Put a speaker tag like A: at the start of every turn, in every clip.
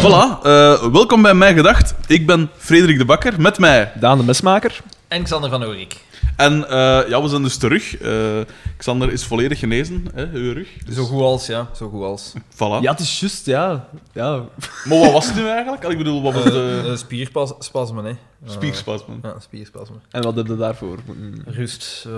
A: Voilà, eh, welkom bij Mijn Gedacht. Ik ben Frederik de Bakker, met mij.
B: Daan de Mesmaker.
C: En Xander van Oorik.
A: En eh, ja, we zijn dus terug. Eh, Xander is volledig genezen, hè, uw rug. Dus,
C: Zo goed als, ja. Zo goed als.
A: Voilà.
B: Ja, het is juist, ja. ja.
A: Maar wat was het nu eigenlijk? Ik bedoel, wat was de
C: Eh, eh, spierspasmen, hè. Eh,
A: spierspasmen?
C: Ja, spierspasmen.
B: En wat hebben we daarvoor? Moeten-
C: Rust. eh,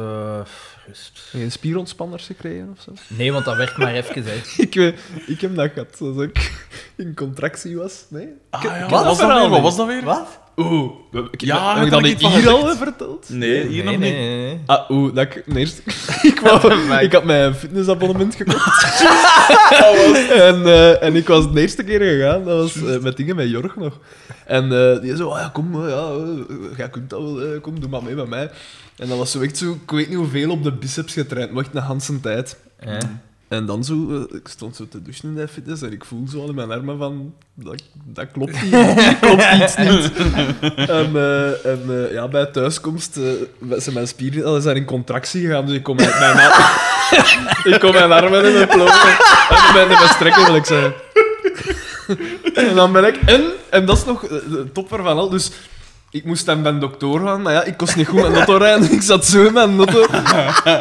C: rust.
B: Geen spierontspanners gekregen of zo?
C: Nee, want dat werkt maar even, hè.
B: Ik, weet- ik heb dat gehad, als ik in contractie was. Nee?
A: Ah, ja,
B: Wat
A: wat, was dat
B: verhaal
A: weer? wat
B: nu?
A: was dat weer?
C: Wat?
B: Oeh.
A: Ja,
B: heb
A: heb
B: ik
A: daar
B: dat
A: niet van
B: hier
A: gezegd?
B: al verteld?
A: Nee, hier nog niet.
C: nee.
B: Ah, oeh, dat ik... Nee, eerst- ik, wou, ik had mijn fitnessabonnement gekocht. en, eh, en ik was de eerste keer gegaan, dat was eh, met dingen met Jorg nog. En eh, die zo, ah, ja, kom, eh, ja, eh, jij kunt dat wel, eh, kom, doe maar mee met mij. En dat was zo echt zo, ik weet niet hoeveel op de biceps getraind, maar echt een hele tijd.
C: Ja.
A: Mm.
B: En dan zo, eh, ik stond zo te douchen in de fitness en ik voel zo al in mijn armen van, dat, dat klopt niet, dat klopt iets niet. En, eh, en eh, ja, bij thuiskomst eh, zijn mijn spieren al zijn in contractie gegaan, dus ik kon mijn, mijn, ar- ik kon mijn armen in mijn ploffen en mijn, in mijn strekken, wil ik zeggen. En dan ben ik, en, en dat is nog eh, de topper van al, dus... Ik moest dan bij een dokter gaan, maar ja, ik kost niet goed met auto rijden. Ik zat zo in mijn auto.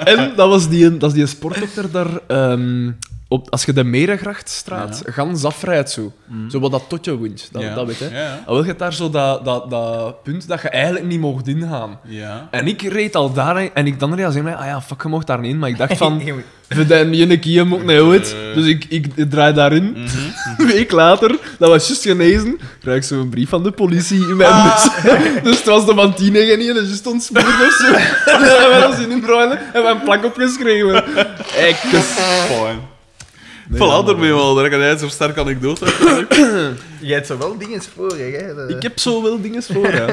B: En dat was die, dat is die sportdokter daar... ehm, op, als je de Merengrachtstraat gans afrijdt, zo. Zo wat dat totje wint, dat,
A: Mm. Ja.
B: dat weet hè.
A: Ja, ja.
B: Dan wil je daar zo dat, dat, dat punt dat je eigenlijk niet mocht ingaan.
A: Ja.
B: En ik reed al daarheen en ik dan realiseerde mij, ah ja, fuck, je mocht daar niet in. Maar ik dacht van,
C: Je moet-
B: we zijn niet in een keer, moet ik niet uit.
A: Eh.
B: Dus ik, ik draai daarin. Een week later, dat was juist genezen, krijg ik zo'n brief van de politie in mijn bus. Dus het was de mantine geniet, dat is juist ontspoord of zo. En we hebben ons in inbruilen en we hebben een plak opgeschreven. Eh, Echt,
A: Fijn. voilà, daarmee wel. Daar kan jij zo'n sterke anekdote.
C: Jij hebt zo wel dingen voor, hè. De...
B: ik heb zo wel dingen voor, ja.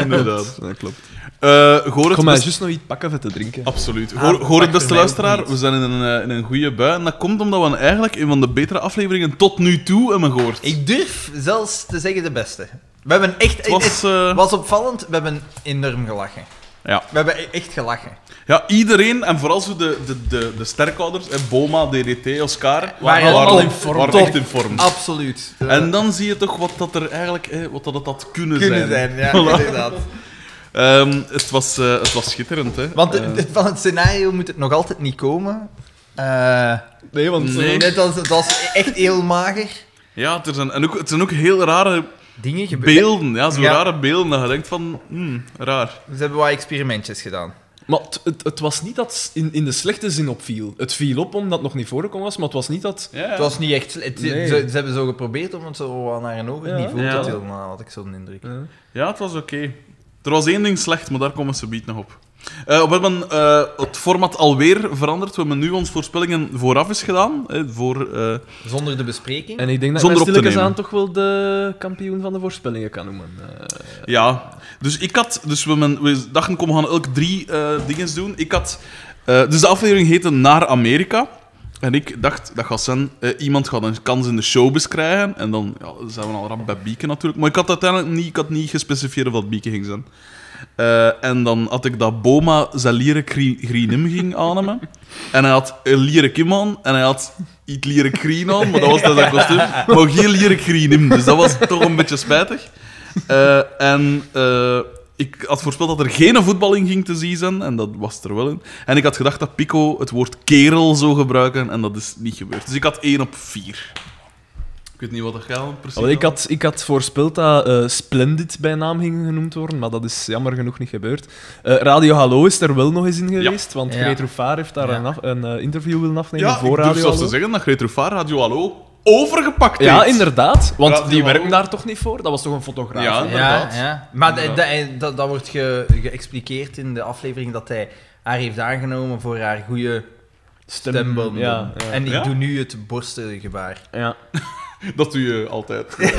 A: Inderdaad.
B: Dat klopt.
A: Eh hoor
B: Ik
A: het
B: kom mij
A: best-
B: juist nog iets pakken om te drinken.
A: Absoluut.
C: Ah,
A: Hoor, hoor het,
C: pakt
A: beste
C: er mij ook
A: luisteraar.
C: niet.
A: We zijn in een, eh, in een goede bui. En dat komt omdat we eigenlijk een van de betere afleveringen tot nu toe hebben gehoord.
C: Ik durf zelfs te zeggen de beste. We hebben echt...
A: Het was, eh,
C: was opvallend, we hebben enorm gelachen.
A: Ja.
C: We hebben e- echt gelachen.
A: ja, iedereen, en vooral zo de, de, de, de sterkouders, eh, Boma, DDT, Oscar,
C: allemaal in vorm.
A: waren
C: Top.
A: echt in vorm.
C: Absoluut. Eh,
A: En dan zie je toch wat dat er eigenlijk eh, wat dat het had kunnen,
C: kunnen zijn, ja,
A: Voilà.
C: inderdaad.
A: Ehm, het, was, eh, het was schitterend, hè.
C: Want
A: Eh,
C: het- van het scenario moet het nog altijd niet komen. Eh,
B: Nee, want...
A: Nee.
C: Net als het was echt heel mager.
A: ja, er zijn, en ook, het zijn ook heel rare
C: Dingen gebeuren.
A: beelden. Ja, zo
C: Ja.
A: rare beelden dat je denkt van, hmm, raar.
C: Ze hebben wat experimentjes gedaan.
B: Maar het, het, het was niet dat het in, in de slechte zin opviel. Het viel op omdat het nog niet voorgekomen was, maar het was niet dat...
A: Ja, ja.
C: Het was niet echt. het-
B: Nee.
C: ze, ze hebben zo geprobeerd om het zo wat naar een hoger
B: Ja.
C: niveau
A: Ja.
C: te tillen, had ik zo'n indruk.
A: Ja, het was oké. Er was één ding slecht, maar daar komen ze biedt nog op. Eh, we hebben eh, het format alweer veranderd. We hebben nu onze voorspellingen vooraf eens gedaan. eh, voor, eh,
C: Zonder de bespreking.
B: En ik denk dat
A: Zonder
B: Zonder
A: op te
B: stilletjes
A: nemen.
B: aan toch wel de kampioen van de voorspellingen kan noemen. Eh,
A: ja. Dus ik had... Dus we, hebben- we dachten, kom, we gaan elk drie eh dingen doen. Ik had... eh, dus de aflevering heette Naar Amerika. En ik dacht, dat gaat zijn, eh, iemand gaat een kans in de showbiz krijgen. En dan ja, zijn we al rap bij Bieke natuurlijk. Maar ik had uiteindelijk niet, ik had niet gespecificeerd wat Bieke ging zijn. Eh, en dan had ik dat Boma zijn lieren kri- grienim ging aannemen. En hij had een lieren kim aan en hij had iets lieren green aan, maar dat was dan zijn kostuum. Maar geen lieren grienim, dus dat was toch een beetje spijtig. Eh, en eh, ik had voorspeld dat er geen voetbal in ging te zien zijn, en dat was er wel in. En ik had gedacht dat Pico het woord kerel zou gebruiken, en dat is niet gebeurd. Dus ik had 1 op 4. Ik weet niet wat dat gaat, precies.
B: wel, ik, had, ik had voorspeld dat eh, Splendid bij naam ging genoemd worden, maar dat is jammer genoeg niet gebeurd. Eh, Radio Hallo is er wel nog eens in geweest, want
C: Ja.
B: Greet Rouffard heeft daar
C: Ja.
B: een, af- een eh, interview willen afnemen
A: ja, ik
B: voor
A: durf
B: Radio
A: zelfs
B: Hallo.
A: te zeggen dat Greet Rufaar Radio Hallo overgepakt heeft.
B: ja, inderdaad, want
A: Radio
B: die
A: Hallo.
B: werken daar toch niet voor? Dat was toch een fotograaf?
A: Ja.
B: hè?
C: ja,
A: inderdaad.
C: ja. Maar dat-
A: Inderdaad.
C: dat- dat- dat wordt ge- geëxpliqueerd in de aflevering dat hij haar heeft aangenomen voor haar goede
B: Stem-
C: stembanden.
B: Ja, ja.
C: En ik
A: Ja?
C: doe nu het borstengebaar.
B: ja.
A: Dat doe je altijd.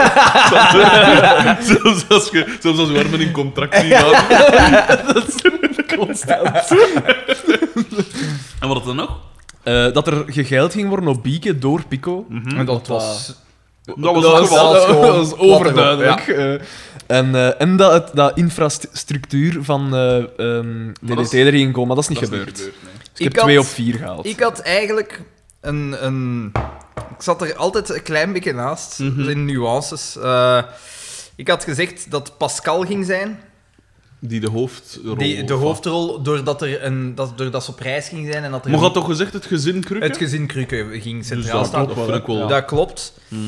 A: zelfs, als je, zelfs als je armen in contractie gaat. En wat had er nog?
B: Eh, dat er gegeild ging worden op Bieke door Pico.
C: En dat
B: Hoppa.
C: was
A: Mhm. Dat was het geval.
B: dat
C: gewoon
B: was
C: plat erop,
B: overduidelijk. Eh, en eh, en dat, het- dat infrastructuur van eh ehm,
A: dat
B: DDT
A: is-
B: erin komen, maar dat is niet
A: Dat is
B: gebeurd.
A: nee.
B: Dus ik heb
C: Ik had-
B: 2 op 4 gehaald.
C: Ik had eigenlijk een, een... Ik zat er altijd een klein beetje naast, dus
A: Mhm.
C: in nuances. Eh, ik had gezegd dat Pascal ging zijn,
A: Die de hoofdrol...
C: die, de hoofdrol, doordat, er een, dat, doordat ze op reis ging zijn en dat er
A: Maar
C: een-
A: had toch gezegd het gezin krukken?
C: het gezin Krukke ging
A: dus
C: centraal
A: dat,
C: staan.
A: dat vind ik wel...
C: Dat klopt.
A: Mhm.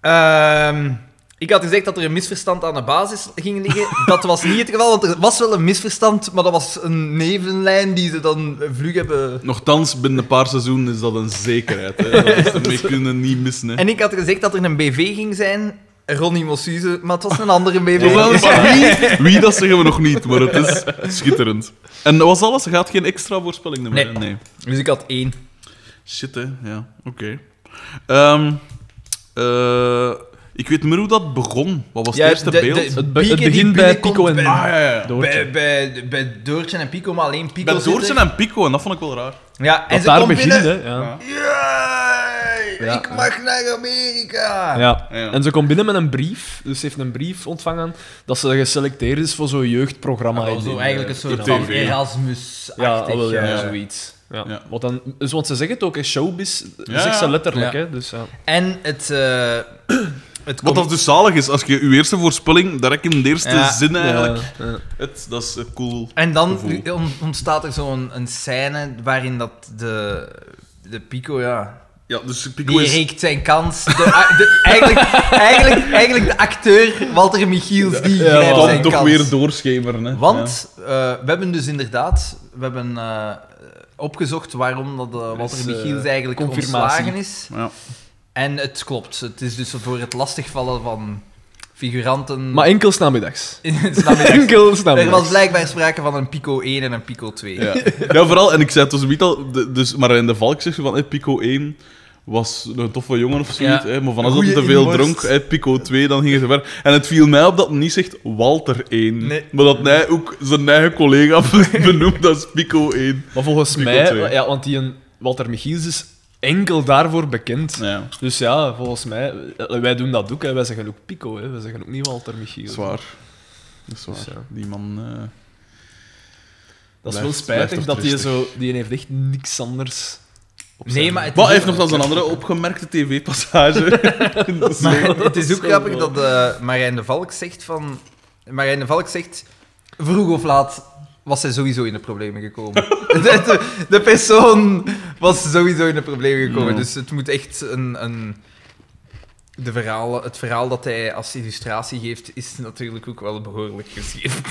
C: Ehm, ik had gezegd dat er een misverstand aan de basis ging liggen. Dat was niet het geval, want er was wel een misverstand, maar dat was een nevenlijn die ze dan vlug hebben.
A: Nochtans, binnen een paar seizoenen is dat een zekerheid. Hè. Dat is ermee kunnen niet missen. Hè.
C: En ik had gezegd dat er een BV ging zijn, Ronnie Mossuze, maar het was een andere BV.
A: Hoewel, maar wie, wie, dat zeggen we nog niet, maar het is schitterend. En dat was alles? Er gaat geen extra voorspelling meer?
C: Nee.
A: hè? nee.
C: Dus ik had één.
A: Shit, hè? Ja, oké. Ehm, eh, ik weet maar hoe dat begon. Wat was
C: Ja,
A: het eerste
C: de-
A: beeld?
C: de-
B: Het, be- het
C: Pieken die
B: begint bij
C: binnenkomt
B: Pico en
C: bij-
A: Ah, ja, ja. ja.
C: Bij,
B: Doortje.
C: bij, bij Doortje en Pico, maar alleen Pico.
A: Bij
C: zit
A: Doortje
C: er.
A: en Pico, en dat vond ik wel raar.
C: Ja, en
B: Dat
C: ze
B: daar
C: komt
B: begint,
C: binnen.
B: hè. Ja.
C: Yay,
B: Ja.
C: ik mag naar Amerika.
B: Ja.
A: Ja.
B: En ze komt binnen met een brief. Dus ze heeft een brief ontvangen dat ze geselecteerd is voor zo'n jeugdprogramma.
C: Ah, wel,
B: in-
C: zo
B: in,
C: eigenlijk
B: eh,
C: een soort
A: TV.
C: van Erasmus-achtig.
B: Ja, ah, wel, ja,
A: ja.
B: zoiets. Ja.
A: Ja.
B: Want, dan, dus, want ze zeggen het ook, hè, showbiz,
A: Ja,
B: zegt
A: ja.
B: ze letterlijk.
C: Ja.
B: Hè, dus, ja.
C: En het... eh,
A: Wat
C: het komt-
A: dat dus zalig is, als je je eerste voorspelling direct in de eerste
C: Ja.
A: zin eigenlijk...
B: Ja, ja.
A: Het, dat is eh, cool.
C: En dan
A: gevoel.
C: on- ontstaat er zo'n een scène waarin dat de, de Pico, ja...
A: Ja, dus Pico
C: Die
A: is...
C: reikt zijn kans. De, de- eigenlijk, eigenlijk, eigenlijk de acteur Walter Michiels, die
B: Ja,
C: grijpt
B: dan
A: Dan
C: zijn
A: eh, toch
C: kans.
A: weer doorschemeren, hè.
C: Want eh, we hebben dus inderdaad we hebben, eh, opgezocht waarom dat, eh, Walter
B: is, eh,
C: Michiels eigenlijk
B: confirmatie.
C: ontslagen is.
A: Ja. Ja.
C: En het klopt. Het is dus voor het lastigvallen van figuranten.
B: Maar enkel 's namiddags.
C: in het namiddag.
B: Enkel 's
C: Er was
B: namiddags.
C: blijkbaar sprake van een Pico 1 en een Pico 2.
A: Ja. vooral, en ik zei het dus niet al, de- dus, maar in de valk zegt ze van, hey, Pico 1 was een toffe jongen of zoiets,
C: Ja.
A: hè, maar vanaf dat
C: Goeie
A: hij te veel
C: inborst.
A: dronk, hey, Pico 2, dan ging ze ver. En het viel mij op dat hij niet zegt Walter 1,
C: Nee.
A: maar dat hij ook zijn eigen collega benoemt als Pico 1.
B: Maar volgens
A: Pico twee.
B: mij, ja, want die een Walter Michiels is enkel daarvoor bekend.
A: Ja,
B: Dus ja, volgens mij, eh, wij doen dat ook. Hè. Wij zeggen ook Pico, hè. wij zeggen ook niet Walter Michiels.
A: zwaar. Dat is waar.
B: Dus ja.
A: Die man... eh,
B: Dat is
A: Blijft-
B: wel spijtig
A: blijft
B: dat
A: toch
B: die
A: tristig.
B: zo... Die heeft echt niks anders op
C: Nee,
B: zijn-
C: maar het
A: Wat
C: is
A: heeft
C: ook,
A: nog wel een andere opgemerkte tv-passage? Dat is
C: maar
A: wel-
C: het is ook
B: Zo
C: grappig
B: wel.
C: dat eh, Marijn de Valk zegt van... Marijn de Valk zegt... Vroeg of laat was zij sowieso in de problemen gekomen. de, de- de persoon was sowieso in de problemen gekomen.
A: Ja.
C: Dus het moet echt een... een de verhalen, het verhaal dat hij als illustratie geeft, is natuurlijk ook wel behoorlijk geschreven.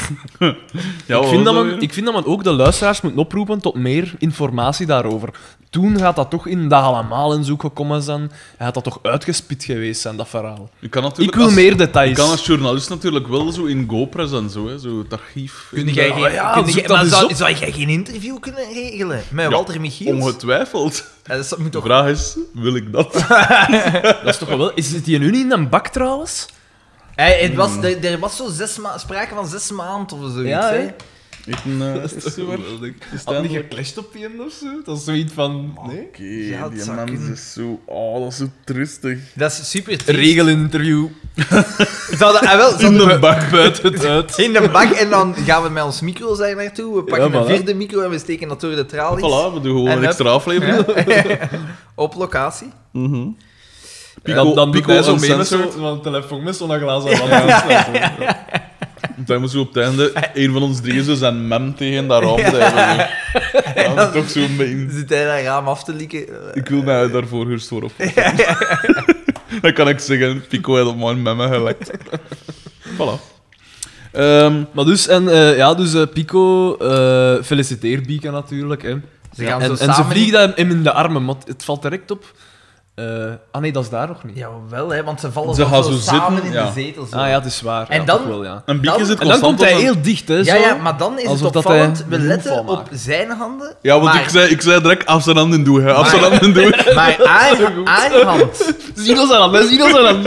A: Ja,
B: ik,
A: wat
B: vind dat
A: was
B: men,
A: weer?
B: ik vind dat men ook de luisteraars moet oproepen tot meer informatie daarover. Toen gaat dat toch in de allemaal in zoek gekomen zijn. En gaat dat toch uitgespit geweest zijn, dat verhaal.
A: Je kan
B: Ik
A: natuurlijk
B: wil
A: als-
B: meer
A: Je
B: details.
A: kan als journalist natuurlijk wel zo in GoPro's en zo, hè, zo het archief.
C: Kun jij geen,
B: Ah, ja,
C: kun
B: zoek
C: jij-
B: dat
C: maar
B: eens
C: zou,
B: op.
C: zou jij geen interview kunnen regelen met
A: Ja,
C: Walter Michiels?
A: Ongetwijfeld.
C: Ja, dat moet
A: De
C: toch...
A: vraag is, wil ik dat?
B: Dat is toch wel... Is, zit die nu niet in een bak trouwens?
C: Hij- het
B: Hmm.
C: was, er, er was zo zes ma- sprake van zes maanden of zoiets.
B: Ja,
C: hè?
B: hè?
A: Ik een, eh, is zo waar. Is dat een-
B: geclashed op die of zo? Dat is zoiets van... Nee?
A: Oké,
C: Ja, het
A: die
C: zou
A: man
C: kunnen.
A: is zo... Oh, dat is zo tristig.
C: Dat is super triest.
B: Regelinterview.
C: Zouden, ah, wel,
A: In
C: zouden
A: de
C: we-
A: bak buiten.
B: Het uit.
C: in de bak en dan gaan we met ons micro daar naartoe. We pakken
B: Ja,
C: een
B: voilà.
C: vierde micro en we steken dat door de tralies.
A: Voilà, we doen gewoon
C: En
A: een extra aflevering.
C: Op locatie.
A: Mhm. Pico,
B: Dan, dan doet
A: Pico
B: hij zo
A: en
B: mee met
A: Sensor.
B: zo- zo'n telefoon met zo'n glazen wand.
A: Dan moeten we op het einde een van ons drieën zo zijn mem tegen dat raam hebben. Ja, dat is toch zo
C: Dan
A: mijn...
C: Zit hij dat raam af te likken? Eh,
A: Ik wil mij daarvoor gerust voor op. Dan kan ik zeggen, Pico heeft op mijn memme gelekt. Voilà. Ehm,
B: Maar dus, en, eh, ja, dus eh, Pico, eh, feliciteer Bieke natuurlijk. Hè.
C: Ze gaan
B: en,
C: zo
B: en ze
C: samen...
B: vliegt hem in de armen, maar het valt direct op. Eh, ah nee, dat is daar nog niet.
C: Jawel, hè, want ze vallen
A: Ze
C: dan
A: gaan
C: zo
A: zo
C: samen
A: zitten,
C: in
A: ja.
C: de zetel. Zo.
B: Ah ja, het is waar.
C: En
B: Ja,
C: dan-
B: toch wel, ja.
A: Een bieke
C: Dan-
A: zit
B: En dan
A: constant
B: komt
A: op
B: hij
A: een-
B: heel dicht, hè?
C: Ja,
B: zo.
C: ja, maar dan is
B: Alsof
C: het
B: dat
C: opvallend.
B: hij
C: We
B: een
C: letten
B: hoefval
C: op
B: maakt.
C: zijn handen.
A: Ja, want
C: maar,
A: ik, zei, ik zei direct af zijn handen doen. Hè. Af zijn
C: Maar-
A: handen doen.
C: Maar haar, haar hand,
B: Zie ons aan, hè, zie ons aan.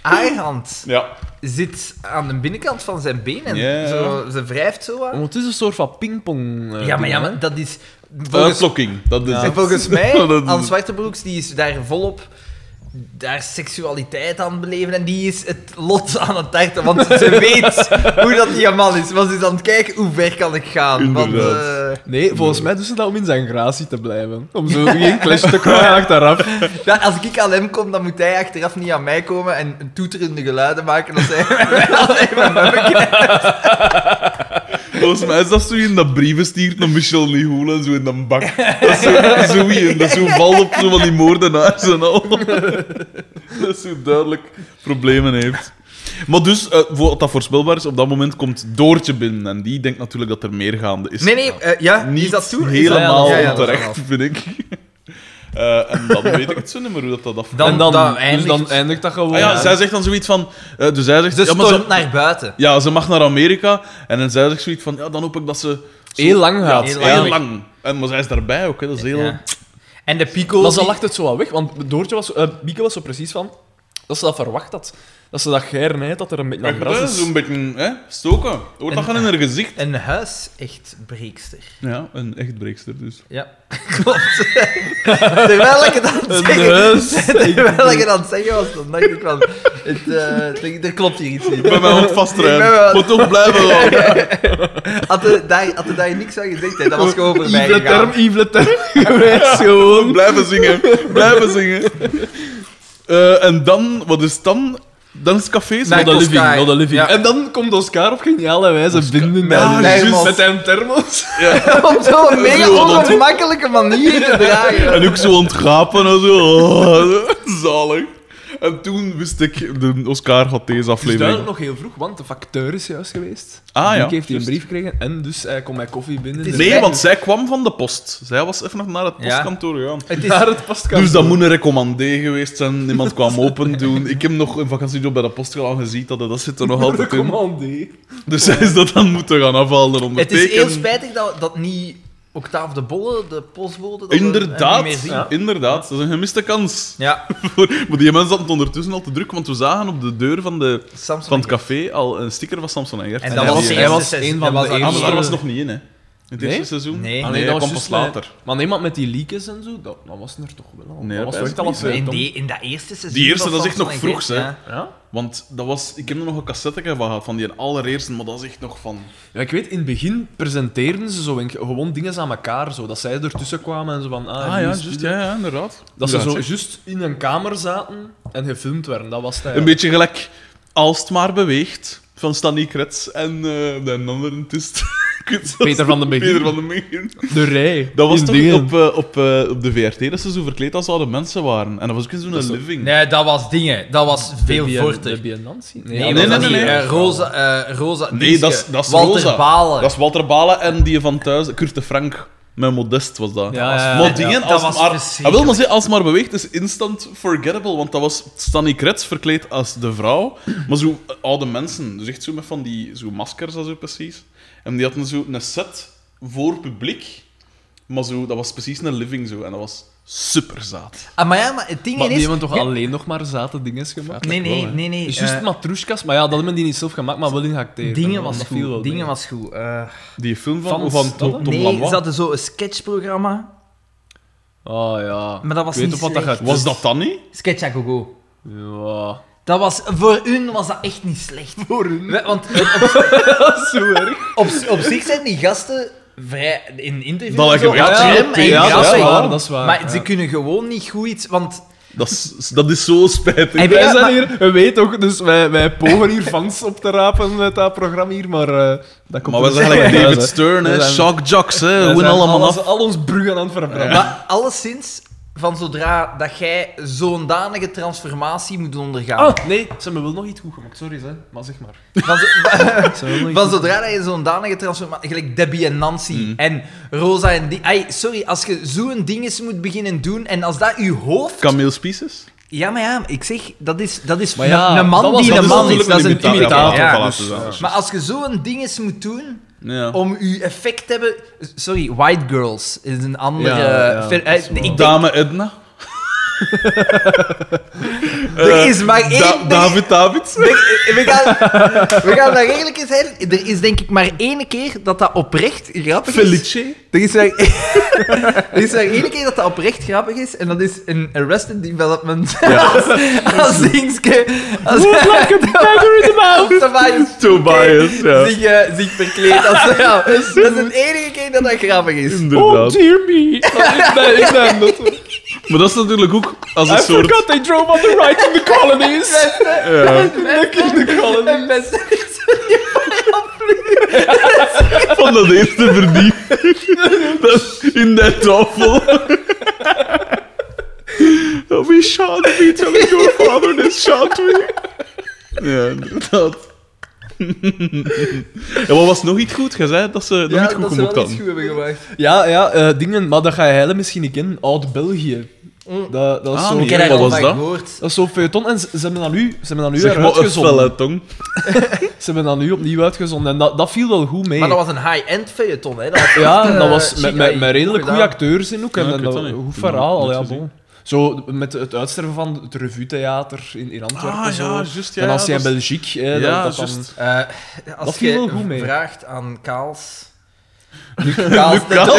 C: haar hand
A: Ja.
C: zit aan de binnenkant van zijn benen.
A: Ja.
C: Zo, ze wrijft zo wat.
B: het is een soort van pingpong. eh,
C: Ja, maar,
B: ding,
C: ja,
B: hè.
C: maar dat is... Volgens,
A: Uitlokking, dat is
B: Ja.
A: het.
C: en volgens mij,
A: Dat is
C: Anne
A: het.
C: Zwartebroeks, die is daar volop daar seksualiteit aan het beleven en die is het lot aan het tarten, want ze weet hoe dat die man is. Want ze is aan het kijken, hoe ver kan ik gaan? Want,
A: Inderdaad.
C: eh,
B: Nee, volgens mij doen ze dat om in zijn gratie te blijven. Om zo geen clash te krijgen achteraf.
C: eh, ja, als ik aan hem kom, dan moet hij achteraf niet aan mij komen en een toeterende geluiden maken als hij, als hij met mij bekijkt.
A: Volgens mij is dat zo in dat brieven stuurt naar Michel Nihoel en zo in dat bak. Dat is zo, zo in, dat is zo valt op zo van die moordenaars en al. Dat zo duidelijk problemen heeft. Maar dus, eh, voor wat dat voorspelbaar is, op dat moment komt Doortje binnen. En die denkt natuurlijk dat er meer gaande is.
C: Nee, nee, eh, ja,
A: Niet
C: is dat toe? Is dat-
A: helemaal
C: ja, ja, dat is
A: terecht, vind ik. Eh, en dan weet ik het zo niet meer hoe dat, dat afgaat.
C: Dan-
B: en dan,
C: dan
B: dus dan
C: eindigt-
B: eindigt dat gewoon.
A: Ah ja, zij zegt dan zoiets van... eh, dus zij zegt...
C: Ze
A: ja, maar
C: stormt naar buiten.
A: Ja, ze mag naar Amerika. En dan zei ze zoiets van, ja, dan hoop ik dat ze... zo-
B: Heel lang gaat.
A: Ja, heel,
C: Heel
A: lang.
C: lang.
A: En, maar zij is daarbij ook, hè. Dat is heel...
C: Ja. En de pico...
B: Maar ze lacht het zo wat weg, want Doortje was, eh Mieke was zo precies van dat ze dat verwacht had. Dat ze dat gernijdt, dat er een beetje
A: Ja,
B: naar bras is.
A: Zo'n beetje, hè, stoken. Hoort dat
C: En-
A: gaan in haar gezicht?
C: Een huis echt breekster.
A: Ja, een echt breekster dus.
C: Ja, klopt. Terwijl ik het aan het zeggen,
B: huis.
C: terwijl ik het aan het zeggen was, dan dacht ik van... Het, eh, denk- er klopt hier iets niet.
A: Bij mijn hand
C: Ik ben
A: vastrijden.
C: wel-
A: Moet toch blijven houden.
C: Had hij daar, had hij daar niks aan gezegd, hè, dat was gewoon voorbij
B: Yves Leterme,
C: gegaan.
B: Yves Leterme geweest, gewoon.
A: Blijven zingen. Blijven zingen. Eh, en dan, wat is het dan? Dan is het café. zo.
C: Nee,
B: Not the
C: Oscar.
B: living, not a living.
C: Ja.
B: En dan komt Oscar op geniale wijze binden met,
A: Ah,
B: met-
C: juist.
B: met zijn thermos.
A: Ja.
C: Op zo'n mega
A: Zo, dat-
C: ongemakkelijke manier te dragen.
A: En ook zo ontgapen en zo. Oh, zalig. En toen wist ik, de Oscar had deze
B: Het is
A: aflevering.
B: duidelijk nog heel vroeg, want de facteur is juist geweest.
A: Ah, ja,
B: Mieke heeft hij een
A: juist.
B: brief gekregen en dus hij kon mij koffie binnen.
C: Het is
A: Nee,
C: weg.
A: want zij kwam van de post. Zij was even naar het postkantoor gegaan.
C: Het is,
B: Naar het pastkastje.
A: Dus dat moet een recommandé geweest zijn. Niemand kwam open doen. Ik heb nog een vakantiejob bij de post gedaan gezien. Dat, dat zit er nog altijd in.
B: Recommandé.
A: Dus zij is dat dan moeten gaan afhalen en
C: het is
A: ondertekenen.
C: heel spijtig dat, dat niet Octave de Bolle, de postbode, dat we hem niet meer
A: Inderdaad,
C: zien.
A: ja. inderdaad. Dat is een gemiste kans.
C: Ja,
A: maar die mensen hadden het ondertussen al te druk, want we zagen op de deur van, de,
C: Samson.
A: van het café al een sticker van Samson en Gert.
C: En
B: En
C: dat was
B: hij
C: de eerste
B: was
C: seizoen.
B: een van
C: Dat
B: de
C: was-
A: Ah, maar daar
B: eerste.
A: was het nog niet in, hè? In het
B: Nee?
A: eerste seizoen?
C: Nee.
A: Ah,
B: Ah, nee, dat
A: dat
B: was
A: kwam pas
B: juist
A: later.
B: met- Maar nee, maar met die leakjes en zo, dat, dat was er toch wel al.
A: Nee,
B: dat was
A: dat
B: toch echt al
A: is niet,
B: een
C: in, die, in dat eerste seizoen.
A: Die eerste,
C: van
A: dat is echt nog
C: Samson en
A: vroeg,
C: Gert,
A: hè.
C: ja.
B: Ja?
A: Want dat was, ik heb er nog een cassette van gehad, van die allereerste, maar dat is echt nog van...
B: ja, ik weet, in het begin presenteerden ze zo een- gewoon dingen aan elkaar, zo, dat zij ertussen kwamen en zo van... Ah, hier is dit.
A: ja, eh, ja, inderdaad.
B: Dat ze
A: Inderdaad,
B: zo
A: zeg.
B: juist in een kamer zaten en gefilmd werden, dat was het
A: Een
B: eigenlijk.
A: beetje gelijk Als het maar beweegt, van Stanley Kretz en eh, de andere tist. Ik weet zelfs
B: Peter van den Begin.
A: Peter van den Begin.
B: De rij.
A: Dat was
B: in
A: toch
B: dingen.
A: op, eh, op, eh, op de VRT dat ze zo verkleed als oude mensen waren. En dat was ook in zo'n
B: Dat is-
A: living.
C: Nee, dat was dingen. Dat was veel
B: Debbie en-
C: voorter.
B: Debbie en Nancy?
C: Nee,
A: nee,
C: nee,
B: dat
A: nee,
B: was
A: nee,
B: niet,
A: nee.
B: hè.
C: Rosa, eh, Rosa
A: Nee, dat is,
C: Dienske,
A: dat is
C: Walter
A: Rosa.
C: Balen.
A: Dat is Walter Balen en die van thuis, Kurt de Frank. Mijn modest was dat.
B: Ja, ja, ja.
A: Maar dingen,
C: Dat
A: als
C: was
A: maar,
C: verschrikkelijk.
A: Ah, wil maar zeggen, als het maar beweegt, is instant forgettable. Want dat was Stanny Kretz verkleed als de vrouw. Maar zo eh, oude mensen. Dus echt zo met van die zo maskers en zo precies. En die hadden zo een set voor publiek. Maar zo, dat was precies een living zo. En dat was super zaad.
C: Ah, maar ja, maar het ding
B: Maar
C: is...
B: die hebben toch
C: Ja,
B: alleen nog maar zate dingen gemaakt?
C: Nee, nee, nee, nee.
B: Dus juist
C: eh,
B: matroeskas, maar ja, dat hebben die niet zelf gemaakt, maar wel in geacteerd.
C: dingen
B: Dat
C: was
B: viel wel
C: goed.
B: mee.
C: Dingen was goed. Eh,
A: Die film van,
B: Van
A: van, Tom,
B: Staden?
A: Tom
C: nee,
A: Lanois.
C: ze hadden zo een sketchprogramma.
B: Ah ja.
C: Maar dat was
B: Ik weet
C: niet
B: op wat dat
C: slecht.
B: gaat.
A: Was dat dan niet?
C: Sketch à go-go.
B: Ja.
C: Dat was, voor hun was dat echt niet slecht.
B: Voor hun.
C: We- Want
B: Dat is zo erg.
C: op, op zich zijn die gasten vrij in interviews.
A: Dat
C: en zo,
A: lijkt me- ja,
C: slim en
B: ja, dat is
C: grappig.
B: waar, dat is waar,
C: Maar
B: ja.
C: ze kunnen gewoon niet goed iets, want...
A: Dat is, dat is zo spijtig.
C: Heb je-
B: Wij
C: Ja,
B: zijn
C: maar-
B: hier, we weten ook, dus wij, wij pogen hier fans op te rapen met dat programma hier, maar eh, dat komt
A: Maar we
B: er
A: zijn
B: niet
A: gelijk
B: uit,
A: David
B: hè.
A: Stern,
B: We
A: hè?
B: zijn-
A: Shock Jocks, hè?
B: wij
A: Hoe
B: zijn
A: allemaal
B: alles-
A: af.
B: Al ons bruggen aan het verbranden.
C: Maar alleszins, van zodra dat jij zo'n danige transformatie moet ondergaan...
B: Ah, nee, ze hebben wel nog iets goed gemaakt. Sorry, hè. maar zeg maar.
C: Van, zo-
B: Ze hebben wel nog iets
C: van
B: goed
C: zodra dat je zo'n danige transformatie... Gelijk Debbie en Nancy
B: Mm.
C: en Rosa en... Die, ai, sorry, als je zo'n ding eens moet beginnen doen en als dat je hoofd...
A: Camille Spices?
C: Ja, maar ja, ik zeg, dat is, dat is
B: Maar ja,
C: een
B: dat
C: man
B: was-
C: die
B: dat
C: een
B: is
C: man is.
B: natuurlijk
C: Dat is
B: een
C: een
B: imitator.
C: imitator.
B: Ja,
A: voilà,
B: dus-
A: het is dat.
C: Maar als je zo'n ding eens moet doen
A: Ja.
C: om je effect te hebben. Sorry, White Girls is een andere.
B: Ja, ja,
C: ver-
B: dat is
C: eh,
B: waar.
C: ik denk-
A: Dame Edna? Eh,
C: Er
B: eh,
C: is maar één...
A: Da-
C: er-
A: David David.
C: er- we, gaan, we gaan daar eerlijk in zijn. Er is denk ik maar één keer dat dat oprecht grappig is.
A: Felice.
C: Er is, maar, er is maar één keer dat dat oprecht grappig is, en dat is in Arrested Development. Als, als Dingske... Als like a tiger in the mouth! Tobias.
A: Tobias, ja.
C: Zich, eh, zich verkleed als... Ja, dat is de enige keer dat dat grappig is.
A: Inderdaad.
C: Oh,
B: dear me. ik ben, ik ben dat.
A: Maar dat is natuurlijk ook als een
B: I
A: soort...
B: forgot they drove on the right in the colonies.
A: Ja.
B: in the colonies.
C: En mensen is
A: Van dat eerste verdiep. Dat in dat tafel. Oh, We shall be telling your father this shall we. Ja, inderdaad. Ja, maar was nog iets goed? Je zei dat ze nog
C: Ja,
A: iets goed
C: dat ze
A: gemokt
C: wel
A: hadden.
C: iets goed hebben gemaakt.
B: Ja, ja, eh, dingen, maar dat ga je hele misschien niet kennen. Oud-België.
C: Mm.
B: Dat, dat is
A: Ah,
B: zo...
A: nee.
C: Ik heb daar
A: Wat
C: al
A: was
C: van
A: dat?
C: gehoord.
B: Dat is zo'n feuilleton en ze, ze hebben dat nu, ze hebben dat nu
A: Zeg maar een
B: uitgezonden.
A: felle tong.
B: Ze hebben dat nu opnieuw uitgezonden en dat, dat viel wel goed mee.
C: Maar dat was een high-end feuilleton, hè. Dat was
B: Ja,
C: echt,
B: en
C: eh,
B: dat was met,
C: chic,
B: met,
C: ja,
B: met redelijk
C: gedaan.
B: goede acteurs in ook. En,
A: Ja, ik
B: en
A: weet
B: dat-
A: dat niet.
B: een goed
A: Ik heb dat
B: verhaal, al
A: net
B: ja,
A: gezien.
B: bon. Zo, met het uitsterven van het revue-theater in, in Antwerpen.
A: Ah,
B: zo.
A: ja, juist, ja,
B: en als
A: ja,
B: je in
A: dat
B: België... Hè, dat-
A: Ja,
B: dat, dan-
A: juist.
C: Eh, als
B: Dat
C: je
B: viel wel goed mee.
C: vraagt aan Kaals... Kaals,
A: Kaals.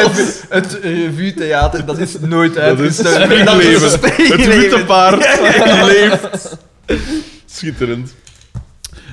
C: Het, het revue-theater, dat is nooit
A: Dat is
C: uitgestoken.
A: springleven. Het
C: springleven.
A: witte paard leeft. Schitterend.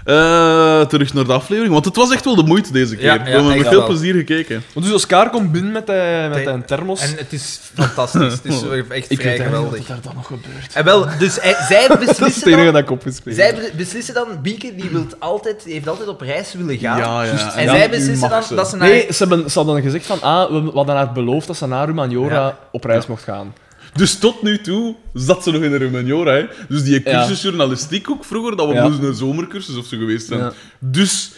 A: Eh, terug naar de aflevering, want het was echt wel de moeite deze keer.
C: Ja, ja,
A: We hebben
C: echt
A: met veel
C: wel.
A: plezier gekeken.
B: Want dus Oscar komt binnen met, die- met een thermos.
C: En het is fantastisch. Het is echt
B: ik
C: vrij
B: weet eigenlijk
C: geweldig.
B: niet wat er dan nog gebeurt.
C: En wel, dus hij- zij
B: Dat is het
C: beslissen
B: enige
C: dan...
B: dat ik opgeschreven
C: Zij
B: heb.
C: be- beslissen dan, Bieke die wilt altijd, die heeft altijd op reis willen gaan.
A: Ja, ja.
C: Juist. En
A: Ja,
C: zij
A: nu
C: beslissen
A: mag
C: dan
A: ze.
C: dat ze naar...
B: Nee, ze hebben, ze hadden gezegd van, ah, we, we hadden haar beloofd dat ze naar Humaniora
C: Ja.
B: op reis mocht gaan.
A: Dus tot nu toe zat ze nog in de Rumaniora. Hè? Dus die cursus journalistiek ook vroeger, dat we
B: Ja.
A: moesten een zomercursus of zo geweest zijn.
B: Ja.
A: Dus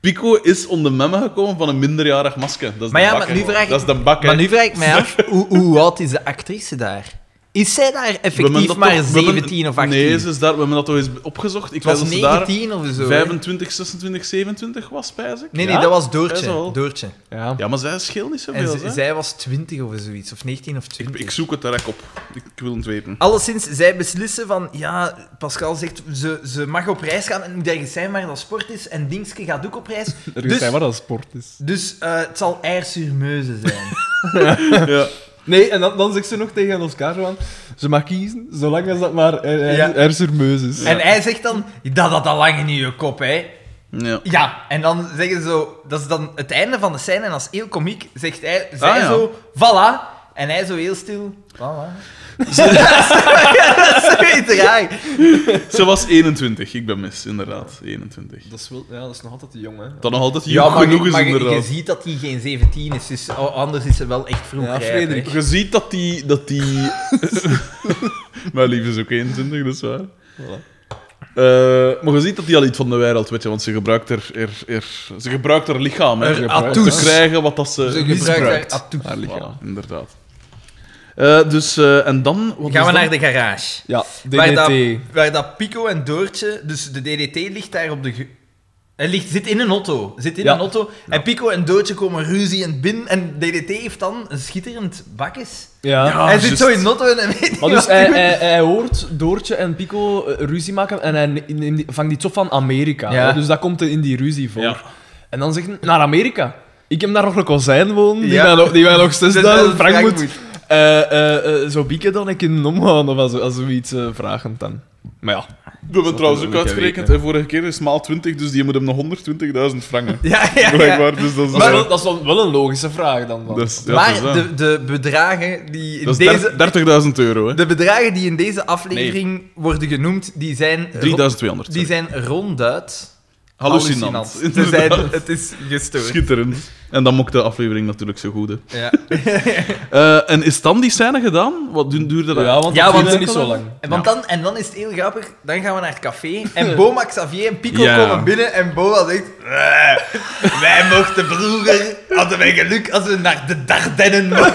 A: Pico is onder memmen gekomen van een minderjarig masker. Dat is
C: Maar
A: de bak, hè.
C: ja, maar nu vraag ik-
A: Dat is de bak, hè.
C: Maar nu vraag ik mij af, hoe, hoe oud is de actrice daar? Is zij daar
A: We hebben
C: effectief
A: dat
C: maar
A: toch- we hebben-
C: 17 of 18?
A: Nee, ze is daar, we hebben dat toch eens opgezocht. Ik
C: het was
A: weet dat ze daar
C: 19 of zo. hè?
A: 25, 26, 27 was, spijs ik.
C: Nee, nee,
B: Ja?
C: dat was
A: Ja, zo.
C: Doortje. Doortje.
B: Ja.
A: Ja, maar zij scheelt niet
C: En
A: zoveel.
C: ze-
A: hè.
C: zij was 20 of zoiets, of 19 of 20.
A: Ik zoek het direct op. Ik, ik wil het weten.
C: Alleszins, zij beslissen van, ja, Pascal zegt, ze, ze mag op reis gaan en het moet ergens zijn waar dat sport is. En Dingske gaat ook op reis.
B: Er
C: Dus-
B: is zijn waar dat sport is.
C: Dus eh, het zal Air-sur-Meuse zijn.
A: Ja.
B: Nee, en dan, dan zegt ze nog tegen Oscar van, ze mag kiezen, zolang als dat maar er,
C: Ja.
B: er, er surmeus is.
C: En hij zegt dan, dat had al lang in je kop, hè.
A: ja.
C: Ja, en dan zeggen ze zo... Dat is dan het einde van de scène. En als heel komiek zegt hij, zij
A: Ah, ja.
C: zo... Voilà. En hij zo heel stil... Voilà. dat is zoiets raar.
A: Ze was 21, ik ben mis, inderdaad. 21.
B: Dat is, wel, ja, dat is nog altijd die jongen.
A: Dat nog altijd
C: Ja,
A: jong
C: maar,
A: genoeg
C: je,
A: is,
C: maar je- je
A: inderdaad.
C: ziet dat hij geen 17 is. Dus o- anders is ze wel echt vroeg
B: Ja,
C: rijp, hè.
B: Frederik.
A: Je ziet dat die... Dat die... Mijn lief is ook 21, dat is waar. Eh, maar je ziet dat die al iets van de wereld weet, je, want ze gebruikt haar, haar- haar- ze gebruikt haar lichaam hè,
C: Haar
A: om
C: atoes.
A: te krijgen wat dat ze,
C: Ze gebruikt haar
A: misbruikt.
B: Ah,
C: atoes.
A: Haar lichaam, inderdaad. Eh, dus, eh, en dan... Wat
C: Gaan
A: is dan?
C: we naar de garage.
B: Ja,
C: Waar dat,
B: DDT.
C: waar dat Pico en Doortje, dus de DDT ligt daar op de. ge- Hij ligt, zit in een auto. Zit in
B: Ja.
C: een auto. En Pico en Doortje komen ruzie en binnen. En DDT heeft dan een schitterend bakjes.
B: Ja.
A: Ja. Ah,
C: hij zit
A: juist.
C: zo in een auto en hij weet niet
B: Maar
C: wat
B: dus hij,
C: Oh, hij moet.
B: hij, hij hoort Doortje en Pico eh, ruzie maken en hij ne- neemt die- vangt iets op van Amerika.
C: Ja.
B: hè. Dus dat komt in die ruzie voor.
A: Ja.
B: En dan zegt hij, naar Amerika. Ik heb daar nog een kozijn wonen, die,
C: Ja.
B: mij, nog- die mij nog 6000 frank
C: frank
B: moet... eh, eh, eh, zo bieken dan ik in omgaan of als, als zoiets eh, vragend dan. Maar ja.
A: We hebben trouwens
B: dat
A: ook
B: moet je
A: uitgerekend,
B: weten.
A: hè, vorige keer is maal 20, dus die moet hem nog 120.000 frangen.
C: Ja, ja, ja.
A: Blijkbaar, dus dat is...
B: Dat is,
A: eh,
B: wel, dat is wel- wel een logische vraag dan. want-
A: dat is- ja,
C: Maar
A: dat is dat.
C: de, de bedragen die in
A: Dat is
C: deze.
A: der- 30.000 euro, hè.
C: De bedragen die in deze aflevering worden genoemd, die zijn.
A: 3200.
C: Die zijn ronduit.
A: Hallucinant.
C: Ze zijn,
A: Inderdaad.
C: het is gestoord.
A: Schitterend. En dan mocht de aflevering natuurlijk zo goed. Hè.
C: Ja.
A: Eh, en is dan die scène gedaan? Wat du- duurde dat?
B: Ja, want
C: Ja,
B: dat
C: want-
B: duurt niet zo lang.
C: En, want dan, en dan is het heel grappig, dan gaan we naar het café en Boma, Xavier en Pico
A: Ja.
C: komen binnen en Boma zegt... "Eh, Wij mochten vroeger, hadden wij geluk als we naar de Dardennen mochten.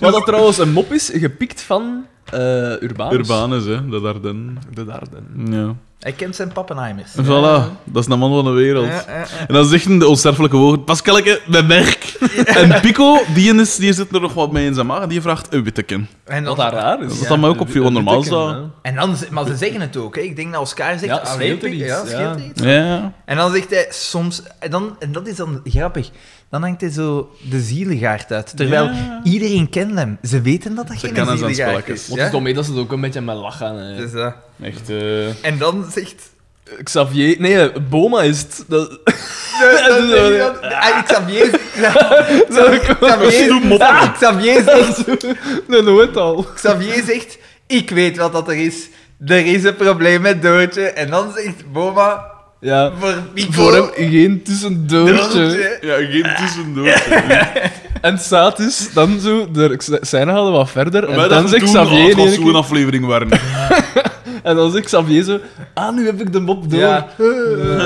B: Wat dat trouwens een mop is, gepikt van eh Urbanus.
A: Urbanus, hè, de Ardennen.
B: De Darden.
A: Ja.
C: Hij kent zijn pappenheimers.
A: En Voilà, dat is de man van de wereld.
C: Ja, ja, ja.
A: En dan zeggen de onsterfelijke woorden: Pascalke, mijn merk. En Pico, die, is, die zit er nog wat mee in zijn maag, die vraagt een witteken.
C: En
B: Wat
C: dan,
B: daar raar is.
A: Dat dat mij ook opviel, want normaal is dat-
C: en dan, ze- maar ze zeggen het ook. Hè. Ik denk dat Oscar zegt,
B: Ja,
C: "Ah,
B: scheelt
C: leuk,
B: er iets,
C: Ja, scheelt er
B: ja.
C: iets.
A: Ja.
C: En dan zegt hij soms, en, dan, en dat is dan grappig, dan hangt hij zo de zieligaard uit. Terwijl
A: Ja.
C: iedereen kent hem. Ze weten dat dat
A: Ze
C: geen
A: kennen zijn
C: zieligaard
A: spelletjes.
C: is.
B: Want
C: ja?
B: het is toch mee dat ze het ook een beetje met lachen. hè.
C: Dus, eh,
A: Echt, eh.
C: en dan zegt...
B: Xavier... Nee, eh, Boma is het. Dat...
C: dan zeg je dan- Ah, Xavier,
A: Doe
C: Xavier,
A: moppen.
C: Ah, Xavier zegt...
B: Nee, nooit al.
C: Xavier zegt, ik weet wat dat er is. Er is een probleem met Doodje. En dan zegt Boma,
B: Ja.
C: voor Pico...
B: Voor hem geen tussendoortje.
C: Doodje.
A: Ja, geen tussendoor. hè.
B: En staat is dan zo... De scène hadden wat verder.
A: Wij
B: En dan
A: dachten
B: zegt
A: toen, ah,
B: Xavier...
A: Het
B: in
A: was
B: één
A: zo'n
B: keer-
A: aflevering waren.
B: En dan zegt Xavier zo... Ah, nu heb ik de mop door.
C: Ja.
B: En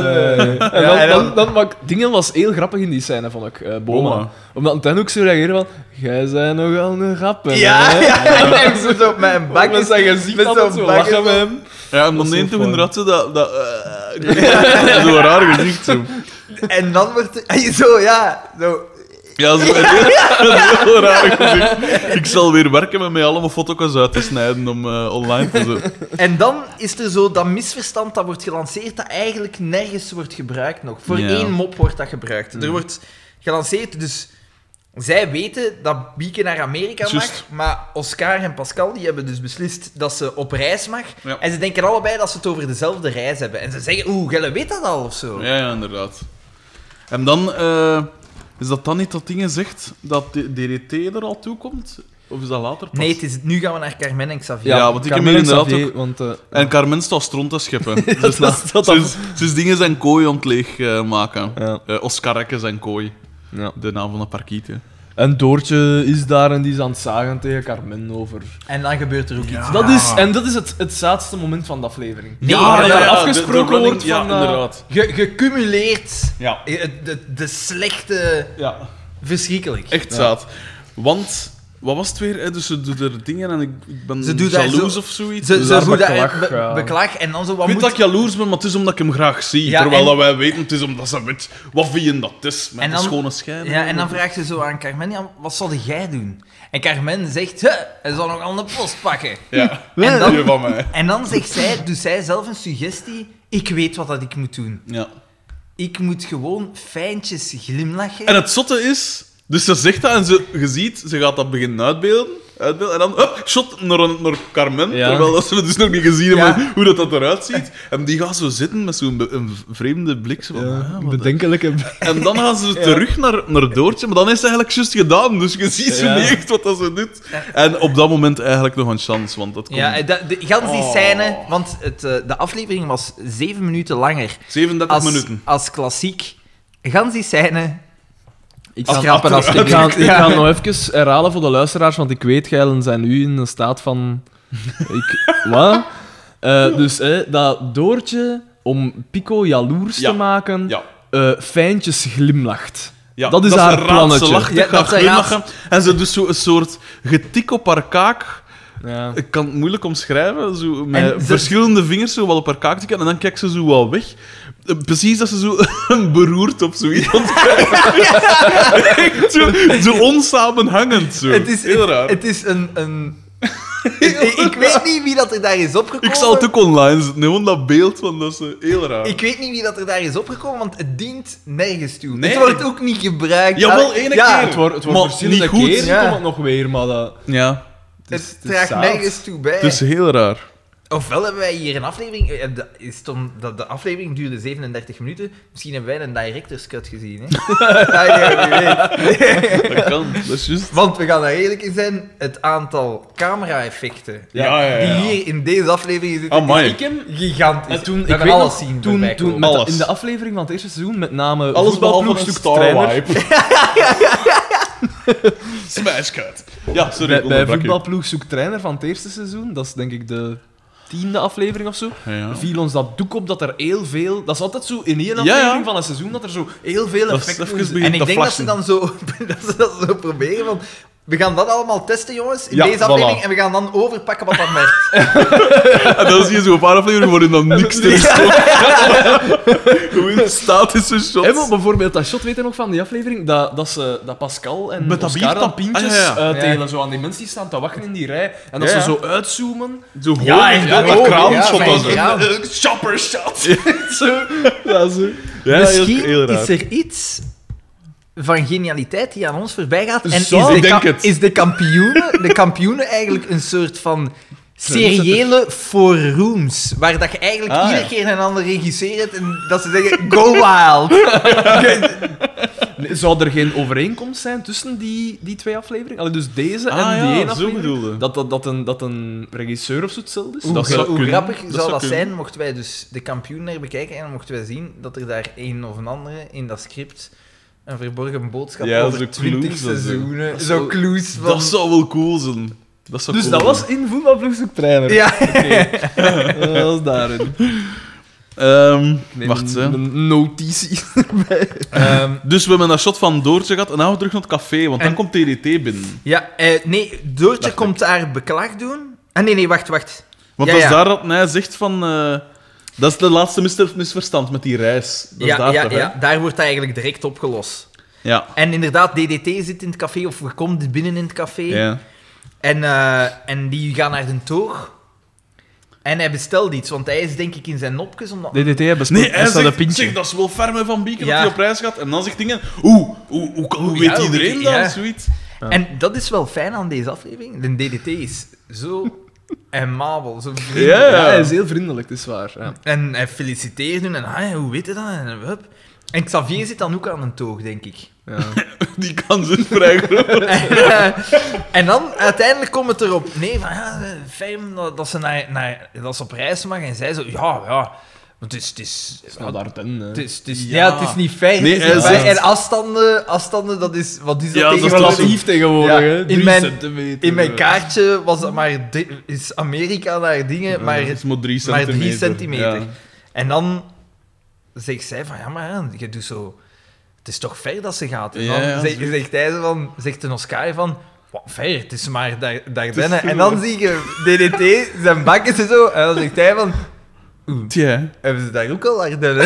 B: dan,
C: Ja, en dan-
B: dan, dan maakt- Dingen was heel grappig in die scène, vond ik, eh, Boma.
A: Boma.
B: Omdat dan ook zo reageren van... Jij bent nogal een rapper,
C: Ja,
B: hè?"
C: ja, ja. En zo zo op mijn bak
B: Met
C: is
B: zijn gezicht
C: met
B: altijd
C: zo'n
B: zo
C: bak
B: lachen
C: is
B: met
C: zo-
B: hem.
A: Ja, en
B: Dat
A: dan neemt
B: is zo
A: hem
B: fijn.
A: inderdaad zo dat... dat eh, Zo'n raar gezicht, zo.
C: En dan wordt hij zo, ja, zo.
A: Ja, zo, een heel, een heel raar gezicht. Ik zal weer werken met mij allemaal foto's uit te snijden om eh, online te zetten.
C: En dan is er zo dat misverstand dat wordt gelanceerd, dat eigenlijk nergens wordt gebruikt nog. Voor
A: Ja.
C: één mop wordt dat gebruikt. Er wordt gelanceerd, dus zij weten dat Bieke naar Amerika
A: Juist.
C: mag, maar Oscar en Pascal die hebben dus beslist dat ze op reis mag.
A: Ja.
C: En ze denken allebei dat ze het over dezelfde reis hebben. En ze zeggen, oeh, Gelle weet dat al of zo.
A: Ja, ja, inderdaad. En dan, eh, is dat dan niet dat dingen zegt dat de DDT er al toe komt? Of is dat later pas?
C: Nee, het is, nu gaan we naar Carmen en Xavier.
A: Ja, want ik heb
B: Camille
A: hier inderdaad
B: Xavier, Want, eh,
A: En Carmen staat stront te scheppen.
B: dat
A: dus, na-
B: is- dat-
A: dus, dus dingen zijn kooi ontleeg eh, maken.
B: Ja.
A: Eh, Oscarrekke zijn kooi.
B: ja.
A: De naam van de parkiet. hè.
B: En Doortje is daar en die is aan het zagen tegen Carmen over.
C: En dan gebeurt er ook iets.
B: Dat is,
A: Ah.
B: en dat is het, het zaadste moment van de aflevering.
C: Nee,
B: Waar
C: ja,
B: daar
C: ja,
B: afgesproken
A: de- de running-
B: wordt van...
A: Ja,
B: eh,
A: inderdaad.
C: Ge- gecumuleerd.
A: Ja.
C: De, de, de slechte...
A: ja.
C: Verschrikkelijk.
A: Echt zaad. Want, wat was het weer? hè? Dus ze doet er dingen en ik, ik ben
C: Ze doet daar
A: jaloers
C: zo-
A: of zoiets.
C: Ze,
A: Dus
C: ze
A: daar-
C: hoe dat-
B: beklag,
C: be-
B: ja.
C: beklag en dan zo wat
A: ik weet dat
C: moet...
A: ik jaloers ben, maar het is omdat ik hem graag zie.
C: Ja,
A: Terwijl
C: en-
A: dat wij weten, het is omdat ze weet wat vind je dat het is. Met
C: En
A: een
C: dan-
A: schone schijn.
C: Ja, en dan vraagt ze zo aan Carmen, ja, wat zal jij doen? En Carmen zegt, "Huh, hij zal nog aan de post pakken.
A: Ja,
C: En dan-
A: Die van mij.
C: En dan zegt zij, doet zij zelf een suggestie, ik weet wat dat ik moet doen.
A: Ja.
C: Ik moet gewoon fijntjes glimlachen.
A: En het zotte is, dus ze zegt dat en ze, je ziet, ze gaat dat beginnen uitbeelden. uitbeelden en dan, hup, shot naar, een- naar Carmen.
B: Ja.
A: Terwijl dat ze dus nog niet gezien hebben
C: Ja.
A: hoe dat, dat eruit ziet. En die gaat zo zitten met zo'n be- een vreemde blik. Zo van, ah,
B: Ja,
A: wat de-
B: bedenkelijke...
A: En dan gaan ze terug naar, naar Doortje, maar dan is het eigenlijk juist gedaan. Dus je ziet ze
B: Ja.
A: niet echt wat dat ze doet. En op dat moment eigenlijk nog een chance, want dat komt
C: Ja, en dat- de, gans die
A: Oh.
C: scène, want het, eh, de aflevering was zeven minuten langer
A: 37
C: als,
A: minuten.
C: als klassiek. Gans die scène,
B: Ik
C: Als
B: ga-
C: grappen als
B: ik ga, ik
C: Ja.
B: ga nog even herhalen voor de luisteraars, want ik weet, geilen zijn nu in een staat van... Ik, wat? Eh, dus hè, dat Doortje, om Pico jaloers
A: Ja.
B: te maken,
A: Ja.
B: eh, fijntjes glimlacht.
A: Ja,
B: dat is haar plannetje.
A: raadselachtig
C: Ja,
A: gaan
C: dat ze raads-
A: glimlachen. En ze dus zo een soort getik op haar kaak.
B: Ja.
A: Ik kan het moeilijk omschrijven. Zo, met
C: En ze-
A: verschillende vingers zo wat op haar kaak tikken en dan kijkt ze zo wel weg. Eh, Precies dat ze zo beroerd op zoiets aan het kijken is. Echt zo, zo onsamenhangend. Zo.
C: het is,
A: Heel raar.
C: het, het is een... een ik, ik weet niet wie dat er daar is opgekomen.
A: ik zal het ook online zetten, gewoon dat beeld, want dat is eh, heel raar.
C: Ik weet niet wie dat er daar is opgekomen, want het dient nergens toe.
A: Nee.
C: Het wordt ook niet gebruikt.
A: Jawel,
C: Ja,
A: ene
C: ja,
A: keer.
B: Het wordt, het wordt
A: Maar
B: verschillende
A: niet goed.
B: keren,
C: Ja.
B: komt het nog weer, maar dat...
A: Ja,
C: Het,
B: is- het is
C: draagt
B: zaad.
C: nergens toe bij.
A: het is heel raar.
C: Ofwel hebben wij hier een aflevering... eh, dat Is het om- dat de aflevering duurde 37 minuten. Misschien hebben wij een director's cut gezien, hè? Ja, ja, wie weet.
A: Dat kan, dat is juist.
C: Want we gaan daar eerlijk in zijn, het aantal camera-effecten
A: Ja, ja, ja.
C: die hier in deze aflevering zitten,
A: Amai.
C: is
A: Ik
C: gigantisch.
B: En toen,
C: we
B: ik
C: hebben
B: weet
C: alles
B: nog,
C: zien
B: toen,
C: voorbij
B: toen,
C: komen.
B: met de-
A: Alles.
B: in de aflevering van het eerste seizoen, met name
A: Alles behalve een
B: voetbalploeg zoekt trainer.
A: Starwipe. Smash cut. Ja, sorry,
B: Bij, bij
A: onderbrak je.
B: voetbalploeg zoekt trainer van het eerste seizoen, dat is denk ik de tiende aflevering of zo,
A: Ja.
B: viel ons dat doek op dat er heel veel... Dat is altijd zo in één
A: ja.
B: aflevering van een seizoen, dat er zo heel veel
A: Dat is
B: effecten...
A: even
B: zijn.
A: begin-
C: En
A: begint te
C: ik denk dat ze
A: flashen.
C: dan zo, dat ze dat zo proberen van... We gaan dat allemaal testen, jongens, in
A: Ja,
C: deze
A: voilà.
C: aflevering. En we gaan dan overpakken wat dat merkt.
A: En dan zie je zo'n paar afleveringen waarin dan niks te Gewoon statische
B: Hey, maar
A: shots.
B: bijvoorbeeld dat shot weet je nog van die aflevering dat, dat, ze, dat Pascal en
A: Met dat
B: Oscar
A: bier,
B: dan
A: dat-
B: pintjes
A: ah, ja, ja.
B: eh, tegen
C: Ja.
B: zo aan die mensen die staan te wachten in die rij en dat
A: Ja,
B: ze
A: ja.
B: zo uitzoomen.
A: Zo hoog.
B: Ja, echt,
A: dat
B: ja,
A: dat
B: oh,
A: kraamshot
C: ja,
A: was
C: maar-
A: het.
C: ja.
A: Eh, Chopper shot.
B: zo. Ja, zo.
A: Ja,
C: Misschien
A: heel raar.
C: is er iets van genialiteit die aan ons voorbij gaat. En is
A: Zo,
C: de,
A: ik denk
C: ka-
A: het.
C: is de kampioenen, de kampioenen eigenlijk een soort van seriële forums, waar dat je eigenlijk
B: Ah,
C: iedere
B: ja.
C: keer een ander regisseert en dat ze zeggen, go wild.
B: Nee, zou er geen overeenkomst zijn tussen die, die twee afleveringen? Allee, dus deze
A: Ah,
B: en die
A: ja,
B: één
A: zo
B: aflevering?
A: bedoelde.
B: Dat, dat, dat, een, dat een regisseur of zo hetzelfde is?
A: Oeh.
C: Hoe,
A: Dat zou
C: hoe
A: kunnen.
C: grappig
A: Dat
C: zou
A: zou
C: dat
A: kunnen.
C: zijn mochten wij dus de kampioen naar bekijken en mochten wij zien dat er daar een of een andere in dat script een verborgen boodschap
A: Ja, zo
C: over
A: clues
C: 20
A: en zo.
C: seizoenen,
B: Dat
C: zo
B: zou-
C: clues van...
A: Dat zou wel cool zijn. Dat zou
B: Dus
A: cool
B: dat
A: zijn.
B: was in voetbalvloegzoektrainer.
C: Ja.
B: dat was daarin.
A: Ehm,
B: Nee,
A: wacht, hè.
B: Een notitie.
C: Ehm,
A: Dus we hebben dat shot van Doortje gehad en dan gaan we terug naar het café, want
C: En-
A: dan komt TDT binnen.
C: Ja, eh, nee, Doortje
A: Dacht
C: komt daar beklag doen. Ah, nee, nee, wacht, wacht.
A: Want
C: Ja,
A: dat is
C: ja.
A: daar dat hij zegt van... eh, dat is de laatste mis- misverstand met die reis. Dat is
C: ja,
A: daar
C: ja,
A: toch, hè?
C: ja, daar wordt dat eigenlijk direct opgelost.
A: Ja.
C: En inderdaad, DDT zit in het café, of we komt binnen in het café.
A: Ja.
C: En, eh, en die gaan naar de toog. En hij bestelt iets, want hij is denk ik in zijn nopjes, omdat...
B: DDT hebben
A: Nee, hij
B: dat
A: zegt,
B: pintje.
A: zeg, dat is wel ferme van Bieken
C: Ja.
A: dat hij op reis gaat. En dan zegt dingen, oeh, hoe, hoe, kan- hoe
C: Oeh,
A: weet
C: ja, hoe
A: iedereen
C: weet-
A: dat?
C: ja.
A: of Zoiets.
C: En dat is wel fijn aan deze aflevering. De DDT is zo amabel, zo vriendelijk.
A: Ja.
B: Ja, hij is heel vriendelijk, dat is waar. Ja.
C: En hij feliciteert hun, en ah, hoe weet je dat? En, hup. en Xavier zit dan ook aan een toog, denk ik.
B: Ja.
A: Die kans is vrij groot.
C: en, eh, en dan uiteindelijk komt het erop nee van ja, eh, fijn dat, dat ze, naar, naar, dat ze op reis mag. En zij zo, ja, ja, want het is... Het is
B: Nou, daar ten, hè.
C: het is, het is, ja.
A: Ja.
C: het is niet fijn.
A: Nee,
C: het is
A: hij
C: niet fijn.
A: zegt-
C: En afstanden, afstanden, dat is... Wat is dat
A: Ja, dat is
C: tegenwoordig?
A: relatief
B: tegenwoordig,
C: Ja, hè. in Drie mijn-
B: centimeter.
C: In mijn kaartje was dat maar... di- Is Amerika naar dingen, maar...
A: Het is maar drie
C: maar
A: centimeter.
C: drie centimeter.
A: Ja.
C: En dan zegt zij van, ja, maar ja, je doet zo... Het is toch ver dat ze gaat. En dan
A: Ja, ja,
C: zeg-
A: zeker.
C: zegt hij zo van, zegt een Oscar van... Wat ver, het is maar daar, daar binnen.
A: veel.
C: En dan zie je DDT, zijn bak is er zo. En dan zegt hij van... Oeh,
A: Tja.
C: hebben ze daar ook al Ardennen?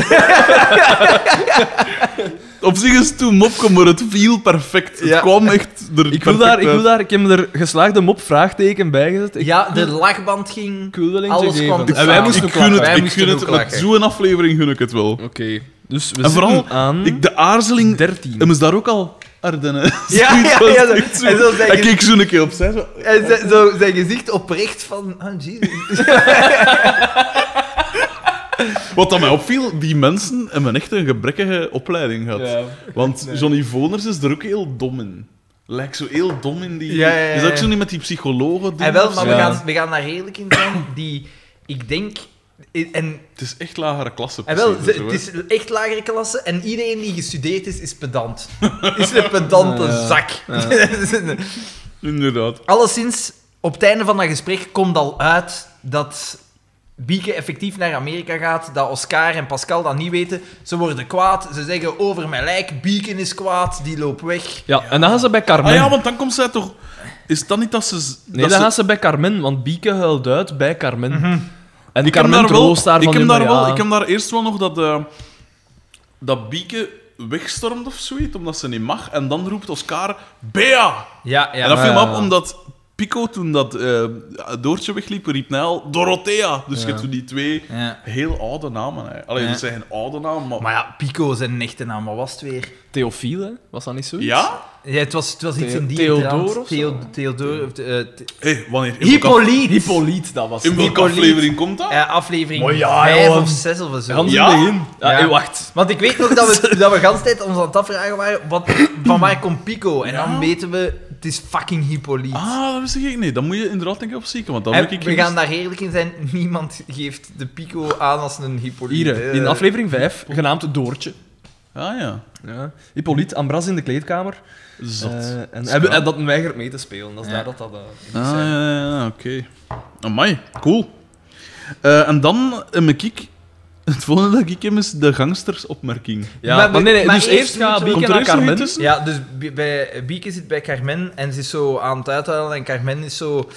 A: Op zich is het toen mopje, maar het viel perfect. Het
C: Ja.
A: kwam echt er
B: Ik wil,
A: perfect
B: daar, ik wil
A: uit.
B: daar, ik heb me er geslaagde mop vraagteken bij gezet. Ik,
C: Ja, de lachband ging...
B: ik wil er eentje
C: Alles
B: geven.
C: kwam te
B: En wij
C: samen.
A: Ik
B: moesten ook
A: gun
B: lachen.
A: het,
C: Wij
A: ik
C: moesten
A: gun
C: ook
A: het.
C: lachen.
A: Met zo'n aflevering gun ik het wel.
B: Oké. Dus we
A: En vooral,
B: zitten aan...
A: Ik, de aarzeling...
B: dertien.
A: Hem is daar ook al Ardennen.
C: Ja, ja,
A: Zoiets
C: ja,
A: was
C: zo-
A: echt
C: en zo
A: Hij
C: zeggen-
A: keek zo een keer opzij. Zo.
C: En ze- zo, zijn gezicht oprecht van... Oh, jezus.
A: Wat dat mij opviel, die mensen hebben echt een gebrekkige opleiding gehad.
B: Ja.
A: Want Johnny Voners is er ook heel dom in. Lijkt zo heel dom in die...
C: Ja, ja, ja,
A: Is dat ook
C: ja.
A: zo niet met die psychologen doen?
C: En wel,
A: of
C: maar
A: zo?
C: we,
B: Ja.
C: gaan, we gaan daar eerlijk in zijn. Die, ik denk... En
A: Het is echt lagere klasse.
C: En wel,
A: precies,
C: ze-
A: zo,
C: het
A: hè.
C: is echt lagere klasse en iedereen die gestudeerd is, is pedant. Is een pedante
B: Ja.
C: zak.
A: Inderdaad.
C: Alleszins, op het einde van dat gesprek komt al uit dat Bieke effectief naar Amerika gaat, dat Oscar en Pascal dat niet weten. Ze worden kwaad, ze zeggen over mijn lijk, Bieke is kwaad, die loopt weg.
B: Ja, en dan gaan ze bij Carmen.
A: Ah ja, want dan komt zij toch... Is dat niet dat ze... dat
B: Nee, dan
A: ze-
B: gaan ze bij Carmen, want Bieke huilt uit bij Carmen. En
A: Ik heb
B: Carmen
A: daar wel...
B: troost haar
A: ik
B: van
A: heb
B: ja,
A: daar
B: maar
A: wel...
B: ja.
A: Ik heb daar eerst wel nog dat... eh, dat Bieke wegstormt of zoiets, omdat ze niet mag. En dan roept Oscar... Bea!
C: Ja, ja.
A: en dat viel me
B: ja,
A: op,
B: ja.
A: omdat Pico, toen dat eh, Doortje wegliep, riep Nijl Dorothea. Dus je hebt zo die twee
C: Ja.
A: heel oude namen. Hè. Allee,
C: Ja.
A: dat zijn geen oude namen, maar...
C: Maar ja, Pico zijn echte naam, wat was het weer?
B: Theofiel, hè? Was dat niet zo?
A: Ja?
C: Ja, het, was, het was iets
B: The-
C: in die
B: Theodor
C: trant.
B: of zo?
C: Theo- Theodor... of, eh, the-
A: Hé, wanneer... in welke af-
C: Hippolyte!
B: Hippolyte, dat was
A: In welke
C: Hippolyte.
A: aflevering komt dat?
C: Eh, aflevering
B: Maar
C: 5
B: ja,
C: of
B: jongen.
C: 6 of zo.
B: Gans
A: Ja?
B: in het begin. Ja,
C: Ja.
B: hey, wacht.
C: Want ik weet nog dat we, dat we gans tijd ons aan het afvragen waren, wat, van waar komt Pico? En dan
A: Ja.
C: weten we, het is fucking Hippolyte.
A: Ah, dat wist ik niet. Dan moet je inderdaad denk ik opzieken, want dan
C: En
A: moet ik...
C: we gaan daar eerlijk in zijn, niemand geeft de Pico aan als een Hippolyte.
B: Hier, hè, in
C: Eh,
B: aflevering 5, genaamd Doortje.
A: Ah ja,
B: Ja. Hippolyte, Ambras in de kleedkamer.
A: zat.
B: Eh, en
A: Zat.
B: hebben en dat weigert mee te spelen. Dat is
C: Ja.
B: daar dat dat... eh, moet
A: Ah,
B: zijn.
A: ja, ja, ja, oké. Amai, cool. Eh, en dan, eh, mijn kiek, Het volgende dat ik heb is de gangstersopmerking.
D: Ja,
C: Maar-
D: maar, nee, nee,
C: maar
D: dus
C: eerst
D: eerst gaat
C: moeten we-
D: Bieke
A: Komt er
D: naar
A: eerst nog
D: Carmen.
A: iets tussen?
C: Ja, dus Bi- bij, Bieke zit bij Carmen en ze is zo aan het uithuilen en Carmen is zo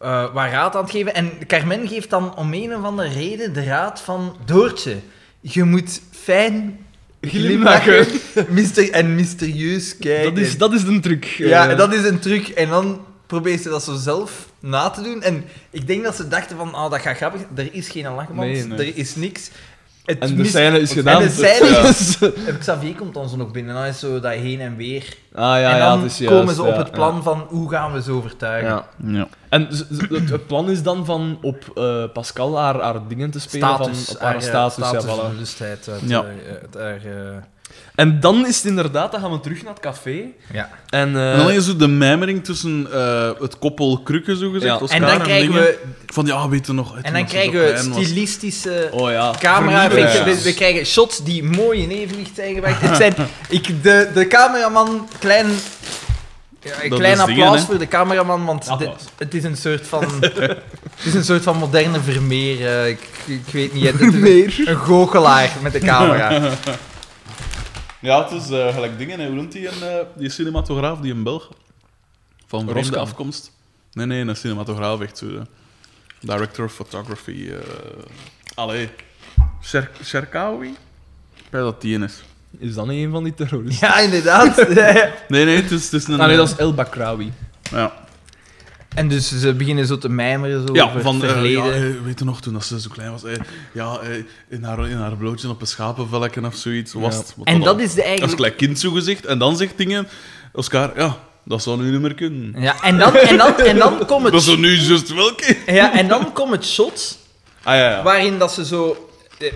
C: eh wat raad aan het geven. En Carmen geeft dan om een of andere reden de raad van Doortje. Je moet fijn glimlachen myster- en mysterieus kijken.
D: Dat is, dat is de truc.
C: Ja,
D: Eh,
C: en dat is een truc. En dan probeert ze dat zo zelf na te doen. En ik denk dat ze dachten van, ah, dat gaat grappig. Er is geen lachband,
D: Nee, nee.
C: er is niks. Het
D: En de
C: mis-
D: scène is
A: en
D: gedaan.
C: de scène
D: Ja.
C: En Xavier komt dan zo nog binnen. En dan is zo dat heen en weer.
D: Ah, ja,
C: en
D: ja,
C: dan
D: het is juist,
C: komen ze op
D: ja,
C: het plan van, hoe gaan we ze overtuigen?
D: Ja.
A: Ja.
D: En z- z- het, het plan is dan van op eh, Pascal haar, haar dingen te spelen,
C: Status.
D: van, op haar
C: eh,
D: status. ja, voilà.
C: en lustheid. uit,
A: Ja.
C: eh, uit haar, eh,
D: En dan is het inderdaad, dan gaan we terug naar het café.
C: ja.
D: En, eh,
A: en dan is er de mijmering tussen eh, het koppel Krukken, zo gezegd.
D: Ja.
C: En
A: Oscar
C: dan krijgen
A: dingen.
C: we,
A: Van ja, weet je nog.
C: en dan krijgen we stilistische...
D: Oh ja.
C: camera
A: Vernieuwend.
C: effecten. Dus We, we krijgen shots die mooi in evenwicht zijn gebracht. Het zijn, ik, de, de cameraman, klein, ja, een
A: Dat
C: klein
A: is dingen,
C: applaus
A: hè?
C: voor de cameraman, want dit,
D: Applaus.
C: het, is een soort van, het is een soort van moderne Vermeer. eh, ik, ik weet niet. hè, dit is Een, een goochelaar met de camera.
A: Ja, het is eh, gelijk dingen. hè. Hoe noemt die, een, eh, die cinematograaf, die in Belg? Van vreemde
D: Roskamp.
A: afkomst. Nee, nee, een cinematograaf echt zo. eh, Director of photography. eh, allee. Sher- Sherkawi? Ik weet dat die is.
D: Is dat niet een van die terroristen?
C: Ja, inderdaad.
A: Nee, nee, het is, het is een... eh,
D: Ah, nee, dat is El Bakrawi.
A: Ja,
C: En dus ze beginnen zo te mijmeren zo
A: ja
C: over
A: van...
C: het
A: eh,
C: verleden.
A: ja, eh, weet je nog, toen dat ze zo klein was? eh, ja, eh, in, haar, in haar blootje op een schapenvelken of zoiets was
D: Ja.
A: het. Wat
C: en
A: al-
C: dat is de
A: Als
C: eigenlijk...
A: gelijk kind zo gezegd. En dan zegt dingen... Oscar, ja, dat zou nu niet meer kunnen.
C: Ja, en dan, en dan, en dan komt
A: Dat zou
C: het,
A: nu juist welke...
C: ja, en dan komt het shot
A: Ah ja, ja.
C: Waarin dat ze zo. eh,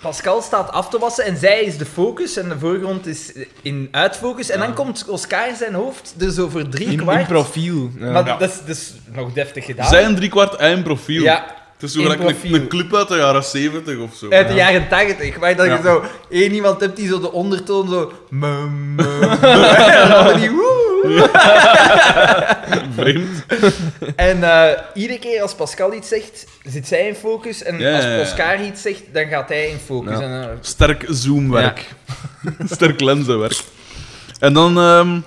C: Pascal staat af te wassen en zij is de focus en de voorgrond is in uitfocus. En dan komt Oscar zijn hoofd er zo voor drie
D: In,
C: kwart.
D: in profiel. Ja.
C: Maar
A: Ja.
C: dat, is, dat is nog deftig gedaan.
A: Zijn driekwart eigen profiel.
C: Ja,
A: Het is zo
C: in
A: gelijk een-
C: profiel.
A: een clip uit de jaren 70 of zo.
C: uit de jaren tachtig. Waar dat
A: Ja.
C: je zo één iemand hebt die zo de ondertoon zo. mum, mum, mum, en dan die woe.
A: Vreemd.
C: En eh, iedere keer als Pascal iets zegt, zit zij in focus. En
A: Ja, ja, ja.
C: als Oscar iets zegt, dan gaat hij in focus.
D: Ja.
C: En, eh,
A: Sterk zoomwerk. Sterk lenzenwerk. En dan, ehm,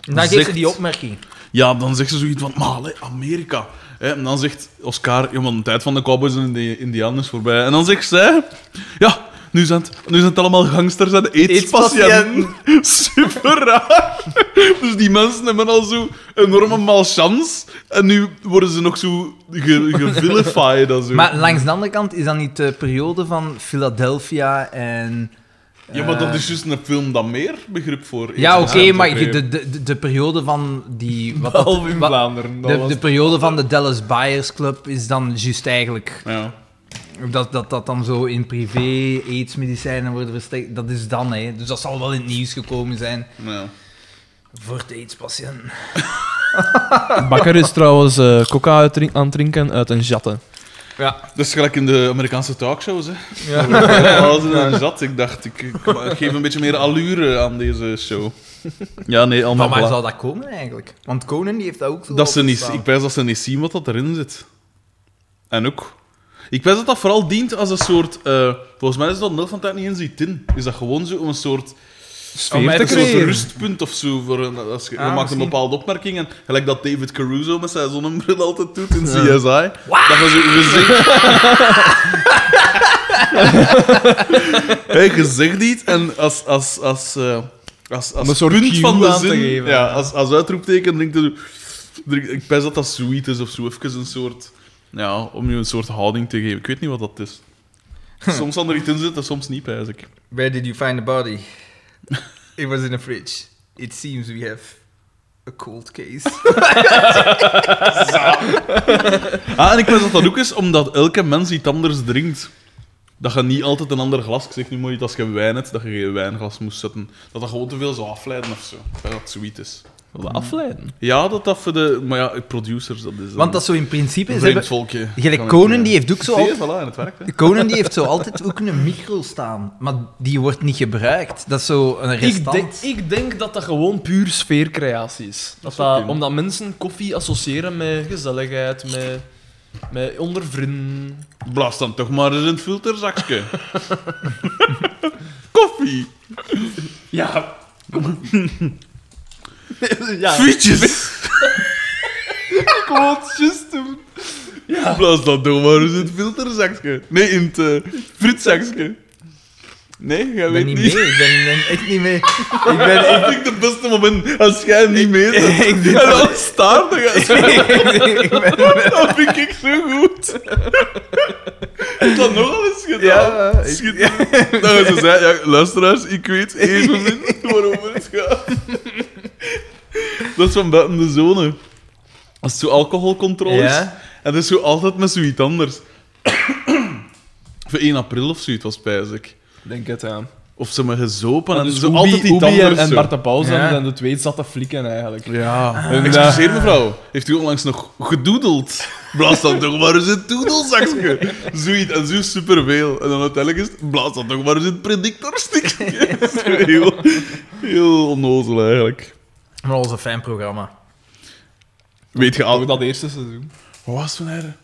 C: dan geeft ze
A: Zegt-
C: die opmerking.
A: ja, dan zegt ze zoiets van, maar allee, Amerika. Hè, En dan zegt Oscar, ja, want de tijd van de cowboys en de indianen is voorbij. En dan zegt zij, ja, nu zijn het, nu zijn het allemaal gangsters en aidspatiënten. Super raar. Dus die mensen hebben al zo enorme malchance. En nu worden ze nog zo ge, gevilified. en zo.
C: Maar langs de andere kant is dat niet de periode van Philadelphia en.
A: Ja, maar dat
C: eh,
A: is juist een film dat meer begrip voor
C: Ja,
A: heeft.
C: oké, maar de, de, de, de periode van die. Wat dat-
D: Behalve in
C: wat-
D: Vlaanderen. dat
C: de,
D: was-
C: de periode van de Dallas Buyers Club is dan juist eigenlijk.
A: Ja.
C: Dat, dat dat dan zo in privé aidsmedicijnen worden verstrekt. Dat is dan, hè. Dus dat zal wel in het nieuws gekomen zijn
A: ja.
C: voor de aidspatiënten.
D: Bakker is trouwens eh, coca uitdrink- aan het drinken uit een jatte.
C: Ja.
A: Dat is gelijk in de Amerikaanse talkshows, hè.
C: Ja.
A: Alles in een zat. Ik dacht, ik, ik geef een beetje meer allure aan deze show. Ja, nee, allemaal...
C: Van waar
A: bla-
C: zou dat komen eigenlijk? Want Conan die heeft dat ook zo.
A: dat ze niet,
C: opgestaan.
A: ik wijs dat ze niet zien wat dat erin zit. En ook... Ik wijs dat dat vooral dient als een soort... eh, volgens mij is dat nul van de tijd niet in zit in. Is dat gewoon zo om een soort...
D: Om mij
A: Een
D: te
A: soort
D: creëren.
A: rustpunt of zo. Voor een, als je, je
C: Ah,
A: maakt
C: misschien.
A: een bepaalde opmerking. En gelijk dat David Caruso met zijn zonnebril altijd doet in CSI. Dat je zo gezegd. hey, je zegt iets en als. als, als eh, als, als
D: Om een soort
A: punt
D: cue
A: van de
D: aan te
A: zin,
D: geven.
A: ja, als, als uitroepteken, denk je, zo- ik pijs dat dat sweet is of zo, even een soort, ja, om je een soort houding te geven. Ik weet niet wat dat is. Soms kan er iets in zitten, soms niet, pijs ik.
C: Where did you find the body? It was in a fridge. It seems we have a cold case.
A: Ah, en ik wist dat dat ook is omdat elke mens iets anders drinkt. Dat je niet altijd een ander glas... Ik zeg nu maar niet als je wijn hebt, dat je geen wijnglas moest zetten. Dat dat gewoon te veel zou afleiden of zo. Dat dat sweet is.
D: Wat afleiden.
A: Ja, dat dat voor de... Maar ja, producers, dat is dan
C: Want dat is zo in principe...
A: een
C: Ze
A: vreemd
C: hebben,
A: volkje.
C: gelijk
A: Kan ik,
C: Conan,
A: eh,
C: die heeft ook zo
A: Zie je,
C: altijd...
A: voilà, en het werkt, hè.
C: Conan die heeft zo altijd ook een micro staan, maar die wordt niet gebruikt. Dat is zo een
D: Ik
C: restant.
D: denk, ik denk dat dat gewoon puur sfeercreatie is. Dat
A: zou
D: dat-
A: kunnen.
D: omdat mensen koffie associëren met gezelligheid, met
E: Met onder vrienden.
A: Blaas dan toch maar eens een filterzakje. Koffie.
E: Ja.
B: Ja,
A: Frietjes.
B: ik wou het juist doen.
A: Blaas dan toch maar eens in het filterzakje. Nee, in het eh, frietzakje. Nee, jij
C: Ik ben
A: weet
C: niet
A: niet.
C: mee. Ik ben, ben echt niet mee.
B: Ik ben
A: Dat vind ik het beste moment als jij hem niet mee bent.
C: ik
A: En dan staart hij.
C: ik ben,
A: Dat vind ik zo goed. Heb dat nogal eens gedaan?
B: Ja, ik-
A: Schitterend. Nou, ze zei, ja, luisteraars, ik weet even niet waarover het gaat. Dat is van buiten de zone. Als het zo alcoholcontrole is,
C: Ja.
A: en dat is zo altijd met zoiets anders. Voor 1 april of zoiets was het, pijs ik.
B: Denk het aan.
A: Of ze me gezopen en
B: Dus
A: zo
B: Oebi-
A: altijd die
B: Oebi
A: tanden
B: en, en
A: zo.
B: Bart de Pauw zijn
C: Ja.
B: en de twee zaten flikken eigenlijk.
A: Ja, eh, excuseer mevrouw. Heeft u onlangs nog gedoedeld? Blaas dan toch maar eens een toedelzakje. Zoiets, en zo superveel. En dan uiteindelijk is het, blaas dan toch maar eens een predictorstikje. Dat is heel, heel onnozel eigenlijk.
C: Maar dat was een fijn programma.
A: Weet je
B: Ook
A: al...
B: dat eerste seizoen.
A: Wat was toen er?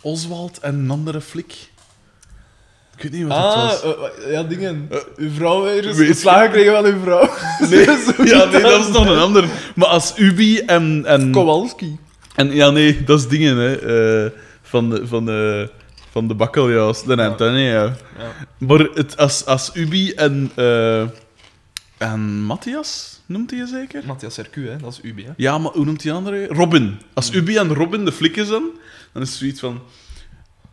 A: Oswald en een andere flik? Ik weet niet wat dat
B: Ah,
A: was.
B: eh, eh, ja, dingen. uw vrouw weer
A: Weet
B: eens
A: je-
B: geslagen gekregen van uw vrouw.
A: Nee, ja, nee, dat is nog een ander. Maar als Ubi en... en
B: Kowalski.
A: En ja, nee, dat is dingen, hè. eh, van de, van de, van de bakkeljaars, de Antonio. Ja. Maar het, als, als Ubi en, eh, en Matthias, noemt hij je zeker?
B: Matthias Hercu, hè, dat is UB. Hè.
A: Ja, maar hoe noemt die andere? Robin. Als Ubi en Robin de flikken zijn, dan is het zoiets van...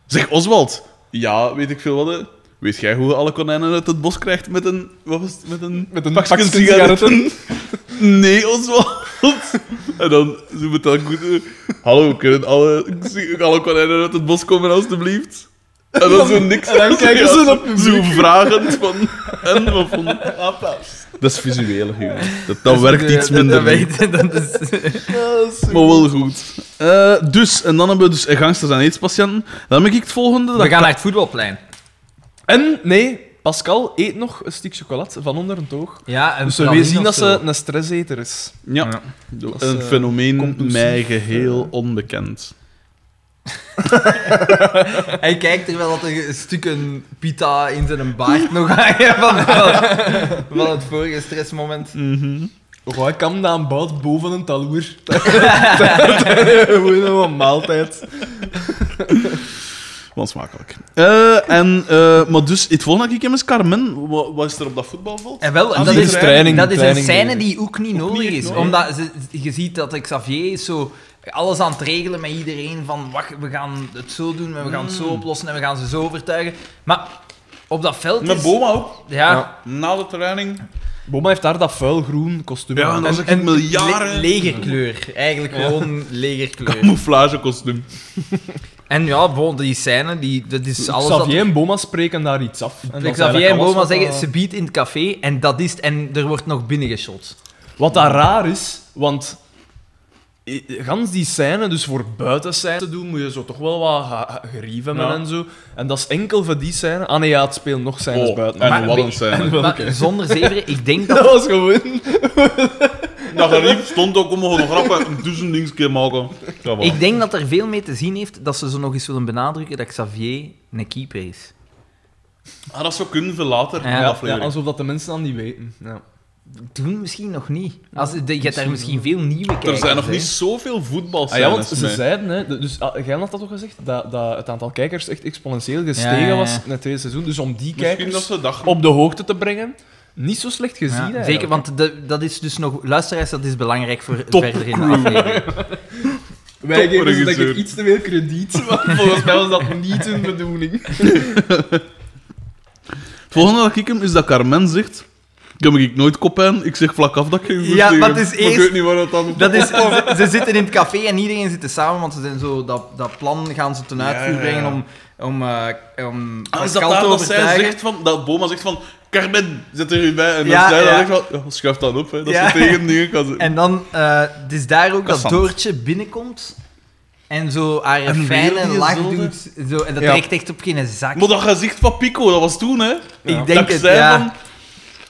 A: Zeg, Oswald. Ja, weet ik veel wat, hè. Weet jij hoe je alle konijnen uit het bos krijgt met een... Wat was het? Met een...
B: Met een
A: pakje
B: pakje sigaretten.
A: Nee, Oswald. En dan ze moet dan goed... eh, Hallo, kunnen alle, alle konijnen uit het bos komen, alstublieft? En dan zo niks.
B: En dan kijken ze op
A: zo, zo vragend van... En wat vonden...
B: Applaus. Dus
A: Dat is visueel, humor. Dat, dat werkt iets minder
C: Dus, eh, Dat,
A: mee.
C: weet- dat is...
B: Dat is
A: Maar wel goed. Eh, dus, en dan hebben we dus eh, gangsters en aidspatiënten. Dan ben ik het volgende.
C: We
A: Dat...
C: gaan naar het voetbalplein.
B: En, nee, Pascal eet nog een stuk chocolade van onder een toog.
C: Ja, en
B: Dus we
C: praline
B: zien
C: of
B: dat
C: zo.
B: ze een stresseter is.
A: Ja,
C: Ja.
A: Dat
B: Dat
A: is
B: is,
A: een
B: eh,
A: fenomeen
B: compulsief,
A: mij geheel onbekend.
C: Hij kijkt terwijl dat er stukken pita in zijn baard nog hangen van, van, van het vorige stressmoment.
B: Oh, ik kan dat aan bout boven een taloer. Dat- dat- dat- Gewoon een maaltijd.
A: Want smakelijk. Eh, en, eh, maar dus, het volgende dat ik hem is Carmen. Wat, wat is er op dat voetbalveld?
C: En
B: Ah,
C: wel, en dat
A: Die
C: is,
B: training-
C: dat is een
B: training
C: scène
B: bezig.
C: die ook niet nodig
A: niet echt
C: is.
A: nodig.
C: Omdat ze, je ziet dat Xavier is zo alles aan het regelen met iedereen. Van wacht, we gaan het zo doen en we gaan het zo oplossen en we gaan ze zo overtuigen. Maar op dat veld
A: Met
C: is...
A: Boma ook.
C: Ja,
B: Ja.
A: Na de training.
B: Boma heeft daar dat vuil groen kostuum
A: Ja,
B: aan.
A: en dat is echt miljarden...
C: le- legerkleur. Eigenlijk gewoon legerkleur.
A: Camouflagekostuum.
C: En ja, bon, die scène, die, dat is alles dat...
B: Xavier en Boma spreken daar iets af. En dat is
C: Xavier
B: eigenlijk
C: en
B: alles
C: Boma
B: wat eh,
C: zeggen,
B: dat-
C: ze biedt in het café en dat is het. En er wordt nog binnengeschot.
B: Wat daar raar is, want i- gans die scène, dus voor buiten scène te doen, moet je zo toch wel wat ha- ha- gerief hebben
A: Ja.
B: en zo. En dat is enkel voor die scène. Ah nee, ja, het speelt nog scènes
A: Oh,
B: buiten.
A: en
C: Maar
A: wat
C: weet-
A: een scène.
C: Maar zonder zeveren, ik denk dat...
B: Dat was gewoon...
A: Dat geriep stond ook om gewoon grappen een duizend dings keer maken. Ja, voilà.
C: Ik denk dat er veel mee te zien heeft dat ze zo nog eens willen benadrukken dat Xavier een keeper is.
A: Ah, dat zou kunnen, veel later
C: Ja.
A: in de
B: Ja,
A: aflevering.
B: alsof dat de mensen dan niet weten. Ja.
C: Toen misschien nog niet. Als, de, je hebt daar misschien veel nieuwe kijkers.
A: er zijn nog
C: hè.
A: niet zoveel
B: Ah, ja, want
A: voetbalscènes
B: ze
A: mee.
B: zeiden, hè, de- dus ah, jij had dat toch gezegd, dat, dat het aantal kijkers echt exponentieel gestegen
C: Ja, ja, ja.
B: was in het tweede seizoen. Dus om die
A: Misschien
B: kijkers
A: dat ze dachten...
B: op de hoogte te brengen, niet zo slecht gezien.
C: Ja,
B: eigenlijk.
C: zeker, want de- dat is dus nog... Luisteraars, dat is belangrijk voor
A: Top
C: verder in de aflevering.
B: Wij geven ze denk
A: Topregisseur.
B: ik iets te veel krediet, want volgens mij was dat niet hun bedoeling.
A: Het volgende dat ik hem is dat Carmen zegt. Ik heb ik nooit kopijn, ik zeg vlak af dat ik geen goed
C: Ja,
A: zeg
C: maar
A: heb.
C: het is
A: Maar Ik
C: eerst-
A: weet niet waar dat dan
C: Dat is, ze, ze zitten in het café en iedereen zit er samen, want ze zijn zo, dat, dat plan gaan ze ten uitvoer
A: Ja, ja, ja.
C: brengen om, om, eh, om
A: Ah, is dat
C: Pascal
A: daar
C: te
A: dat zij
C: overtuigen.
A: zegt van... Dat Boma zegt van... Carmen, zet er u bij. En
C: Ja,
A: dan zij
C: ja.
A: dan zegt van... ja, schuif dat op, hè. Dat
C: Ja.
A: ze tegen dingen kan zeggen.
C: En dan, eh, het is daar ook dat
A: Kassant.
C: Doortje binnenkomt en zo haar
A: En weer
C: fijne
A: die
C: lach
A: zolder.
C: doet. Zo, en dat
B: Ja.
C: trekt echt op geen zak.
A: Maar dat gezicht van Pico, dat was toen, hè.
C: ik denk
A: dat
C: het,
A: zij
C: ja.
A: van...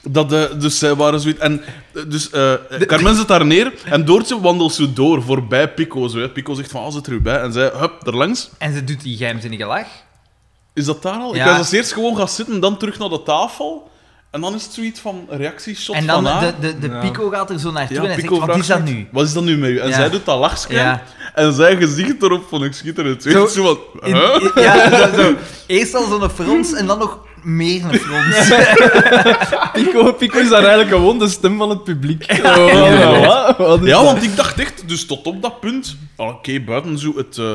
A: Dat, eh, dus zij waren zoiets. En eh, dus eh, Carmen zit daar neer en Doortje wandelt zo door voorbij Pico. Zo, hè. Pico zegt van, ah, zit er u bij? En zij, hup, er langs.
C: En ze doet die geheimzinnige lach.
A: Is dat daar al?
C: Ja.
A: Ik was als eerst gewoon gaan zitten, dan terug naar de tafel. En dan is het zoiets van reactieshot
C: en dan
A: van ah, haar.
C: de, de, de
D: Ja.
C: Pico gaat er zo naartoe
A: Ja,
C: en hij
A: Pico
C: zegt, wat
A: vraagt
C: is dat
A: zich,
C: nu?
A: Wat is dat nu met u? En
C: Ja.
A: zij doet dat lachsken.
C: Ja.
A: En zijn gezicht erop vond ik schitterend.
C: Zo-
A: Zo, zo van,
C: In-
A: huh?
C: in- ja, zo, zo. Eerst al zo'n frons en dan nog meer een frons.
D: Pico, Pico is daar eigenlijk gewoon de stem van het publiek. Oh, wat? Wat is
A: Ja,
D: dat?
A: want ik dacht echt, dus tot op dat punt, ah, oké, buiten zo het, eh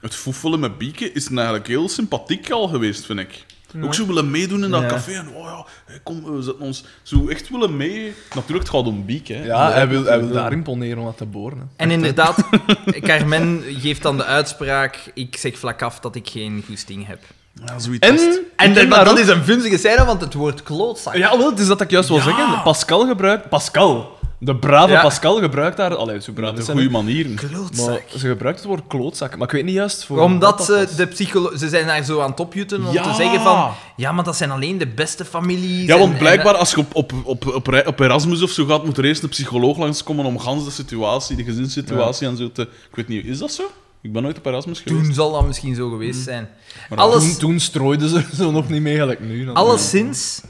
A: het foefelen met bieken is het eigenlijk heel sympathiek al geweest, vind ik. Ook zo willen meedoen in dat
D: Ja.
A: café en oh ja, hé, kom, eh, we zetten ons zo echt willen mee. Natuurlijk, het gaat om bieken. hè.
D: Ja, hij wil, hij wil
B: Ja.
D: daarin poneren om dat te boren. hè.
C: En inderdaad, Carmen geeft dan de uitspraak: ik zeg vlak af dat ik geen goesting heb.
A: Ja, zoiets
D: En,
A: was het.
C: En dat,
D: en
C: maar
D: daar
C: dat
D: ook-
C: is een vunzige scène, want het woord klootzak.
D: Ja, wel, het is dat ik juist wil zeggen. Pascal gebruikt... Pascal! De brave
C: Ja.
D: Pascal gebruikt daar... Allee, zo braaf
A: Met
D: is
A: de
D: hij
A: goede
D: niet.
A: manieren.
C: Klootzak.
D: Maar ze gebruikt het woord klootzak. Maar ik weet niet juist voor...
C: Omdat
D: wat
C: ze,
D: was.
C: de psycholo ze zijn daar zo aan het opjutten om
A: Ja.
C: te zeggen van... Ja, maar dat zijn alleen de beste families.
A: Ja,
C: en-
A: want
C: en-
A: blijkbaar als je op, op, op, op, re- op Erasmus of zo gaat, moet er eerst een psycholoog langskomen om gans de situatie, de gezinssituatie en zo te... Ik weet niet, is dat zo? Ik ben nooit op Erasmus geweest.
C: toen zal dat misschien zo geweest zijn.
A: Maar
C: Alles,
D: Toen, toen strooiden ze er zo nog niet mee, gelijk nu. dan.
C: Alleszins,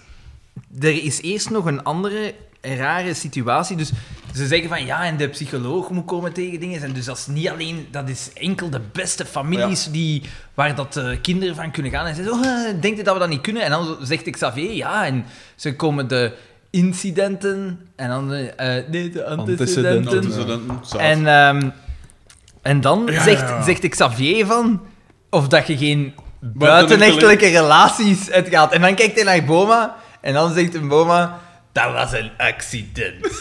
C: er is eerst nog een andere rare situatie. Dus ze zeggen van ja, en de psycholoog moet komen tegen dingen. En dus dat is niet alleen, dat is enkel de beste families die, waar dat eh, kinderen van kunnen gaan. En ze zeggen, oh, eh, denkt u dat we dat niet kunnen? En dan zegt Xavier ja, en ze komen de incidenten en dan eh, eh, nee, de antecedenten.
D: Antecedenten.
A: Nou, Dat is een- zaad.
C: En, ehm, en dan
A: Ja,
C: zegt,
A: ja, ja.
C: zegt Xavier van of dat je geen buitenechtelijke
A: Buitenechtelijke-
C: relaties uitgaat. En dan kijkt hij naar Boma en dan zegt Boma, dat was een accident.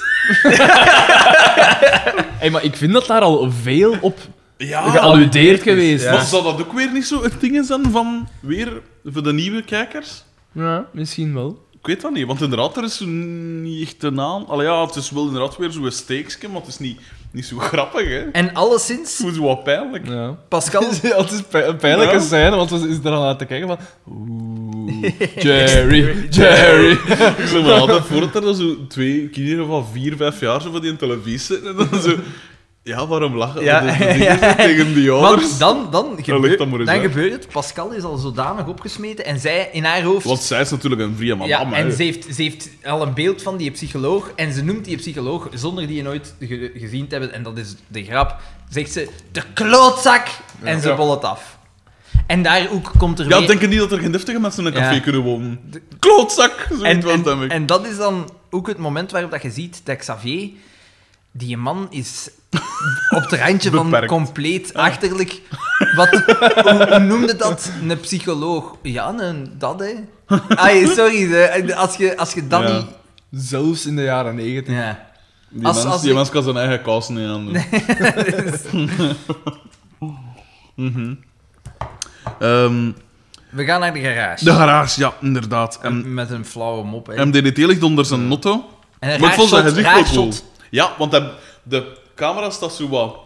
D: Hey, maar ik vind dat daar al veel op
A: Ja,
D: gealludeerd geweest.
B: eh,
A: Maar zal dat ook weer niet zo het ding zijn van weer voor de nieuwe kijkers?
D: Ja, misschien wel.
A: Ik weet dat niet, want inderdaad, er is niet echt een aan. Allee, ja, het is wel inderdaad weer zo'n steekje, maar het is niet, niet zo grappig, hè. Het
C: En alleszins,
A: voelt zo wat pijnlijk.
D: Ja.
C: Pascal...
D: Ja, het is pij- een pijnlijke
A: Ja.
D: scène, want ze is er al aan te kijken van... Oeh, Jerry, Jerry.
A: Ik zeg maar altijd voor dat er zo twee kinderen van vier, vijf jaar zo van die in televisie zitten en dan zo... Ja, waarom lachen?
C: Ja,
A: Dat is de ding
C: ja.
A: zo tegen die ouders.
C: Want dan,
A: dus
C: dan,
A: ligt
C: gebeurt,
A: dat maar
C: dan
A: eens uit.
C: gebeurt het. Pascal is al zodanig opgesmeten en zij in haar hoofd...
A: Want zij is natuurlijk een vrije
C: ja,
A: madame,
C: en
A: hè.
C: ze heeft, ze heeft al een beeld van die psycholoog en ze noemt die psycholoog zonder die je nooit ge- gezien te hebben, en dat is de grap, zegt ze de klootzak en ze
A: Ja.
C: bol het af. En daar ook komt er
A: Ja,
C: weer...
A: denk je niet dat er geen deftige mensen in een café
C: Ja.
A: kunnen wonen? Klootzak! Zoiets
C: en,
A: was dat,
C: en,
A: denk ik.
C: en dat is dan ook het moment waarop dat je ziet dat Xavier, die man is op het randje van
A: Beperkt.
C: compleet achterlijk. Wat, hoe, hoe noemde dat? Een psycholoog. Ja, een, dat hè. Ai, sorry, hè. als je, als je dat
A: Ja.
C: niet...
D: Zelfs in de jaren negentig.
C: Ja.
A: Die,
C: Als-
A: mens,
C: als
A: die
C: ik-
A: mens kan zijn eigen kous niet aan doen. Mhm. Ehm,
C: We gaan naar de garage.
A: de garage, ja, inderdaad. En
C: Met een flauwe mop. hè.
A: MDDT ligt onder zijn notto.
C: En
A: Maar
C: een
A: ik
C: raar
A: vond zijn
C: shot,
A: gezicht
C: raar
A: wel cool.
C: shot.
A: Ja, want hij- de camera staat zo wat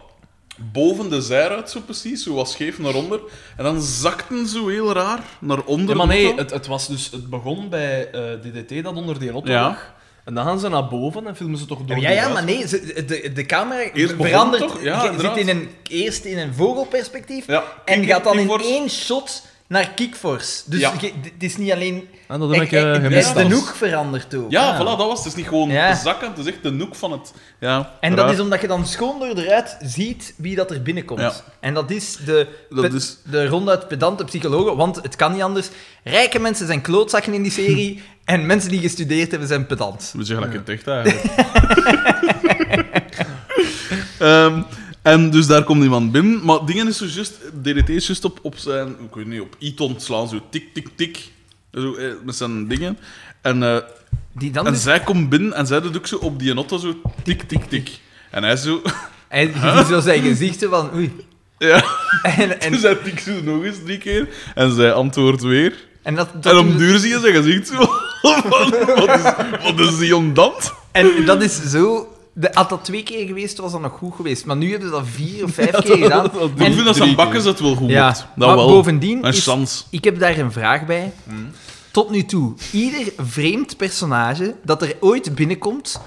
A: boven de zijruit, zo precies, zo wat scheef naar onder. En dan zakten zo heel raar naar onder.
D: Ja, maar nee,
A: notto.
D: het, het, was dus, het begon bij eh, DDT dat onder die auto
A: Ja.
D: lag. En dan gaan ze naar boven en filmen ze toch door
C: Ja,
D: die
C: ja,
D: ruit.
C: maar nee, ze- de, de camera
A: Eerst begon
C: verandert.
A: toch? Ja,
C: Je
A: inderdaad.
C: zit in een, eerst in een vogelperspectief
A: Ja,
C: en
A: kick-
C: gaat dan in
A: kickforce.
C: één shot naar kickforce. Dus
A: Ja.
C: je- d- het is niet alleen...
D: En dat heb ik,
C: Eh,
D: eh,
C: eh,
D: gemist.
C: De
A: als-
C: hoek verandert ook.
A: ja,
C: Ah.
A: voilà, dat was het. Het is niet gewoon
C: Ja.
A: zakken, het is echt de noek van het... Ja,
C: En
A: raar.
C: dat is omdat je dan schoon door de ruit ziet wie dat er binnenkomt.
A: Ja.
C: En dat is de,
A: Dat
C: pe-
A: is-
C: de ronduit pedante psychologen, want het kan niet anders. Rijke mensen zijn klootzakken in die serie en mensen die gestudeerd hebben zijn pedant.
A: We zeggen dat ik het echt eigenlijk. Ehm, en dus daar komt iemand binnen. Maar dingen is zo juist, DDT is juist op, op zijn, ik weet niet, op Iton slaan, zo tik, tik, tik. Zo, eh, met zijn dingen. En, eh,
C: Die dan
A: en
C: dus-
A: zij komt binnen en zij doet ook zo op die auto zo tik, tik, tik. En hij zo,
C: En je ziet zo zijn gezichten van oei.
A: ja,
C: En,
A: en
C: en,
A: zij tikt zo nog eens drie keer. En zij antwoordt weer.
C: en, dat, dat
A: en om
C: doen-
A: duur zie je zijn gezicht zo, wat, wat is, wat is die ondant?
C: en dat is zo... De, had dat twee keer geweest, was dat nog goed geweest. Maar nu hebben ze dat vier of vijf keer gedaan.
A: Ik
C: En-
A: vind dat zijn bakkers het Nou, wel goed
C: Ja,
A: doet. Dat
C: maar
A: wel.
C: bovendien
A: Een
C: is-
A: chance. Mm.
C: Ik heb daar een vraag bij. tot nu toe ieder vreemd personage dat er ooit binnenkomt,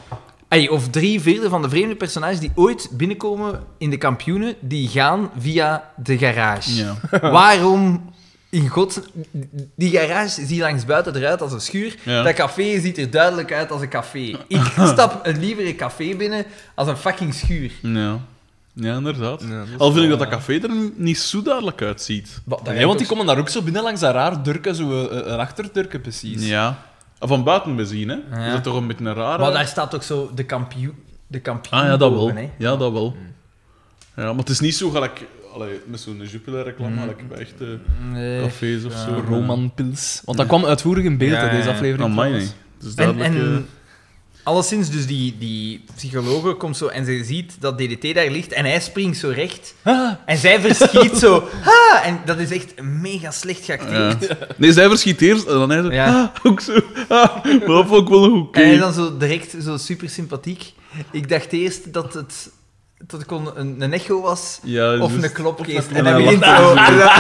C: ey, of drie vierde van de vreemde personages die ooit binnenkomen in de kampioenen, die gaan via de garage.
A: Ja.
C: Waarom in god... Die garage ziet langs buiten eruit als een schuur.
A: Ja.
C: Dat café ziet er duidelijk uit als een café. Ik stap een liever een café binnen als een fucking schuur.
A: Ja. Ja, inderdaad.
B: Ja, dat is
A: Al vind ik
B: wel,
A: dat dat café er niet zo duidelijk uitziet.
C: Wat- dat
B: Nee, want
C: ik
B: die
C: ook-
B: komen daar ook zo binnen langs dat raar durken, zo eh, eh, achterdurken precies.
A: Ja. Van buiten bezien, hè.
C: Ja.
A: Is dat toch een beetje een rare...
C: Maar daar staat ook zo de kampioen. De kampioen
A: Ah ja, dat wel.
C: boven, hè. Mm.
A: Ja, dat wel. Ja, maar het is niet zo gelijk... Allee, met zo'n Jupiler-reclame,
C: Mm.
A: gelijk bij echte
C: Nee.
A: cafés of zo. Ah,
B: Roman Pils. Want dat kwam uitvoerig in beeld,
C: Ja,
B: hè, deze
C: ja. Oh,
B: aflevering.
A: Amai, nee.
B: trouwens.
A: Het is
C: En,
A: duidelijk... eh,
C: en alleszins, dus die, die psychologe komt zo en ze ziet dat DDT daar ligt en hij springt zo recht.
B: Ah,
C: En zij verschiet zo. Ha! En dat is echt mega slecht geacteerd.
A: eh, ja. Nee, zij verschiet eerst en dan hij zo...
C: Ja.
A: "Ah," ook zo. "Ah," maar dat vond ik wel een goed
C: En hij is
A: idee.
C: dan zo direct zo super sympathiek. Ik dacht eerst dat het, dat het kon een, een echo was
A: Ja,
C: of
A: dus-
C: een klopkeest.
A: klop-
C: En
A: Ja,
C: hij begint
A: lacht.
C: zo.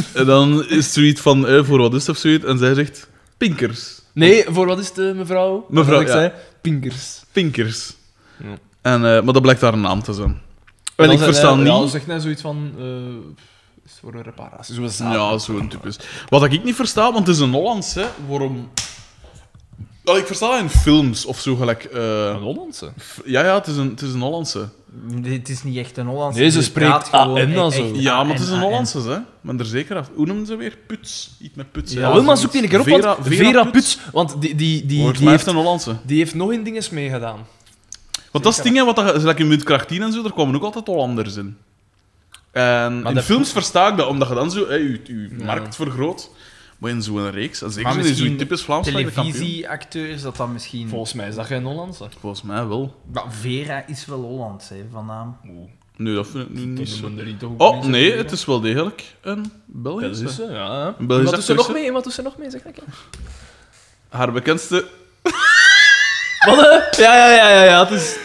C: Ah.
A: En dan is zoiets van, eh, voor wat is het of zoiets? En zij zegt, pinkers.
B: Nee, voor wat is het, eh, mevrouw?
A: Mevrouw,
B: Wat ik
A: ja.
B: zei? Pinkers.
A: Pinkers.
B: Ja.
A: En, eh, maar dat blijkt haar naam te zijn. En
B: Dan
A: ik
B: zei hij-
A: versta
B: eh, Ja,
A: niet...
B: zegt hij zoiets van... eh, is het voor een reparatie, zo'n zaak.
A: Ja, zo'n typisch. Wat ik niet versta, want het is een Hollands, hè. Waarom... Wel, ik versta dat in films of zo gelijk... eh,
B: Een Hollandse.
A: f- ja, ja, het is een, het is een Hollandse.
C: Dit is niet echt een Hollandse.
B: Nee, ze
C: die
B: spreekt
C: praat gewoon
B: AN dan
C: echt-
B: zo.
C: echt
A: Ja, maar het
C: AN.
A: is een Hollandse, hè. Maar er zeker af. Hoe noemen ze weer? Puts. Iets met puts.
B: Ja, wel, maar zoek die een keer op,
A: Vera-
B: want
A: Vera
B: Vera
A: Puts.
B: Puts, want die, die, die,
A: Volgens
B: die,
A: mij heeft Hm.
B: heeft,
A: een Hollandse.
B: die heeft nog in dinges meegedaan.
A: Want dat is dingen wat dat, je- gelijk in Muntkracht 10 en zo, daar kwamen ook altijd Hollanders in. En in
B: dat-
A: films versta ik dat, omdat je dan zo hè, je, je
B: Ja.
A: markt vergroot. Maar in zo'n reeks, en zeker
C: Maar
A: zo in zo'n
C: misschien
A: typisch Vlaams kampioen.
C: televisieacteurs, dat dan misschien...
B: Volgens mij is dat geen Hollandse.
A: Volgens mij wel.
C: Maar Vera is wel Hollands, hè, van naam.
A: Nee, dat vind ik nu niet zo.
B: er niet toch ook
A: Oh,
B: mensen
A: nee,
B: die-
A: het is wel degelijk een Belgische.
B: Belgische, ja.
A: Een Belgische
B: wat doet ze nog
A: actrice.
B: mee? Wat doet ze nog mee? Zeg dat keer.
A: Haar bekendste,
B: Wat? hè? Ja, ja, ja, ja, ja. Het is...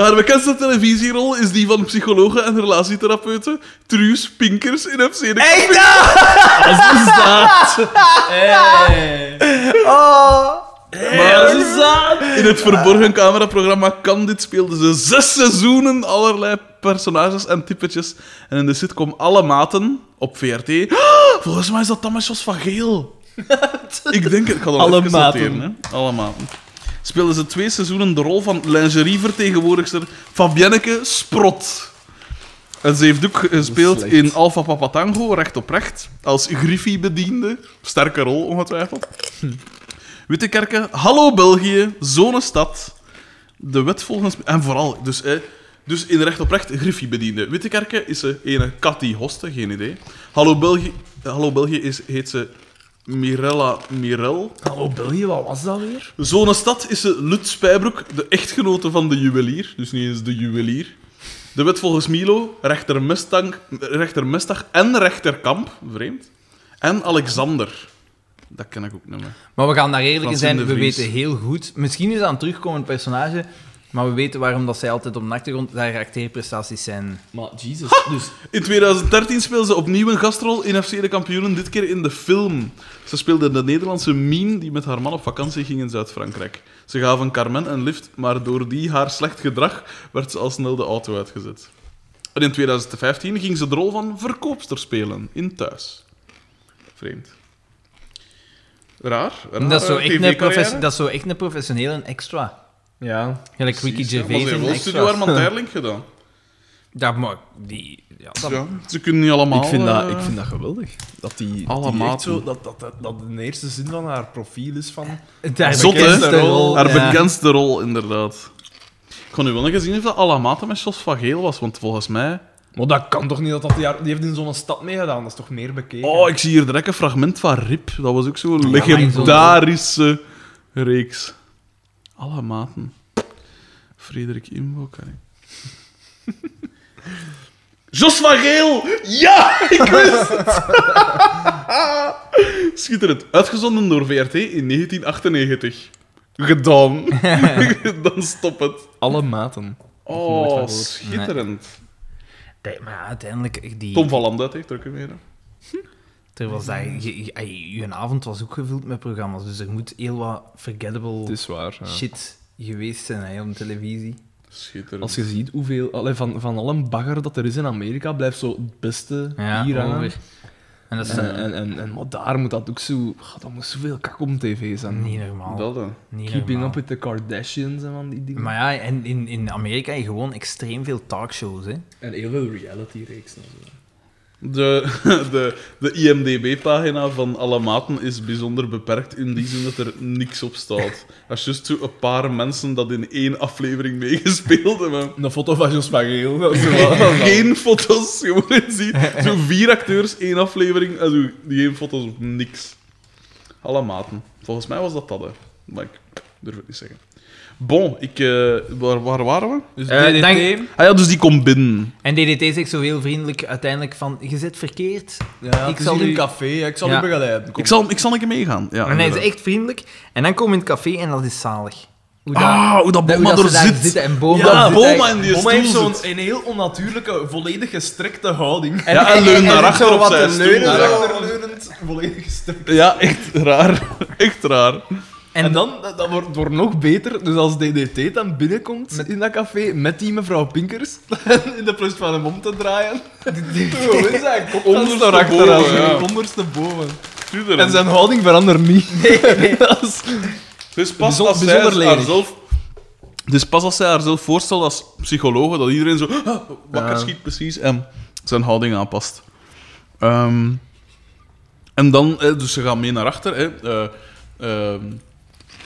A: haar bekendste televisierol is die van psychologe en relatietherapeute Truus Pinkers in FC De
C: Echt? ah! Oh!
A: Maar in het verborgen cameraprogramma Candid speelde ze zes seizoenen allerlei personages en typetjes. En in de sitcom Alle Maten op VRT. Volgens mij is dat dan met Jos van Geel. Ik denk het. Ik ga dat
B: Alle
A: even
B: Maten.
A: noteren, hè. Alle Maten. Speelde ze twee seizoenen de rol van lingerievertegenwoordigster Fabienneke Sprot. En ze heeft ook gespeeld
B: Slecht.
A: in Alpha Papa Tango, recht op recht, als Griffie-bediende. Sterke rol, ongetwijfeld. Wittekerken, hallo België, zonestad. De wet volgens... En vooral, dus, eh, dus in recht op recht, Griffie-bediende. Wittekerken is ze ene Cathy Hoste, geen idee. Hallo België, eh, hallo België is, heet ze Mirella Mirel.
B: Hallo Oh, België, wat was dat weer?
A: Zonestad is ze Lut Spijbroek, de echtgenote van de juwelier. Dus niet eens de juwelier. De wet volgens Milo, rechter Mustang, rechter Mustang en rechter Kamp, vreemd. En Alexander. Dat ken ik ook niet meer.
C: Maar we gaan daar eerlijk in
A: Francine
C: zijn,
A: de
C: we
A: Vries.
C: weten heel goed... Misschien is dat een terugkomend personage, maar we weten waarom dat zij altijd op de achtergrond haar acteerprestaties zijn.
B: Maar Jesus, dus...
A: In 2013 speelde ze opnieuw een gastrol in FC De Kampioenen, dit keer in de film. Ze speelde de Nederlandse Mien die met haar man op vakantie ging in Zuid-Frankrijk. Ze gaven Carmen een lift, maar door die haar slecht gedrag werd ze al snel de auto uitgezet. En in 2015 ging ze de rol van verkoopster spelen in Thuis. Vreemd. Raar. raar
C: Dat is zo
A: eh,
C: echt een,
A: TV-carrière.
C: profes- dat is zo echt een professioneel en extra.
B: Ja.
C: Gelijk Ricky
A: Precies, ja. Maar
C: Gervais
A: ze
C: en
A: heeft wel Studio
C: extra.
A: Armand Terling gedaan.
C: Dat mag... Die... Ja, dat-
A: Ja, ze kunnen niet allemaal...
D: Ik vind, dat,
A: eh,
D: ik vind dat geweldig. Dat die,
A: Alle
D: die
A: maten.
D: echt zo, dat, dat, dat, dat de eerste zin van haar profiel is van...
C: Haar
A: Zot, hè?
C: bekendste rol,
A: Haar
C: ja.
A: bekendste rol, inderdaad. Ik kon nu wel nog eens zien of dat Alamata met Jos van Geel was, want volgens mij...
B: Maar dat kan toch niet dat dat die... haar- Die heeft in zo'n stad meegedaan, dat is toch meer bekeken?
A: Oh, ik zie hier direct een fragment van Rip. Dat was ook zo'n
C: maar in zo'n-
A: legendarische reeks. Alamaten. Frederik Imbo, kan ik... Jos van Geel! Ja! Ik wist het! Schitterend. Uitgezonden door VRT in 1998. Gedaan. Dan stop het.
B: Alle maten. nooit van
A: Oh,
B: gehoord.
A: schitterend.
C: Nee, maar uiteindelijk... Die...
A: Tom van Lande heeft er ook weer.
C: Terwijl zij, je, je, ai, je avond was ook gevuld met programma's, dus er moet heel wat forgettable
D: Het is waar. ja.
C: shit geweest zijn hè, op televisie.
A: Schitterend.
B: Als je ziet hoeveel... Allee, van, van alle bagger dat er is in Amerika, blijft zo het beste
C: Ja,
B: hier hangen.
C: over. En dat is
B: En, en, en, en- maar daar moet dat ook zo... ah, dat moet zoveel kak om tv zijn.
C: niet normaal.
A: Dat dan.
C: niet
B: Keeping
C: normaal.
B: up with the Kardashians en van die dingen.
C: Maar ja, en in, in Amerika heb je gewoon extreem veel talkshows. Hè.
B: En heel veel reality-reeksen.
A: De, de, de IMDB-pagina van alle maten is bijzonder beperkt in die zin dat er niks op staat. Dat is juist zo een paar mensen dat in één aflevering meegespeeld hebben.
B: Een foto van Jos Mageel. dat is wel-
A: Geen foto's, gewoon in zien. Zo vier acteurs, één aflevering en zo geen foto's op niks. Alle maten. Volgens mij was dat dat, hè. Maar ik durf het niet zeggen. Bon, ik, eh, waar, waar waren we?
B: Dus
C: Eh,
B: DDT,
C: dank-
A: Ah ja, dus die komt binnen.
C: En DDT zegt zo heel vriendelijk uiteindelijk van, je zit verkeerd.
B: Ja, ik zal
C: zal
B: in een
C: u-
B: café, hè, ik zal
C: Ja.
B: u begeleiden. Kom.
A: Ik zal, ik zal een keer meegaan. Ja,
C: en hij is
A: inderdaad.
C: echt vriendelijk. En dan komen we in het café en dat is zalig. Hoe
A: Ah, hoe dat
C: dat, hoe
A: Boma
C: dat
A: er
C: ze daar
A: zit.
C: zitten en boom
A: Ja,
C: daar zit
A: Boma
C: eigenlijk-
A: in die
B: Oma heeft
A: stoel
B: zo'n
A: zit.
B: een heel onnatuurlijke, volledig gestrekte houding.
A: Ja, en leunt naar achter op zijn stoel.
B: Naar
A: Ja.
B: achterleunend, volledig gestrekt.
A: Ja, echt raar. Echt raar.
B: En,
C: En,
B: dan, dat dat wordt, wordt nog beter, dus als DDT dan binnenkomt in dat café met die mevrouw Pinkers, in de plus van hem om te draaien, toen is hij kop
A: Ondersteboven, ja.
B: ondersteboven.
A: Tuurlijk.
B: En zijn houding verandert niet. dat is
A: Dus pas
B: Bijzonder-
A: als zij
B: bijzonder lelijk.
A: haarzelf... Dus pas als zij haarzelf voorstelt als psycholoog, dat iedereen zo "Ah, wakker schiet precies en zijn houding aanpast. Ehm, en dan, eh, dus ze gaan mee naar achter. Hè. Eh, ehm,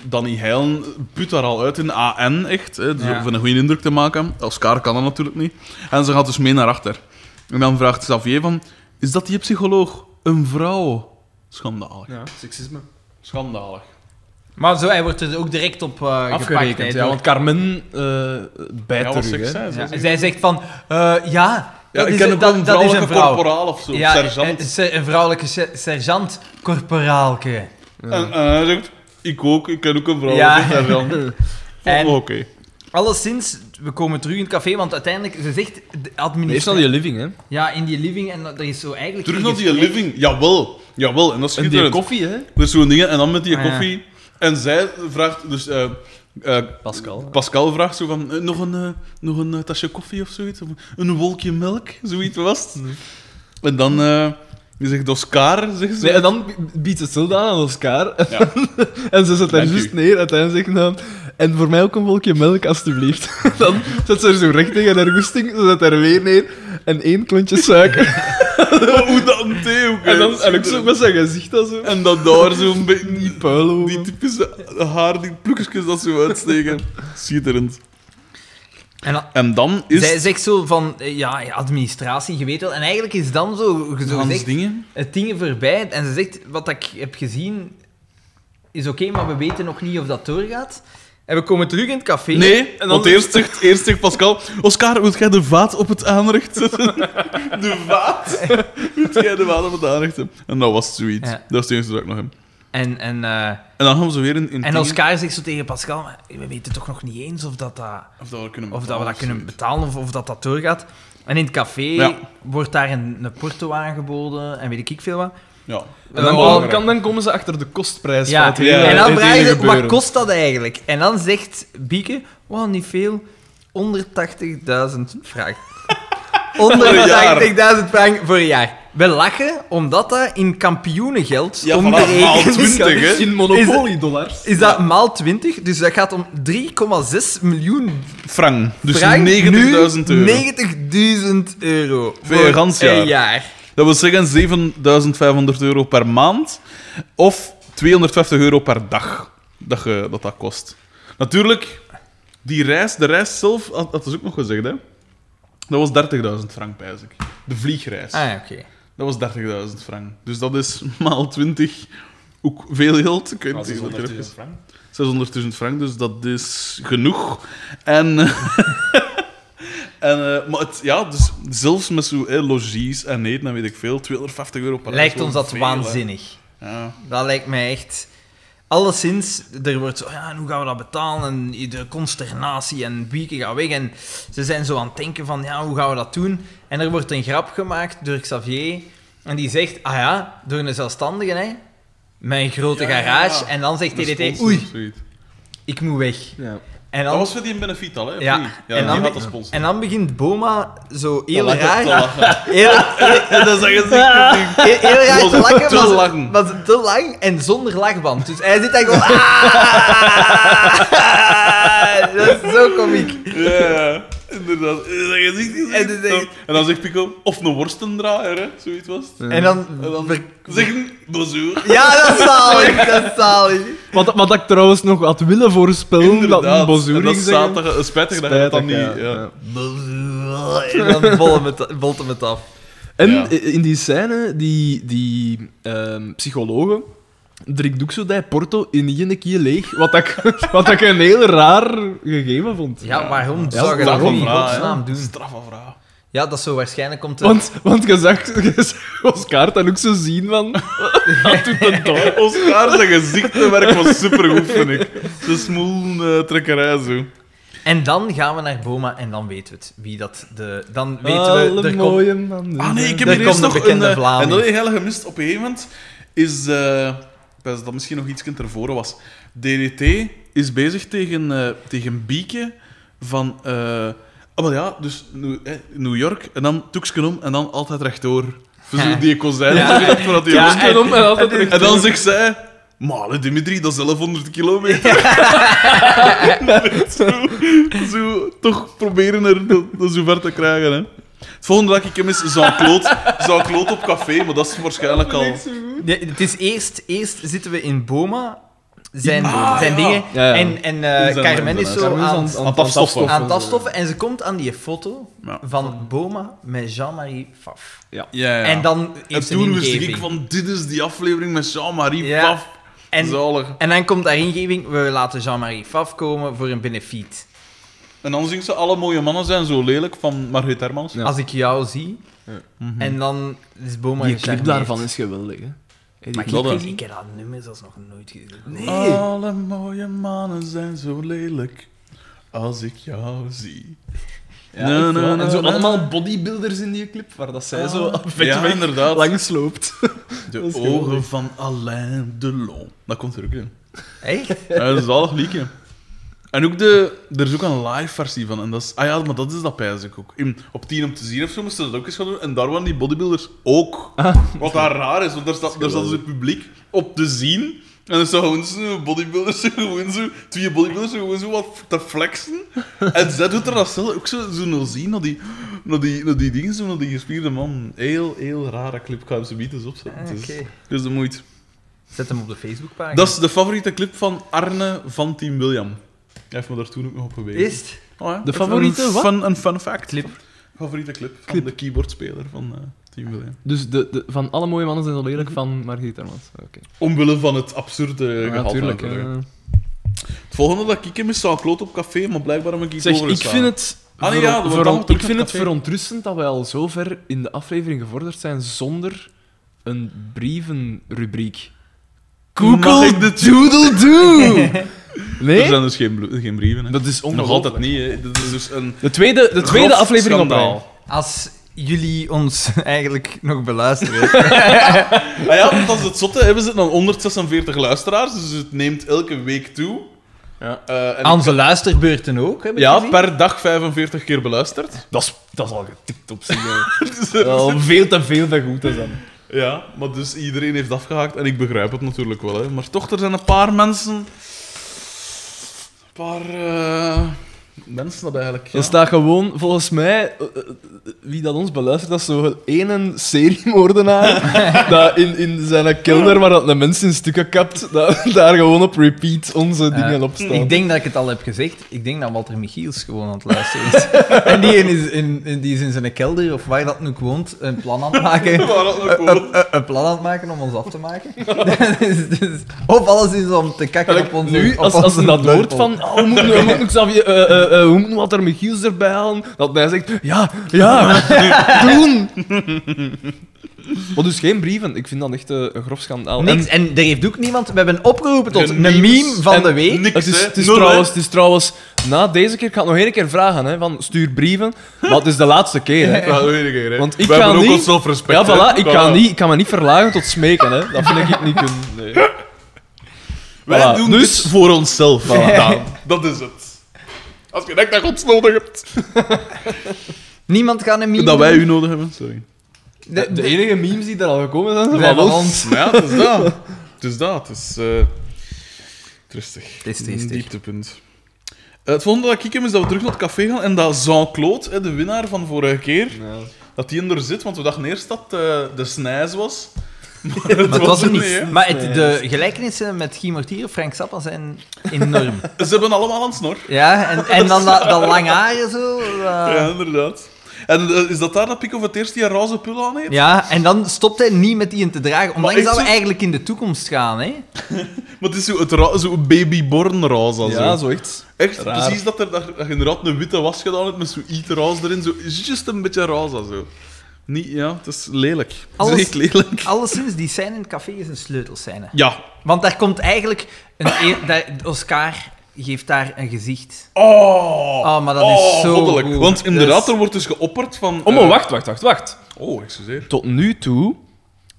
A: Danny Heilen put daar al uit in AN, echt. Hè, dus
C: Ja.
A: Om een goede indruk te maken. Als kaar kan dat natuurlijk niet. En ze gaat dus mee naar achter. En dan vraagt Xavier van, is dat die psycholoog? Een vrouw? Schandalig.
B: Ja, seksisme.
A: Schandalig.
C: Maar zo, hij wordt er ook direct op eh, gepakt.
B: Afgerekend,
C: hè,
B: ja,
C: door-
B: want Carmen eh bijt
A: Ja, wat
B: terug, hè.
A: seks zijn,
C: Ja,
A: zo
C: zij zegt van, eh, ja,
A: Ja,
C: dat
A: ik
C: is,
A: ken
C: een-
A: ook
C: dat,
A: een
C: dat is
A: vrouwelijke
C: een vrouw.
A: corporaal of zo,
C: Ja,
A: sergeant.
C: eh, se- een vrouwelijke se- sergeant, corporaalke.
A: En, en hij zegt, ik ook, ik ken ook een
C: Ja.
A: vrouwelijke sergeant.
C: En-
A: Oh, Oké.
C: Alleszins, we komen terug in het café, want uiteindelijk, ze zegt
B: Meestal
C: administratie.
B: je living, hè.
C: Ja, in die living en dat- er is zo eigenlijk.
A: Terug
C: geen
A: naar die
C: gesprek.
A: living. Jawel, jawel. En dat is
B: En die
A: schitterend.
B: koffie, hè.
A: Dus zo'n dingen, en dan met die
C: Ah, ja.
A: koffie. En zij vraagt, dus eh, eh,
B: Pascal.
A: Pascal vraagt zo van, eh, nog een, eh, nog een eh, tasje koffie of zoiets? Of een wolkje melk, zoiets was het.
C: Mm.
A: En dan, eh je zegt Oscar, zegt ze.
B: Nee, en dan biedt ze stil aan aan Oscar.
A: Ja.
B: en ze zet daar
A: Dank
B: juist
A: u.
B: neer. Uiteindelijk zegt dan... En voor mij ook een wolkje melk, alstublieft. dan zet ze er zo recht tegen haar goesting. Ze zet er weer neer. En één klontje suiker.
A: Hoe dan, Theo? oké,
B: en dan en ook zo met zijn gezicht dat zo.
A: En dat daar zo'n beetje...
B: Die puil
A: Die typische haar, die plukjes dat zo uitsteken. Schitterend.
C: En dan-
A: En dan is
C: Zij zegt zo van, eh, ja, ja, administratie, je weet wel. En eigenlijk is dan zo, zo
A: Hans
C: gezegd,
A: Dingen.
C: het ding voorbij. En ze zegt, wat ik heb gezien is oké, maar we weten nog niet of dat doorgaat. En we komen terug in het café.
A: Nee,
B: dan-
A: want eerst zegt, eerst zegt Pascal... Oscar, wilt jij de vaat op het aanrecht zetten? De vaat? Wilt jij de vaat op het aanrecht zetten? En dat was zoiets.
C: Ja.
A: Dat is het enige dat ik nog heb.
C: En, en, eh,
A: En dan gaan we ze weer in... in
C: en
A: dingen-
C: Oscar zegt zo tegen Pascal, maar we weten toch nog niet eens of dat... dat
A: Of dat we kunnen
C: Of dat we
A: betalen
C: dat kunnen
A: zoiets.
C: betalen of, of dat dat doorgaat. En in het café
A: Ja.
C: wordt daar een, een porto aangeboden en weet ik veel wat.
A: Ja.
B: En dan,
C: Eh,
B: komen-
A: wel-
B: kan, dan komen ze achter de kostprijs
C: ja,
B: van het hele
A: ja,
C: en
B: het
C: dan
B: hele
C: vragen ze,
B: gebeuren.
C: wat kost dat eigenlijk? En dan zegt Bieke, wauw, niet veel, 180.000 frank. 180.000 frank voor een jaar. We lachen omdat dat in kampioenengeld
A: Ja,
C: om de
A: vanaf maal
C: rekening
A: 20, hè.
B: In Monopoly-dollars.
C: Is dat maal 20, dus dat gaat om 3,6 miljoen
A: Frank. Dus 90.000
C: frank.
A: euro.
C: euro. 90.000 euro.
A: Voor een gans jaar.
C: Een jaar.
A: Dat wil zeggen 7500 euro per maand of 250 euro per dag dat je, dat, dat kost. Natuurlijk, die reis, de reis zelf, had dat is ook nog gezegd, hè? Dat was 30.000 frank, pijs ik. De vliegreis.
C: Ah, ja, oké.
A: Dat was 30.000 frank. Dus dat is maal 20 ook veel geld. Ik weet niet hoeveel keer het is. 600.000 frank, dus dat is genoeg. En, en eh, maar het, ja, dus zelfs met zo'n hè, logies en eten, dan weet ik veel, 250 euro per
C: Lijkt
A: persoon,
C: ons dat
A: veel, hè.
C: waanzinnig.
A: Ja.
C: Dat lijkt mij echt. Alleszins, er wordt zo, ja, en hoe gaan we dat betalen? En de consternatie en Bieke gaat weg. En ze zijn zo aan het denken van, ja, hoe gaan we dat doen? En er wordt een grap gemaakt door Xavier En die zegt, ah ja, door een zelfstandige, hè. Mijn grote
A: Ja, ja,
C: garage.
A: ja.
C: En dan zegt
A: Een
C: TDT,
A: sponsor
C: oei,
A: of zoiets.
C: ik moet weg.
D: Ja.
C: En
A: Dat
C: dan,
A: was voor die een benefiet al, hè? of
C: Ja.
A: niet? ja
C: En
A: en
C: dan-
A: had dat sponsor.
C: en dan begint Boma zo heel
A: Dat lag
C: raar...
A: op te lachen.
C: Heel,
A: Dat is een gezicht.
C: heel, heel raar te lachen,
A: Te
C: maar, ze-
A: lang.
C: maar ze- te lang en zonder lachband. Dus hij zit daar gewoon... "Ah." Dat is zo komiek.
A: Ja, inderdaad. Dat is een gezicht. is
C: En dan zeg
A: echt- En dan zegt Pico, of een worstendraaier, hè? Zoiets was het.
C: En dan...
A: En dan zeg een bonjour.
C: Ja, dat is zalig, dat is zalig.
B: Wat, wat ik trouwens nog had willen voorspellen, dat een
A: Inderdaad. En dat
B: bozoering
A: is
B: zeggen.
A: zaterdag, eh, spijtig dat je dat
B: Spijtig,
A: dan niet... eh,
B: ja,
A: ja.
B: ja.
C: En dan bolt hem het- bolt hem het af.
B: En
A: Ja.
B: i- in die scène, die, die ehm psychologen drinkt ook zo dat Porto in één keer leeg, wat ik, wat ik een heel raar gegeven vond.
C: Ja, waarom
B: dat
C: zou je
B: is
C: dat
B: daarom
C: ook in
A: vraag,
C: godsnaam
A: Een
C: doen?
A: straffe vraag.
C: Ja, dat zo waarschijnlijk komt... eh,
B: Want, want je zag, je zag Oscar dan ook zo zien van... Wat doet dat daar?
A: Oscar zijn gezichtenwerk was supergoed, vind ik. Ze smoel eh, trekkerij zo.
C: En dan gaan we naar Boma en dan weten we het. Wie dat de... Dan weten
B: Alle
C: we... Er komt,
B: mooie mannen.
A: Ah nee, ik heb
C: Daar
A: hier eerst
C: komt de
A: nog een...
C: bekende
A: eh,
C: Vlaming.
A: En dat heb ik heel gemist. Op een gegeven moment is... eh, ik wens dat dat misschien nog iets ervoor was. DDT is bezig tegen, eh tegen Bieke van... eh ah, wel ja, dus New, eh, New York. En dan toeksken om en dan altijd rechtdoor. Dus
C: Ja.
A: die kozijn. Ja. Voordat die
B: Ja,
A: jongens-
B: en, om en altijd terug.
A: En dan zegt zij... Malen Dimitri, dat is 1100 kilometer. zo, zo toch proberen er dat, dat zo ver te krijgen. Hè. Het volgende dat ik hem is Jean-Claude Jean op café, maar dat is waarschijnlijk al...
C: Nee, het is eerst... Eerst zitten we in Boma. Zijn,
A: Ah,
C: zijn
A: ja.
C: dingen.
B: Ja, ja.
C: En, en eh,
A: In zijn-
C: Carmen is
A: in
C: zo
B: Carmen is
C: aan,
A: aan het afstoffen.
C: aan het afstoffen. En ze komt aan die foto
A: Ja.
C: van Boma met Jean-Marie Faf.
A: Ja, ja.
C: En dan
A: en
C: heeft ze een
A: toen wist ik
C: ingeving.
A: van, dit is die aflevering met Jean-Marie
C: Ja.
A: Paf.
C: En-
A: Zalig.
C: En dan komt daar ingeving, we laten Jean-Marie Faf komen voor een benefiet.
A: En dan zingt ze, alle mooie mannen zijn zo lelijk, van Margriet Hermans.
B: Ja.
C: Als ik jou zie,
B: Ja.
C: en dan is Boma
B: Die clip
C: gecharmeerd.
B: daarvan is geweldig, hè. Hey, die
C: Maar ik,
B: clip-
C: ik, ik heb dat nummer zelfs nog nooit gezien.
B: Nee.
A: Alle mooie mannen zijn zo lelijk, als ik jou zie.
B: Ja,
A: Nee,
B: echt
A: nee,
B: wel.
A: nee,
B: en zo
A: nee.
B: allemaal bodybuilders in die clip, waar dat zij zo een beetje
A: ja,
B: weg-
A: inderdaad.
B: langs loopt.
A: De
B: Dat is
A: ogen
B: geweldig.
A: van Alain Delon. Dat komt er ook in.
C: Echt?
A: Ja, dat is een zalig liedje. En ook de, er is ook een live versie van. En dat is, ah ja, maar dat is dat pijs ik ook. In, op 10 om te zien of zo moesten ze dat ook eens gaan doen. En daar waren die bodybuilders ook.
C: Ah.
A: Wat daar raar is, want daar staat, daar staat dus het publiek op te zien. En er staan gewoon zo bodybuilders, zo gewoon zo, twee bodybuilders zo gewoon zo wat te flexen. En zij doet er dat zelf ook zo, zo nog zien, naar die, naar die, naar die dingen, zo naar die gespierde man. Heel, heel rare clip, ik ga hem zo niet eens opzetten.
C: Ah,
A: Het is-
C: oké.
A: het is de moeite.
C: Zet hem op de Facebookpagina.
A: Dat is de favoriete clip van Arne van Team William. Hij heeft me daar toen ook nog op gewezen.
C: Is het?
A: Oh, ja.
B: De favoriete
A: een
B: wat?
A: Fun, een fun fact.
C: Clip.
A: Favoriete clip van
B: Clip.
A: de keyboardspeler van eh, Team William.
B: Dus de, de, van alle mooie mannen zijn zo lelijk van Margriet Hermans. Oké.
A: Omwille van het absurde gehalte.
B: natuurlijk. eh.
A: uiteraard.
B: hè.
A: Het volgende dat ik hem is, zou kloot op café, maar blijkbaar heb ik iets
B: Zeg, ik
A: overgeslagen.
B: vind het,
A: Ah, nee,
B: veron-
A: ja, dat wordt
B: veron-
A: allemaal terug
B: ik vind
A: naar
B: het
A: het café.
B: verontrustend dat wij al zo ver in de aflevering gevorderd zijn zonder een brievenrubriek.
A: Mag ik
B: Google Doodle Doo!
A: Er
B: Nee?
A: zijn dus geen, blo- geen brieven. Hè.
B: Dat is
A: nog
B: ongelooflijk.
A: altijd niet. Hè. Dit is dus een
B: De tweede, de tweede
A: grof
B: aflevering op
A: schandaal.
B: rij.
C: Als jullie ons eigenlijk nog beluisteren.
A: Ah ja, want dat is het zotte. Hebben ze dan 146 luisteraars, dus het neemt elke week toe.
B: Ja.
A: Eh, en
C: Aan onze luisterbeurten ook, heb ik
A: ja,
C: gezien.
A: per dag 45 keer beluisterd.
B: Dat is, dat is al getikt op zich.
A: Dus, eh,
B: Al veel te veel van goed is dan.
A: Ja, maar dus iedereen heeft afgehaakt en ik begrijp het natuurlijk wel. Hè. Maar toch, er zijn een paar mensen. Een paar eh, mensen dat eigenlijk. Ja.
B: Er staat gewoon, volgens mij, eh, eh, wie dat ons beluistert, dat is zo'n ene seriemoordenaar dat in, in zijn kelder, waar dat de mensen in stukken kapt, dat, daar gewoon op repeat onze
C: Eh,
B: dingen op staan.
C: Ik denk dat ik het al heb gezegd. Ik denk dat Walter Michiels gewoon aan het luisteren is. en die een is in, in- die is in zijn kelder, of waar dat nu ook woont, een plan aan het maken.
A: Waar dat ook
C: Een-
B: Eh,
A: woont.
C: een- een plan aan het maken om ons af te maken. Dus- dus- of alles is om te kakken op ons.
B: nu, als, als ze dat hoort van, oh, we moeten, we moeten, Xavier, eh, eh, eh, we moeten wat er Michiels erbij halen, dat hij zegt, ja, ja, doen! Maar dus geen brieven. Ik vind dat echt eh, een grof schandaal.
C: Niks.
B: En
C: En er heeft ook niemand... We hebben opgeroepen tot
A: Geen
C: een
A: memes
C: meme van
B: en
C: de week.
A: niks,
B: het is,
A: hè.
B: het, is
A: Nul, hè.
B: trouwens, het is trouwens... Na deze keer, ik ga het nog één keer vragen, hè, van stuur brieven. Maar het is de laatste keer, hè.
A: Ja, dat weet ik niet, hè.
B: eh, Want ik
A: We
B: ga
A: hebben ook
B: niet-
A: ons zelfrespect.
B: Ja, voilà.
A: hè.
B: Ik kan, niet, ik kan me niet verlagen tot smeken, hè. Dat vind ik niet kunnen. Nee.
A: Wij
B: Voilà.
A: doen
B: Dus-
A: dit voor onszelf.
B: Voilà.
A: Daan. Dat is het. Als je denkt dat je ons nodig hebt.
C: Niemand gaat een meme
A: Dat wij
C: doen.
A: u nodig hebben, sorry.
C: De-
B: De
C: de-
B: enige memes die er al gekomen zijn, zijn
C: Zijn
B: van
C: van
B: ons.
A: Maar ja, het is dat. Het is dat. Het is... eh, Tristig.
C: Het is
A: Een
C: triestig.
A: dieptepunt. Eh, het volgende dat ik heb is dat we terug naar het café gaan en dat Jean-Claude, hè, de winnaar van vorige keer,
B: Ja.
A: dat die in er zit, want we dachten eerst dat eh, de snijs was. Maar het
C: Maar het was hem niet.
A: hè.
C: maar het, de gelijkenissen met Guy Mortier en Frank Zappa zijn enorm.
A: Ze hebben allemaal een snor.
C: Ja, en, en dan dat, dat lange haren zo. dat-
A: Ja,
C: ja.
A: inderdaad. En eh, is dat daar dat Pico voor het eerst die een roze pul aan heeft?
C: en dan stopt hij niet met die in te dragen. Ondanks
A: echt
C: dat we
A: zo-
C: eigenlijk in de toekomst gaan, hè.
A: Maar het is zo, het ra- zo babyborn roze. al zo.
B: Ja, zo echt.
A: Echt,
B: raar.
A: precies dat, er, dat, je- dat je inderdaad een witte was gedaan hebt met zoiets roze erin. Zo, just een beetje roze. al Zo. Niet, ja, het is lelijk. Het
C: Alles-
A: is echt lelijk.
C: Alleszins, die scène in het café is een sleutelscène.
A: Ja.
C: Want daar komt eigenlijk... Een e- daar- Oscar geeft daar een gezicht.
A: Oh,
B: Ah,
C: Oh, maar dat is zo
A: goddelijk.
C: goed.
A: Want inderdaad,
C: Dus-
A: er wordt dus geopperd van...
B: Oh, maar
A: eh,
B: wacht, wacht, wacht, wacht.
A: Oh, excuseer.
B: Tot nu toe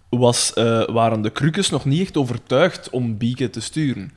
B: was, eh, waren de krukjes nog niet echt overtuigd om Bieke te sturen.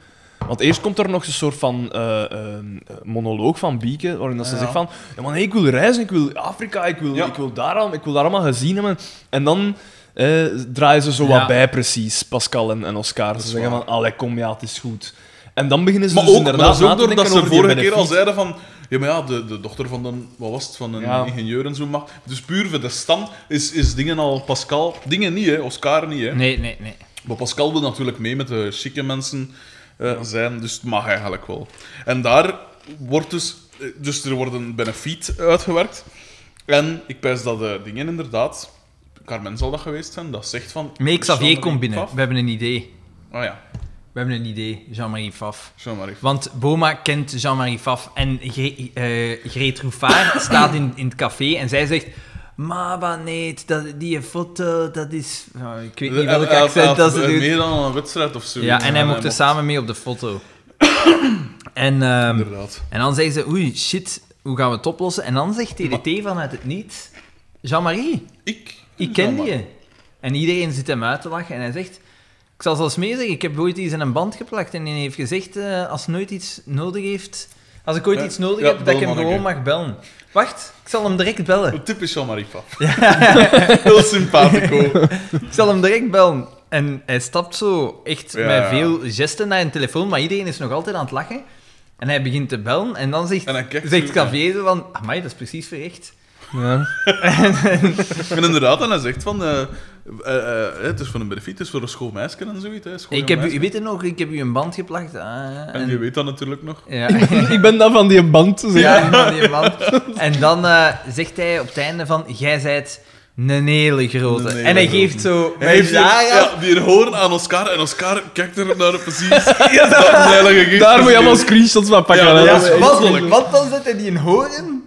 B: Want eerst komt er nog een soort van eh, eh, monoloog van Bieke, waarin dat ze
A: Ja.
B: zegt van... Ja, maar nee, ik wil reizen, ik wil Afrika, ik wil,
A: Ja.
B: ik wil, daar, al- ik wil daar allemaal gezien hebben. En dan eh, draaien ze zo
C: Ja.
B: wat bij precies, Pascal en, en Oscar. Ze zeggen van, allee, kom, ja, het is goed. En dan beginnen ze
A: Maar
B: dus
A: ook, maar dat
B: inderdaad
A: is ook
B: na te
A: doordat
B: denken
A: ze
B: over die
A: vorige keer al
B: benefiet.
A: zeiden van... Ja, maar ja, de, de dochter van een... Wat was het? Van een
B: Ja.
A: ingenieur en zo. Maar, dus puur voor de stand is, is dingen al... Pascal... Dingen niet, hè. Oscar niet, hè.
C: Nee, nee, nee.
A: Maar Pascal wil natuurlijk mee met de chique mensen eh, zijn, dus het mag eigenlijk wel. En daar wordt dus... eh, Dus er wordt een benefiet uitgewerkt. En ik pijs dat de dingen inderdaad... Carmen zal dat geweest zijn, dat zegt van...
C: Nee, Xavier
A: Jean-Marie
C: komt binnen.
A: Pfaff.
C: We hebben een idee.
A: Ah ja,
C: We hebben een idee, Jean-Marie Pfaff.
A: Jean-Marie Pfaff.
C: Want Boma kent Jean-Marie Pfaff en Gre eh, Greet Roefaard staat in, in het café en zij zegt... Maba, nee, dat, die foto, dat is... Nou, ik weet niet welk
A: Hij- hij-
C: accent dat ze
A: hij had
C: doet.
A: eh, Meer dan een wedstrijd of zo.
C: Ja, en hij mocht er
A: mocht-
C: samen mee op de foto. en, ehm,
A: Inderdaad.
C: en dan zeggen ze, oei, shit, hoe gaan we het oplossen? En dan zegt TDT vanuit het niet, Jean-Marie,
A: Ik?
C: ik ken
A: Ja, maar-
C: die. En iedereen zit hem uit te lachen en hij zegt... Ik zal zelfs mee zeggen, ik heb ooit iets in een band geplakt en die heeft gezegd, eh, als nooit iets nodig heeft... Als ik ooit
A: Ja,
C: iets nodig
A: ja,
C: heb, dat
A: bel
C: ik hem
A: Manneke.
C: gewoon mag bellen. Wacht, ik zal hem direct bellen.
A: Een Typisch Jean-Marie Pfaff. Heel sympathico.
C: Ik zal hem direct bellen. En hij stapt zo echt
A: Ja.
C: met veel gesten naar een telefoon, maar iedereen is nog altijd aan het lachen. En hij begint te bellen en dan zegt,
A: En hij kijkt
C: zegt
A: zo-
C: Xavier zo van, amai, dat is precies verrecht.
B: Ja.
A: En inderdaad, en hij zegt van... eh, eh, eh, het is voor een benefiet, het is voor een school meisje en zoiets. Hè, schoon
C: Ik heb, u,
A: meisje.
C: weet je nog, ik heb u een band geplakt. ah,
A: En je weet dat natuurlijk nog.
C: Ja,
B: Ik ben dan van die band. zeg.
C: ja, van die band. En dan eh, zegt hij op het einde van, jij zijt een hele grote.
A: Een hele
C: en hij
A: grote.
C: geeft zo,
A: Hij heeft
C: met
A: hier,
C: Zara-
A: ja, die hoorn aan Oscar en Oscar kijkt er naar precies. ja, dat heilige gift.
B: Daar moet je allemaal screenshots van pakken.
A: Ja,
B: hè.
A: dat
B: Dat
A: is wel
B: is echt-
A: echt
C: wat,
A: moeilijk.
C: want dan zet hij die een horen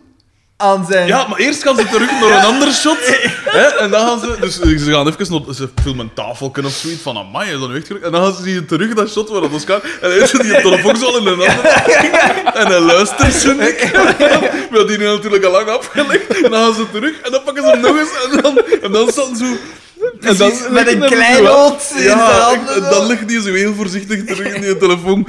C: aan zijn...
A: Ja, maar eerst gaan ze terug naar een ander shot. Hè? En dan gaan ze... Dus eh, ze gaan even naar... Ze filmen een tafelken of zoiets van... Amai, is dat nu echt gelukt? En dan gaan ze die terug naar shot waar dat Oscar... En hij heeft die telefoon zo al in een ander... En hij luistert ze niet. We hadden die nu natuurlijk al lang afgelegd. En dan gaan ze terug en dan pakken ze hem nog eens. En dan, en dan staan ze zo...
B: en dan-
C: met een kleinoot in zijn
A: Ja,
C: handen.
A: ik- dan ligt hij zo heel voorzichtig terug in die telefoon.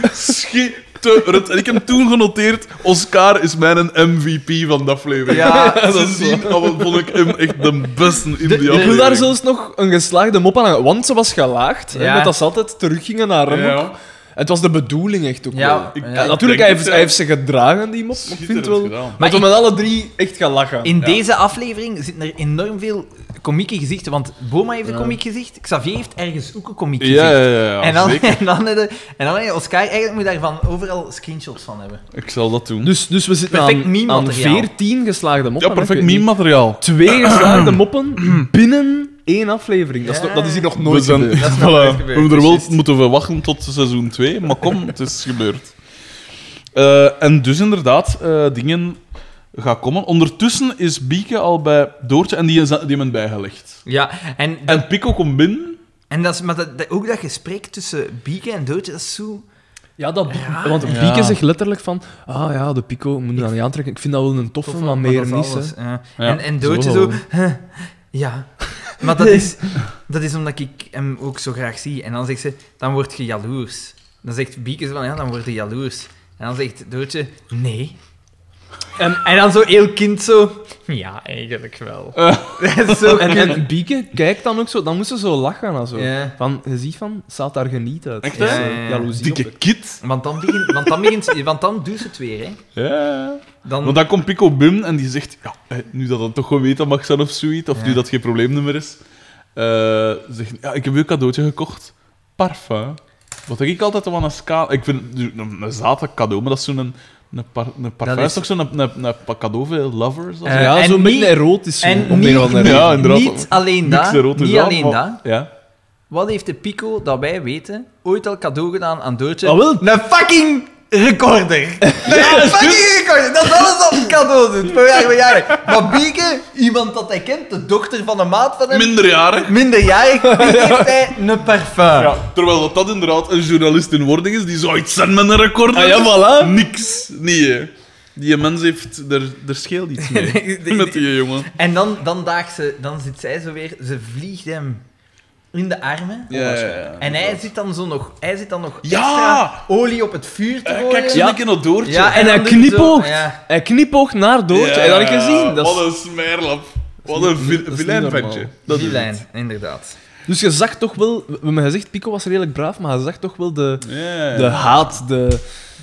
A: Schitterend. En ik heb toen genoteerd, Oscar is mijn MVP van de aflevering.
C: Ja,
A: ze zien, dat vond ik hem echt de beste in die
B: Ik wil
A: aflevering.
B: daar zelfs nog een geslaagde mop aan hangen, want ze was gelaagd. hè,
C: Ja.
B: Met dat ze altijd teruggingen naar hem. ook.
A: Ja,
B: Het was de bedoeling echt ook
C: Ja,
B: wel.
C: ik-
B: Ja,
C: ik
A: denk
B: natuurlijk, hij
A: het,
B: heeft,
A: ja.
B: hij heeft ze gedragen, die mop. Ik vind
A: schitterend
B: het wel...
A: gedaan.
B: Maar we met alle drie echt gelachen.
C: In
B: Ja.
C: deze aflevering zitten er enorm veel komieke gezichten. Want Boma heeft een komiek gezicht, Xavier heeft ergens ook een komiek gezicht.
A: Ja, ja, ja, ja,
C: en, dan,
A: zeker.
C: en, dan, heb je- en dan heb je Oscar, eigenlijk moet je daarvan overal screenshots van hebben.
A: Ik zal dat doen.
B: Dus, dus we zitten
C: Perfect
B: aan, aan
C: meme-materiaal.
B: 14 geslaagde moppen.
A: ja,
B: hè, ik
A: perfect
B: weet niet.
A: meme-materiaal.
B: Twee geslaagde moppen binnen één aflevering. Dat, is,
C: Ja.
B: nog- dat is hier nog
A: We,
B: nooit
A: zijn,
B: gebeurd.
C: Dat is
A: voilà.
C: nog nooit
A: we
C: gebeurd,
A: hebben er wel
C: precies.
A: moeten we wachten tot seizoen 2, maar kom, het is gebeurd. Eh, en dus inderdaad, eh, dingen... eh, gaat komen. Ondertussen is Bieke al bij Doortje en die is die hebben hem bijgelegd.
C: Ja, en, dat,
A: En Pico komt binnen.
C: en dat is, maar dat, dat- ook dat gesprek tussen Bieke en Doortje, dat is zo...
B: Ja, dat,
C: Raar.
B: want
A: Ja.
B: Bieke zegt letterlijk van... Ah ja, de pico moet je aan niet aantrekken. Ik vind dat wel een toffe,
C: tof,
B: maar meer niet. hè.
C: Ja.
A: Ja,
C: en, en Doortje
B: zo.
C: zo... "Huh, ja. Maar dat is, dat is omdat ik hem ook zo graag zie. En dan zegt ze, dan word je jaloers. Dan zegt Bieke zo van, ja, dan word je jaloers. En dan zegt Doortje, nee. En, en dan zo heel kind zo... Ja, eigenlijk wel.
A: Ah,
C: Dat is zo
B: En,
C: kut.
B: en Bieke kijkt dan ook zo... Dan moest ze zo lachen en zo.
C: Ja.
B: Van, je ziet van, staat daar geniet uit.
A: Echt,
B: Dat is,
C: hè?
B: eh,
C: Ja, ja, ja.
B: jaloezie op
A: Dikke
B: haar.
A: kid.
C: Want dan, begint, want, dan begint, want dan duurt het weer, hè.
A: Ja.
C: Dan,
A: Want dan komt Pico binnen en die zegt... Ja, eh, nu dat het toch geweten mag zijn of zoiets, of
C: Ja.
A: nu dat geen probleemnummer is. eh, zegt, ja, ik heb je cadeautje gekocht. Parfum. Wat denk ik altijd wel een ska... Ik vind het een, een zate cadeau, maar dat is zo'n... Een, een, par, een parfum is
C: Dat is-
A: toch zo'n een, een, een cadeau voor lovers? of
C: Eh,
B: ja,
C: en
B: zo'n beetje
C: niet-
B: erotisch. zo,
C: en
B: om de een of
C: niet-
B: andere reden.
A: Ja, inderdaad.
C: niet alleen
A: Niks
C: dat,
A: erotisch
C: niet
A: aan,
C: alleen
A: maar-
C: dat.
A: Ja.
C: Wat heeft de Pico, dat wij weten, ooit al cadeau gedaan aan Doortje?
B: Ah, wel.
C: Een fucking recorder. een fucking recorder. Dat is alles wat een cadeau doet. Van jaar bij jaar. Maar Bieke, iemand dat hij kent, de dochter van een maat van hem,
A: Minderjarig.
C: minderjarig, die geeft hij een parfum.
A: Ja, terwijl dat, dat inderdaad een journalist in wording is, die zou iets zijn met een record.
B: Ah ja, voilà.
A: Niks. Nee, hè. Die mens heeft... Er, er scheelt iets mee. met die
B: Oh,
A: jongen.
C: En dan, dan, daagt ze, dan zit zij zo weer, ze vliegt hem in de armen.
A: Ja, ja, ja.
C: En hij zit dan zo nog, hij zit dan nog
A: Ja!
C: extra olie op het vuur te
A: Eh,
C: gooien.
A: Kijk, ze
B: Ja.
A: een keer naar Doortje.
C: Ja,
B: En hij
C: dan doet hij zo-
B: knipoogt.
C: ja.
B: Hij knipoogt naar Doortje.
A: Ja,
B: Heb je dat niet gezien? Dat is-
A: Wat een smerlap. Wat
B: niet-
A: een vi-
B: dat is niet
A: vileinventje.
B: normaal.
A: Dat is
C: die
A: het.
C: lijn, inderdaad.
B: Dus je zag toch wel... We hebben gezegd, Pico was redelijk braaf, maar je zag toch wel de,
A: Ja.
B: de haat, de...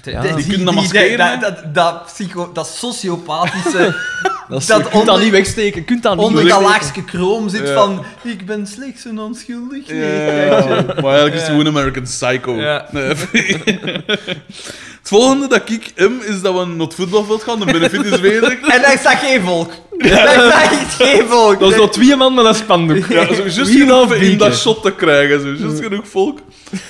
C: De-
B: Ja.
C: de-
B: Die
A: kunnen dat maskeren,
C: dat-
A: hè?
C: Dat, dat, psycho, dat sociopathische,
B: Dat is,
C: Dat
B: je kunt dat
C: onder-
B: niet wegsteken. Je kunt dat niet
C: onder dat
B: wegsteken.
C: laagste kroom zit
A: Ja.
C: van ik ben slechts een onschuldig
A: Ja,
C: leertje.
A: Maar eigenlijk is
C: Ja.
A: het gewoon American Psycho.
C: Ja.
A: Nee. het volgende dat ik hem is dat we naar het voetbalveld gaan. De benefit is weder.
C: En hij zag geen volk. Hij zag echt geen volk.
B: Dat is nog twee man met een spandoek.
A: Ja, zo just
B: Wie nou
A: genoeg om in
B: bieken?
A: dat shot te krijgen. Zo just genoeg volk.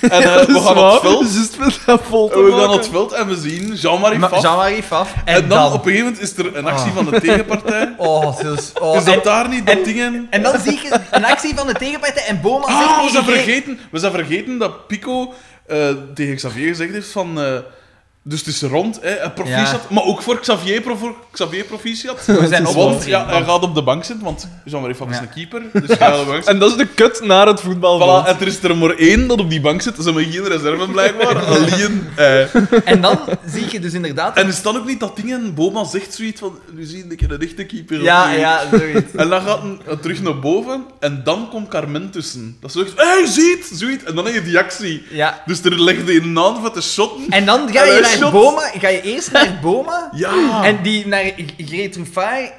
A: En eh, we gaan op
B: Zwaar,
A: het veld.
B: Just met dat vol te
A: En we
B: maken.
A: gaan op het veld en we zien Jean-Marie
C: Maar
A: Faf.
C: Jean-Marie Faf. En,
A: en, dan,
C: dan...
A: op een gegeven moment is er een actie
C: Ah.
A: van de tegenpartij.
C: Oh, zus, oh,
A: Is dat
C: en-
A: daar niet dat dingen?
C: En dan zie ik een actie van de tegenpartij en Boma zegt
A: Ah, we
C: tegen
A: zijn,
C: Gre-
A: vergeten, we zijn vergeten dat Pico eh, tegen Xavier gezegd heeft van... eh, dus het is rond, hè, en proficiat. Maar ook voor Xavier, pro- voor Xavier proficiat.
C: We zijn op
A: Want
C: ons.
A: ja, hij gaat op de bank zitten, want Jean-Marie Faf is
C: Ja.
A: een keeper. Dus hij gaat op de bank zitten.
B: En dat is de kut naar het voetbal.
A: Voilà, en er is er maar één dat op die bank zit. Ze hebben geen reserve blijkbaar. Alleen. eh.
C: En dan zie je dus inderdaad...
A: En is dan ook niet dat ding en Boma zegt zoiets van... Nu zie ik een echte keeper. of
C: Ja,
A: zoiets.
C: ja, zoiets.
A: En dan gaat hij eh, terug naar boven en dan komt Carmen tussen. Dat ze zegt, hé, hey, ziet, zoiets. En dan heb je die actie.
C: Ja.
A: Dus er legde een aan van te shotten.
C: En dan ga
A: En hij
C: je naar
A: shot.
C: Boma, ga je eerst naar Boma...
A: Ja.
C: Ah. En die naar Greet Rufai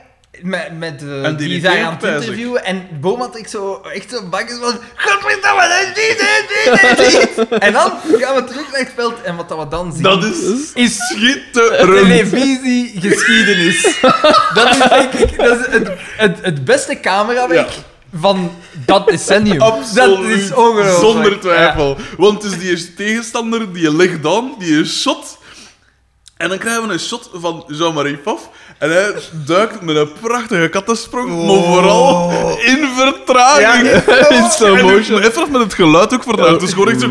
C: met, met eh,
A: En die
C: die, daar aan
A: irriteert,
C: het
A: pijs ik.
C: interviewen en Boma ik zo echt zo bang is van godverdomme dat is dit, dit, dit, dit, dit." en dan gaan we terug naar het veld en wat dat we dan zien
A: dat is, schitterend.
C: televisiegeschiedenis dat is denk ik dat is het, het, het beste camerawerk
A: Ja. Oh,
C: van dat decennium
A: Absoluut.
C: dat is ongelooflijk
A: Zonder twijfel. Want dus die is tegenstander, die legt aan, die is shot. En dan krijgen we een shot van Jean-Marie Paf. En hij duikt met een prachtige kattensprong, maar vooral in
C: Oh. ja,
A: vertraging.
C: ja.
B: In slow
A: En
B: motion.
A: ik- Even af met het geluid ook verduid. Het is gewoon echt zo...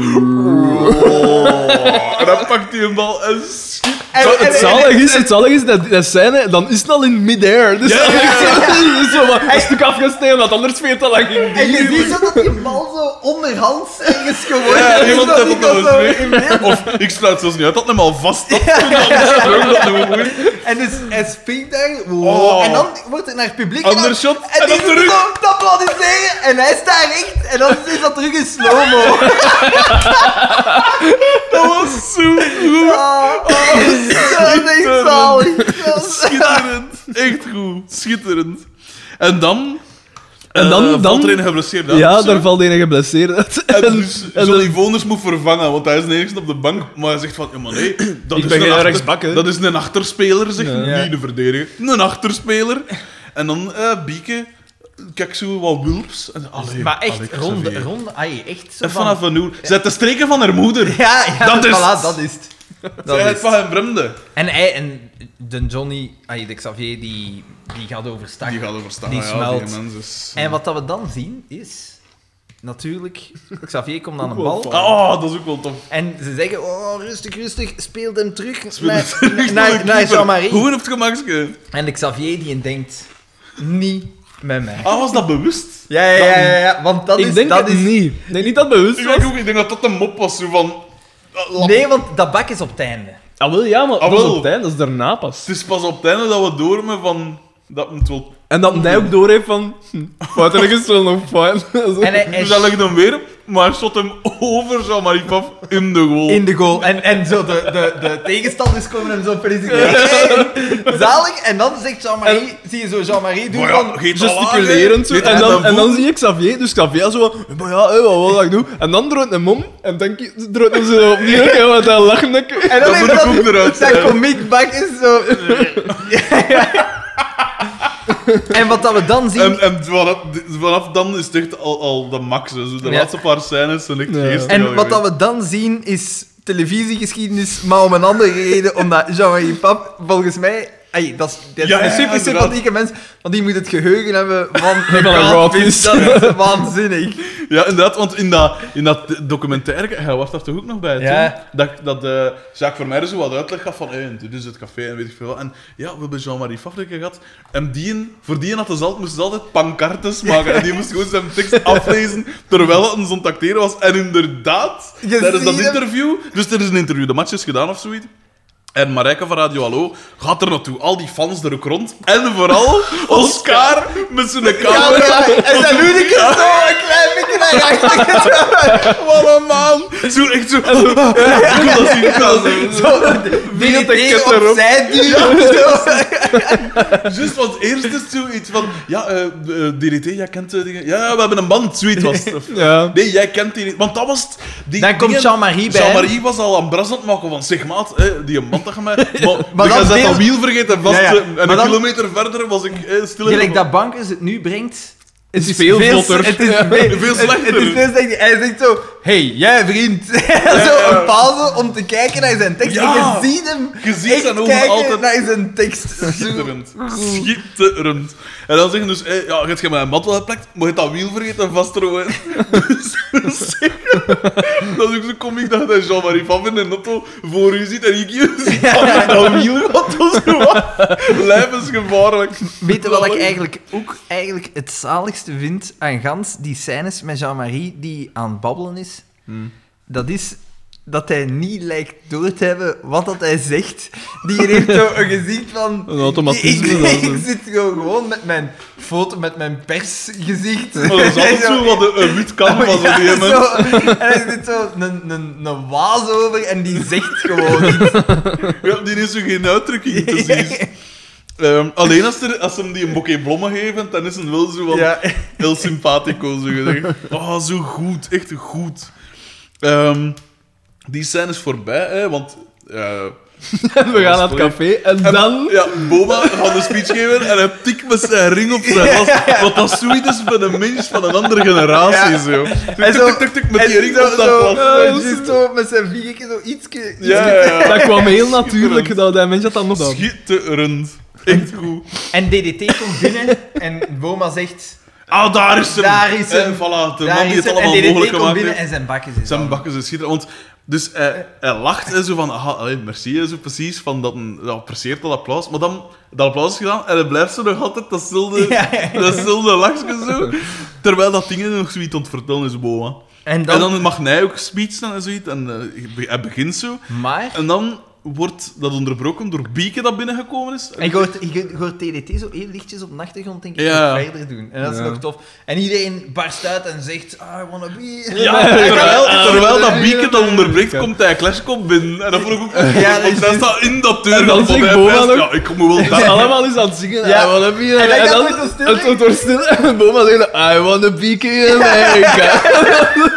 A: Oh. En dan pakt hij hem al en schiet.
C: En- en-
B: Het zalig is, het zalig is dat, dat scène, dan is het al in midair. Dus
A: Ja, ja,
B: dat is zo wat een stuk afgesneden, want anders vind je het al lang in
C: en je ziet zo dat die bal zo onderhands ergens geworden
A: Ja,
C: is.
A: iemand
C: dat
A: heeft
C: ik
A: het
C: dat zo
A: eens
C: in beeld
A: Of ik sluit zelfs niet uit dat hem al vast zat. Dat sprong, dat doen we goed.
C: En dus hij springt daar. wow.
A: Oh.
C: En dan wordt het naar het publiek.
A: Ander
C: gedaan.
A: shot, en
C: En, die
A: dan
C: doet
A: terug.
C: zo dat applaudisseren. En hij staat echt. En dan is dat terug in slow-mo.
A: Dat was zo goed.
C: Ah, ah, dat is echt
A: Oh. Schitterend.
C: zalig. Dat is-
A: Schitterend. Echt goed. Schitterend. En dan...
B: En dan-
A: eh, valt
B: dan-
A: er een geblesseerd uit
B: Ja,
A: of zo.
B: daar valt enige geblesseerd uit.
A: En,
B: En-
A: dus
B: en
A: Johnny Voners moet vervangen, want hij is nergens op de bank. Maar hij zegt van, ja maar nee, dat, is,
B: ben geen
A: een
B: rechtsbak, hè.
A: dat is een achterspeler, zegt hij.
C: Ja.
A: Niet een verdediger, een achterspeler. En dan eh Bieke, kijk zo wat wulps. En, allee,
C: Maar echt,
A: allee,
C: ronde,
A: Xavier.
C: ronde. Ai, echt zo
A: En
C: van-
A: vanaf een uur. Zet de streken van haar moeder.
C: Ja, ja
A: Dat is
C: voilà,
A: het.
C: dat is het. Dat
A: Zij
C: is
A: het van hem vreemde.
C: En, hij, en de Johnny, ay, de Xavier, die, die gaat overstappen.
A: Die gaat overstaan.
C: Ah, Die
A: ja,
C: smelt.
A: Die mens is...
C: En wat dat we dan zien is. Natuurlijk, Xavier komt aan de
D: wel
C: bal.
D: fout.
A: Ah, dat is ook wel tof.
C: En ze zeggen: Oh, rustig, rustig, speel hem terug. naar-
A: Terug
C: naar-
A: de
C: naar
A: keeper.
C: Jean-Marie.
A: Gewoon op het gemakje.
C: En de Xavier die denkt: Niet met mij.
A: Ah, was dat bewust?
C: Ja, ja, ja, ja, ja, want dat
B: Ik
C: is.
B: denk
C: dat
B: dat
C: is
B: niet. Ik denk niet dat het bewust
A: Ik
B: was.
A: denk, ook, ik denk dat dat een mop was, zo van... ah, lap.
C: Nee, want dat bak is op het einde.
B: Ah, wel, ja, maar
A: Ah,
B: dat is
A: wel.
B: op het einde, dat is daarna pas.
A: Het is pas op het einde dat we doormen van... Dat moet wel...
B: En
C: Hm.
B: dat hij ook doorheeft van... hm, Fout, er is wel nog fout.
C: En hij, hij
A: Dus dat legt hem weer op, maar hij shot hem over Jean-Marie Paf in de goal.
C: in de goal. En, en zo de, de, de tegenstanders komen hem zo feliciteren. Zalig. En dan zegt Jean-Marie, zie je zo Jean-Marie doen
A: Maar ja,
C: van...
A: geet al aan,
B: gesticulerend zo.
A: hè.
B: En dan, en
A: voel-
B: dan zie ik Xavier, dus Xavier zo van, maar ja, hé, wat wil ik doen? En dan draait hem om, en dan ki- draait hem zo opnieuw, en met dat lachen. dat ik-
C: En
A: Dat
C: dan
A: moet
C: heeft
A: ik ook eruit
C: dat
A: zetten.
C: komiek bak is zo... en wat dat we dan zien...
A: En, en vanaf, vanaf dan is het echt al, al de max. hè. Zo de
C: Ja.
A: laatste paar scènes zijn echt
B: Ja.
A: geestig. al
C: en wat dat
A: geweest.
C: we dan zien is televisiegeschiedenis, maar om een andere reden, omdat Jean-Marie Pap volgens mij... Ay, dat is, dat is
A: Ja,
C: een
A: ja,
C: super
A: inderdaad.
C: sympathieke mens, want die moet het geheugen hebben van...
B: Van een roodvis.
C: Dat is waanzinnig.
A: Ja, inderdaad, want in dat, in dat documentaire, hij was daar toch ook nog bij,
C: Ja.
A: toen, dat, dat eh Jacques Vermeijden zo wat uitleg gaf van, hey, dit is het café en weet ik veel wat. En ja, we hebben Jean-Marie Favrekke gehad, en die, voor die had ze altijd, moesten ze altijd pancartes maken, en die moest gewoon zijn tekst aflezen, terwijl het ons ontacteren was. En inderdaad,
C: Je
A: tijdens dat
C: ziet hem.
A: interview, dus er is een interview, de match is gedaan of zoiets, en Marijke van Radio Hallo gaat er naartoe. Al die fans er ook rond. En vooral Oscar met zijn camera.
C: En dan doe ik het zo een klein beetje naar achter. Wat een man.
A: Zo echt zo. Ik wil dat zien. ik wil dat zien.
C: Zo,
B: dat de
C: DDT
B: ketter op.
C: opzij duwen. Zo.
A: Juist, want eerst is het zoiets van... Ja, eh, eh, DDT, jij kent eh, dingen... Ja, ja, we hebben een band, zoiets was het. Of-
B: Ja.
A: Nee, jij kent die niet. Want dat was het. Die
C: Dan komt
A: dingen-
C: Jean-Marie bij
A: Jean-Marie was al aan bras aan het maken van... Zeg, maat, hè, die band tegen mij... Maar,
C: Maar
A: maar
C: dan
A: dan zet
C: deel-
A: dat wiel vergeten vast.
C: Ja, ja.
A: eh,
C: Maar
A: En een
C: dan-
A: kilometer verder was ik eh, stil. in de-
C: Gelijk dat bankers het nu brengt.
B: Het is veel vlotter.
C: Het is veel,
A: Veel
C: het, het
A: slechter.
C: is veel slechter. Hij zegt zo... Hey, jij vriend. zo een pauze om te kijken naar zijn tekst.
A: Ja.
C: En je ziet hem
A: Je ziet
C: echt
A: zijn ogen
C: kijken
A: altijd-
C: naar zijn tekst. Zo.
A: Schitterend.
C: Ah.
A: Schitterend. En dan zeggen dus, eh, ja, je hebt mijn mat wel geplakt, maar je hebt dat wiel vergeten vastroeien. dus, dat is ook zo komiek dat hij Jean-Marie Pap in een auto voor u ziet en ik je ziet dat dat wiel gaat dus gewoon. Lijf is gevaarlijk.
C: Weet je wat ik eigenlijk ook eigenlijk het zaligste vind aan Gans, die scènes met Jean-Marie die aan het babbelen is?
A: Hmm.
C: Dat is dat hij niet lijkt door te hebben wat dat hij zegt. Die heeft zo een gezicht van...
B: Een automatisme,
C: Ik,
B: dat
C: ik,
B: is het.
C: zit gewoon, gewoon met mijn foto, met mijn persgezicht.
A: Maar dat is altijd zo wat een, een wit kan van
C: Ja,
A: zo'n die mens.
C: zo. En hij zit zo een, een, een waas over en die zegt gewoon iets.
A: Ja, die is zo geen uitdrukking te zien. Ehm, alleen als, er, als ze hem die een bokje blommen geven, dan is het wel zo wat...
C: Ja.
A: Heel sympathico, zo gezegd. Oh, zo goed. Echt goed. Ehm, die scène is voorbij, hè, want... eh,
B: En we gaan naar het café, en dan...
A: ja, Boba gaat een speech geven en hij tikt met zijn ring op zijn was. Wat dat zoiets is van een mens van een andere generatie,
C: Ja.
A: zo. Tik,
C: En zo-
A: tik, tik, tik, met
C: en
A: die ring
C: zo-
A: op dat
C: zo-
A: was.
C: eh, juist zo met zijn vingertje zo ietsje...
A: Ja, ja, ja.
B: Dat kwam heel natuurlijk, dat dat mens had dat nog dan.
A: Schitterend. Echt goed.
C: En DDT komt binnen en Boma zegt...
A: Ah, daar is hem.
C: Daar is hem.
A: En voilà, de
C: daar
A: man die
C: is
A: het
C: hem.
A: allemaal
C: en DDT
A: mogelijk
C: komt
A: gemaakt
C: binnen
A: heeft.
C: en zijn bakken zijn.
A: Zijn
C: dan.
A: bakken zijn schitterend. Want dus hij, hij lacht en zo van, aha, allee, merci en zo precies, van dat, dat apprecieert dat applaus. Maar dan, dat applaus is gedaan en hij blijft zo nog altijd datzelfde,
C: Ja, ja,
A: datzelfde lachje zo. Terwijl dat ding nog zoiets aan het vertellen is, Boa.
C: En dan,
A: En dan mag hij ook speechen en zoiets en eh, hij begint zo.
C: Maar...
A: En dan wordt dat onderbroken door Bieke dat binnengekomen is.
C: En je hoort, je hoort TDT zo heel lichtjes op de achtergrond, denk ik,
A: Ja.
C: nog verder doen. En dat is
B: Ja.
C: nog tof. En iedereen barst uit en zegt, "Ah, I wanna be...
A: Ja, terwijl, terwijl dat Bieke dat onderbreekt, komt hij Clashcom binnen. En dan vroeg ik ook,
C: Ja,
A: ja,
C: dat is-
A: dat staat in dat deur.
B: En dan
A: dat
B: zegt
A: hij
B: Boba
A: wijst,
B: nog-
A: Ja, ik kom wel
B: Dat
A: daar.
B: allemaal is aan het zingen. Ah,
C: Ja.
B: I wanna be in
C: En dan
B: America.
C: gaat het zo stil
B: het- het wordt stil. En Boma zegt, I wanna be in America.
A: Dat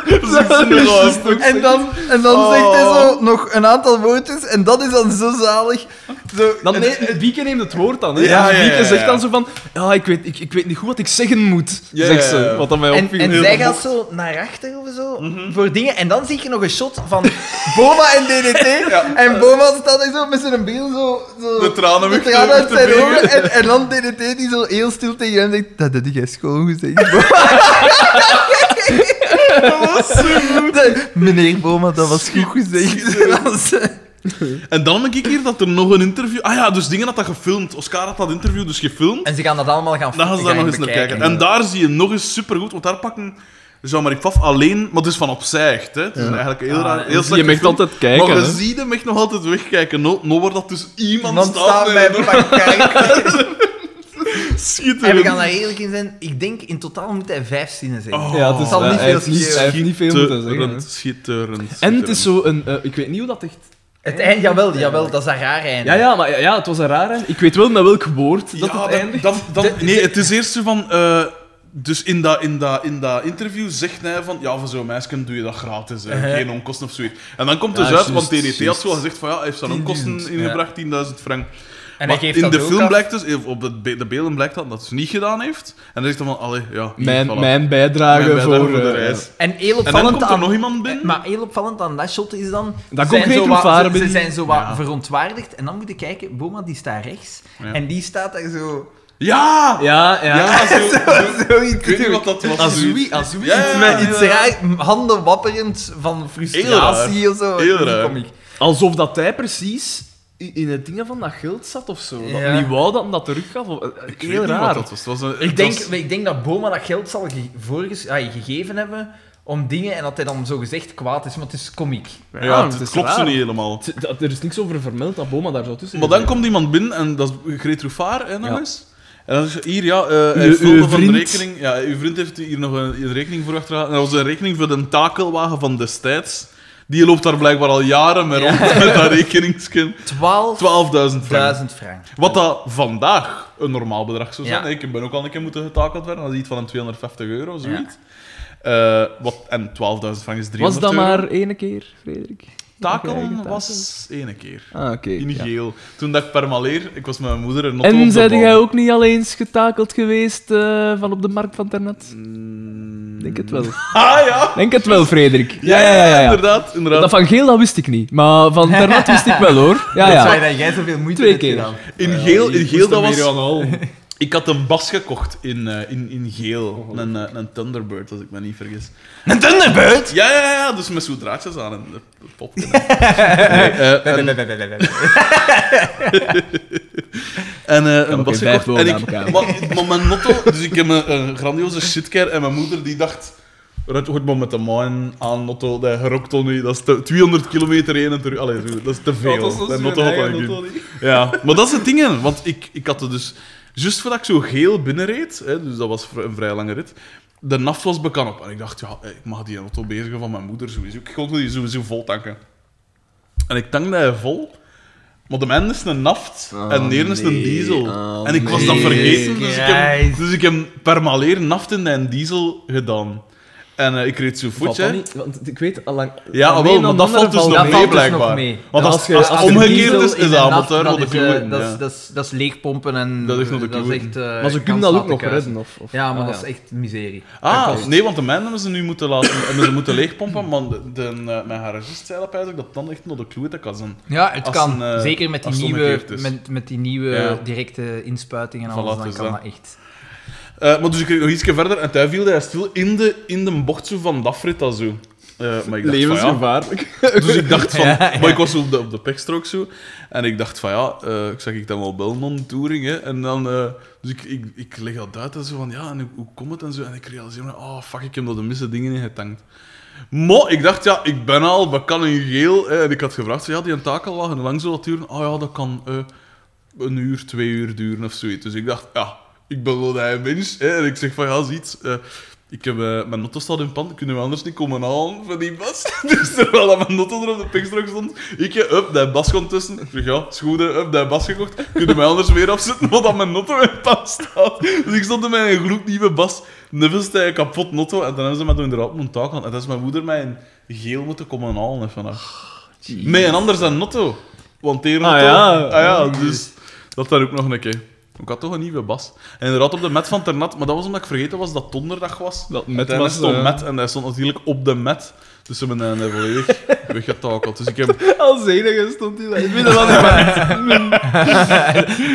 A: is een
B: Dat is
A: raar
B: een stuk
C: En dan, en dan
A: Oh.
C: zegt hij zo nog een aantal woordjes en dan dat is dan zo zalig. Zo,
B: Dan neemt- Bieke neemt het woord dan. Hè?
A: Ja,
B: dus
A: ja, ja,
B: Bieke zegt
A: ja.
B: dan zo van... Ja, ik weet, ik, ik weet niet goed wat ik zeggen moet.
A: Ja,
B: zegt
A: ja, ja.
B: ze. Wat dan mij
C: En,
B: opviel.
C: en
B: Heel
C: zij
B: goed.
C: gaat zo naar achter of zo
A: Mhm.
C: voor dingen. En dan zie ik nog een shot van Boma en DDT. En Boma staat daar zo met zijn bril zo, zo
A: De tranen weg
C: de
A: te-
C: tranen uit
A: te
C: zijn
A: vegen.
C: ogen. En, en dan DDT die zo heel stil tegen hem zegt: Dat heb jij schoongezegd, Boma. De- Meneer Boma, dat was goed gezegd. En dan ze-
A: En dan ben ik hier dat er nog een interview... Ah ja, dus dingen had dat gefilmd. Oscar had dat interview dus gefilmd.
C: En ze gaan dat allemaal gaan
A: Dan gaan ze daar nog eens naar kijken. En daar zie je nog eens supergoed, want daar pakken Jean-Marie Pfaff alleen, maar het is van opzij echt. Hè. Het is eigenlijk een heel raar. Heel
B: Ah, Dus Je mag
A: altijd
B: altijd kijken.
A: Maar we
B: hè.
A: zien hem echt nog altijd wegkijken. Nou, nou wordt dat dus iemand,
C: Dan
A: staat
C: staan wij
A: met
C: van kijken. En we
A: schitterend.
C: gaan daar eerlijk in zijn. Ik denk in totaal moet hij vijf zinnen zijn.
A: Oh,
B: Ja, het is
C: zal
B: wel-
C: niet
B: hij
C: veel
B: heeft niet-
C: schelen.
B: Hij heeft niet veel moeten zeggen. hè.
A: Schitterend, schitterend.
B: En het is zo een... eh, ik weet niet hoe dat echt...
C: Het eind, jawel, jawel, dat is een raar einde.
B: Ja, ja, maar ja, ja, het was een raar einde. Ik weet wel met welk woord dat
A: Ja,
B: het
A: dat-
B: eindigt.
A: dat- dat- nee, het is eerst zo van... eh, dus in dat, in, dat, in dat interview zegt hij van... Ja, voor zo'n meisje doe je dat gratis. hè. Geen onkosten of zoiets. En dan komt
B: Ja,
A: dus uit,
B: juist,
A: want TDT had
B: juist.
A: zo gezegd van... Ja, hij heeft zijn onkosten
C: 10.000,
A: ingebracht, 10.000 frank.
C: En
A: Maar
C: hij geeft
A: in
C: dat
A: de
C: ook
A: film
C: af.
A: blijkt dus, of op de, be- de beelden blijkt dat, dat ze het niet gedaan heeft. En dan zegt hij van, allee, ja, hier,
B: Mijn,
A: voilà.
B: mijn bijdrage
A: Mijn bijdrage
B: voor...
A: voor de
B: eh,
A: reis.
C: En heel
A: En dan
C: opvallend
A: komt er
C: aan...
A: nog iemand binnen.
C: Maar heel opvallend aan dat shot is dan...
B: Dat
C: zijn
B: concreet
C: zo
B: hoe
C: wat,
B: varen
C: ze, ze
B: binnen-
C: zijn zo wat
A: Ja.
C: verontwaardigd. En dan moet je kijken, Boma die staat rechts.
A: Ja.
C: En die staat daar zo...
A: Ja!
B: Ja, ja.
A: Ja, zo,
C: Zoiets
A: ik weet niet wat dat was.
C: Azoui, azoui.
A: Ja, ja,
C: Met
A: ja,
C: iets
A: ja.
C: raar, handen wapperend van
A: Heel
C: frustratie of zo.
A: Heel
C: Dat is
A: raar.
C: komiek.
B: Alsof dat hij precies i- in het dingen van dat geld zat of zo. Dat
C: Ja.
B: niet wou dat hem dat teruggaf. Of- eh,
A: Ik weet
B: Heel
A: niet wat
B: raar.
A: dat was. Het was een-
C: Ik
A: het
C: denk,
A: was-
C: ik denk dat Boma dat geld zal ge- voorges- ah, gegeven hebben om dingen en dat hij dan zo gezegd kwaad is, maar het is komiek.
A: Ja,
B: Ja,
A: het,
B: het is
A: klopt zo
B: raar.
A: niet helemaal.
B: Het- dat- Er is niks over vermeld dat Boma daar zo tussen
A: Maar dan
B: gezeten
A: komt iemand binnen, en dat is Greet Rouffard, hè, nog
B: Ja.
A: eens. En dan zegt ze, hier, ja, eh hij
B: Uw-
A: vulde
B: uw
A: van de
B: vriend.
A: rekening... Ja, uw vriend heeft hier nog een, een rekening voor achtergehaald. En dat was een rekening voor de takelwagen van destijds. Die loopt daar blijkbaar al jaren mee rond, met dat rekeningskin. 12.000
C: 12.000
A: frank.
C: frank.
A: Wat dat vandaag een normaal bedrag zou zijn.
C: Ja.
A: Ik ben ook al een keer moeten getakeld worden. Dat is iets van een 250 euro, zoiets. Eh, wat, en 12.000 frank is 300
B: Was dat
A: euro.
B: maar ene keer, Frederik?
A: Takel
B: Eigen takel.
A: was ene keer.
B: Ah, oké.
A: In
B: ja.
A: geel. Toen dat ik permaleer, ik was met mijn moeder een
B: En zijn jij ook niet al eens getakeld geweest eh, van op de markt van Ternat? Denk het wel.
A: Ah ja!
B: Denk het wel, Frederik.
A: Mm. Ja, ja, ja, inderdaad. inderdaad.
B: Dat van Geel, dat wist ik niet. Maar van Ternat wist ik wel, hoor. Ja,
C: Dat
B: ja.
C: zei dat jij zoveel moeite
B: Twee
C: hebt
B: keer.
C: gedaan.
A: In geel, in geel dat was... Ik had een bas gekocht in, eh, in, in geel. een, eh, een Thunderbird, als ik me niet vergis.
C: Een Thunderbird?
A: Ja, ja, ja, dus met zo'n draadjes aan en eh, pop. Nee, eh, en en eh, een
B: oké,
A: bas
B: vijf
A: gekocht. En
B: woorden
A: ik,
B: aan elkaar.
A: maar, maar mijn notto... Dus ik heb een, een grandioze shitcare en mijn moeder die dacht... Ruud, goed maar met de man aan notto, dat rookt al niet. Dat is te- 200 kilometer heen en terug. Allee, zo, dat is te veel. Dat notto had dat niet. Ja, maar dat is het ding, hè. want ik, ik had het dus... Juist voordat ik zo geel binnenreed, hè, dus dat was vri- een vrij lange rit, de naft was bekan op. En ik dacht, ja, eh, ik mag die auto bezigen van mijn moeder sowieso. Ik kon die sowieso vol tanken. En ik tankte hij vol, maar de mijn is een naft en de ene is een
B: nee.
A: diesel.
B: Oh,
A: en ik was dat
C: nee.
A: vergeten, dus ik heb,
C: Christ.
A: dus ik heb permaleer naft in en diesel gedaan. En eh, ik reed zo
B: Valt
A: voetje.
B: dat niet? Want ik weet, allang...
A: Ja,
B: alleen
A: wel, maar
B: een
A: dat valt
B: andere
A: dus
B: valt
A: nog
B: mee.
A: mee,
C: valt dus nog
A: blijkbaar.
C: mee.
A: Want
B: Ja,
A: als,
B: als je-
A: als
B: als
A: het
B: je
A: omgekeerd
C: diesel
A: is,
C: in
A: is
C: een
A: dat
C: nacht,
A: wat
C: dat
A: de
C: is, eh,
A: kloeien,
C: Dat
A: ja.
C: is- dat is- dat is leegpompen en...
A: Dat is nog de
C: dat is
A: kloeien.
C: echt, eh,
B: Maar ze kunnen
C: kans
B: dat ook
C: laten
B: nog
C: kuisen.
B: redden, of... of-
C: Ja, maar
B: ah,
C: dat is echt miserie.
A: Ah, nee, want de mijnen hebben ze nu moeten laten hebben ze moeten leegpompen, maar de, de, eh, mijn garagist zei dat eigenlijk dat dan echt nog de kloe dat kan zijn.
C: Ja, het
A: Als
C: kan.
A: een, eh,
C: Zeker met die
A: als het
C: nieuwe,
A: omgekeerd is.
C: met, met die nieuwe
A: Ja.
C: directe inspuitingen en
A: Voilà,
C: alles, dan
A: dus
C: kan
A: dat.
C: dat echt.
A: Eh, maar dus ik reed nog ietsje verder en toen viel hij stil in de, in de bocht zo van Dafrit dat zo. Eh, maar ik dacht van, ja.
B: Levensgevaarlijk.
A: Dus ik dacht van... Maar ik was zo op de, op de pekstrook zo. En ik dacht van, ja, eh, ik zag ik dan wel bellen om touring, hè. En dan... eh, dus ik, ik, ik leg dat uit en zo van, ja, en hoe, hoe komt het en zo. En ik realiseer me, oh, fuck, ik heb dat de misse dingen ingetankt. Maar ik dacht, ja, ik ben al bekan in geel. Hè, en ik had gevraagd, van, ja, die een takellagen, lang zal dat duren? Oh ja, dat kan eh, een uur, twee uur duren of zoiets. Dus ik dacht, ja, ik ben wel een mens. Hè, en ik zeg van, ja, ziet... eh ik heb, eh, mijn notto staat in pan, kunnen we anders niet komen halen van die bas? dus terwijl dat mijn notto er op de pikstrook stond, ik, eh, up, die bas komt tussen. Ik zeg, ja, schoenen, up, die bas gekocht. Kunnen we anders weer afzetten, want dat mijn notto in pan staat. Dus ik stond er met een gloednieuwe bas, nevels een kapot notto, en dan hebben ze mij toen inderdaad op mijn taak gehad. En dat is mijn moeder mij in geel moeten komen halen vandaag. Nee, en anders dan notto. Want eerder
D: Oh, Ah,
A: toch-
D: ja. Oh,
A: Ah ja, dus dat daar ook nog een keer. Ik had toch een nieuwe bas. En inderdaad op de met van Ternat, maar dat was omdat ik vergeten was dat het donderdag was.
D: Dat
A: Met
D: met
A: en hij
D: was...
A: stond
D: eh,
A: met en hij stond natuurlijk op de met. Dus ze hebben hem volledig weggetakeld. Dus ik heb...
D: Als enige stond hij daar in het midden van de band.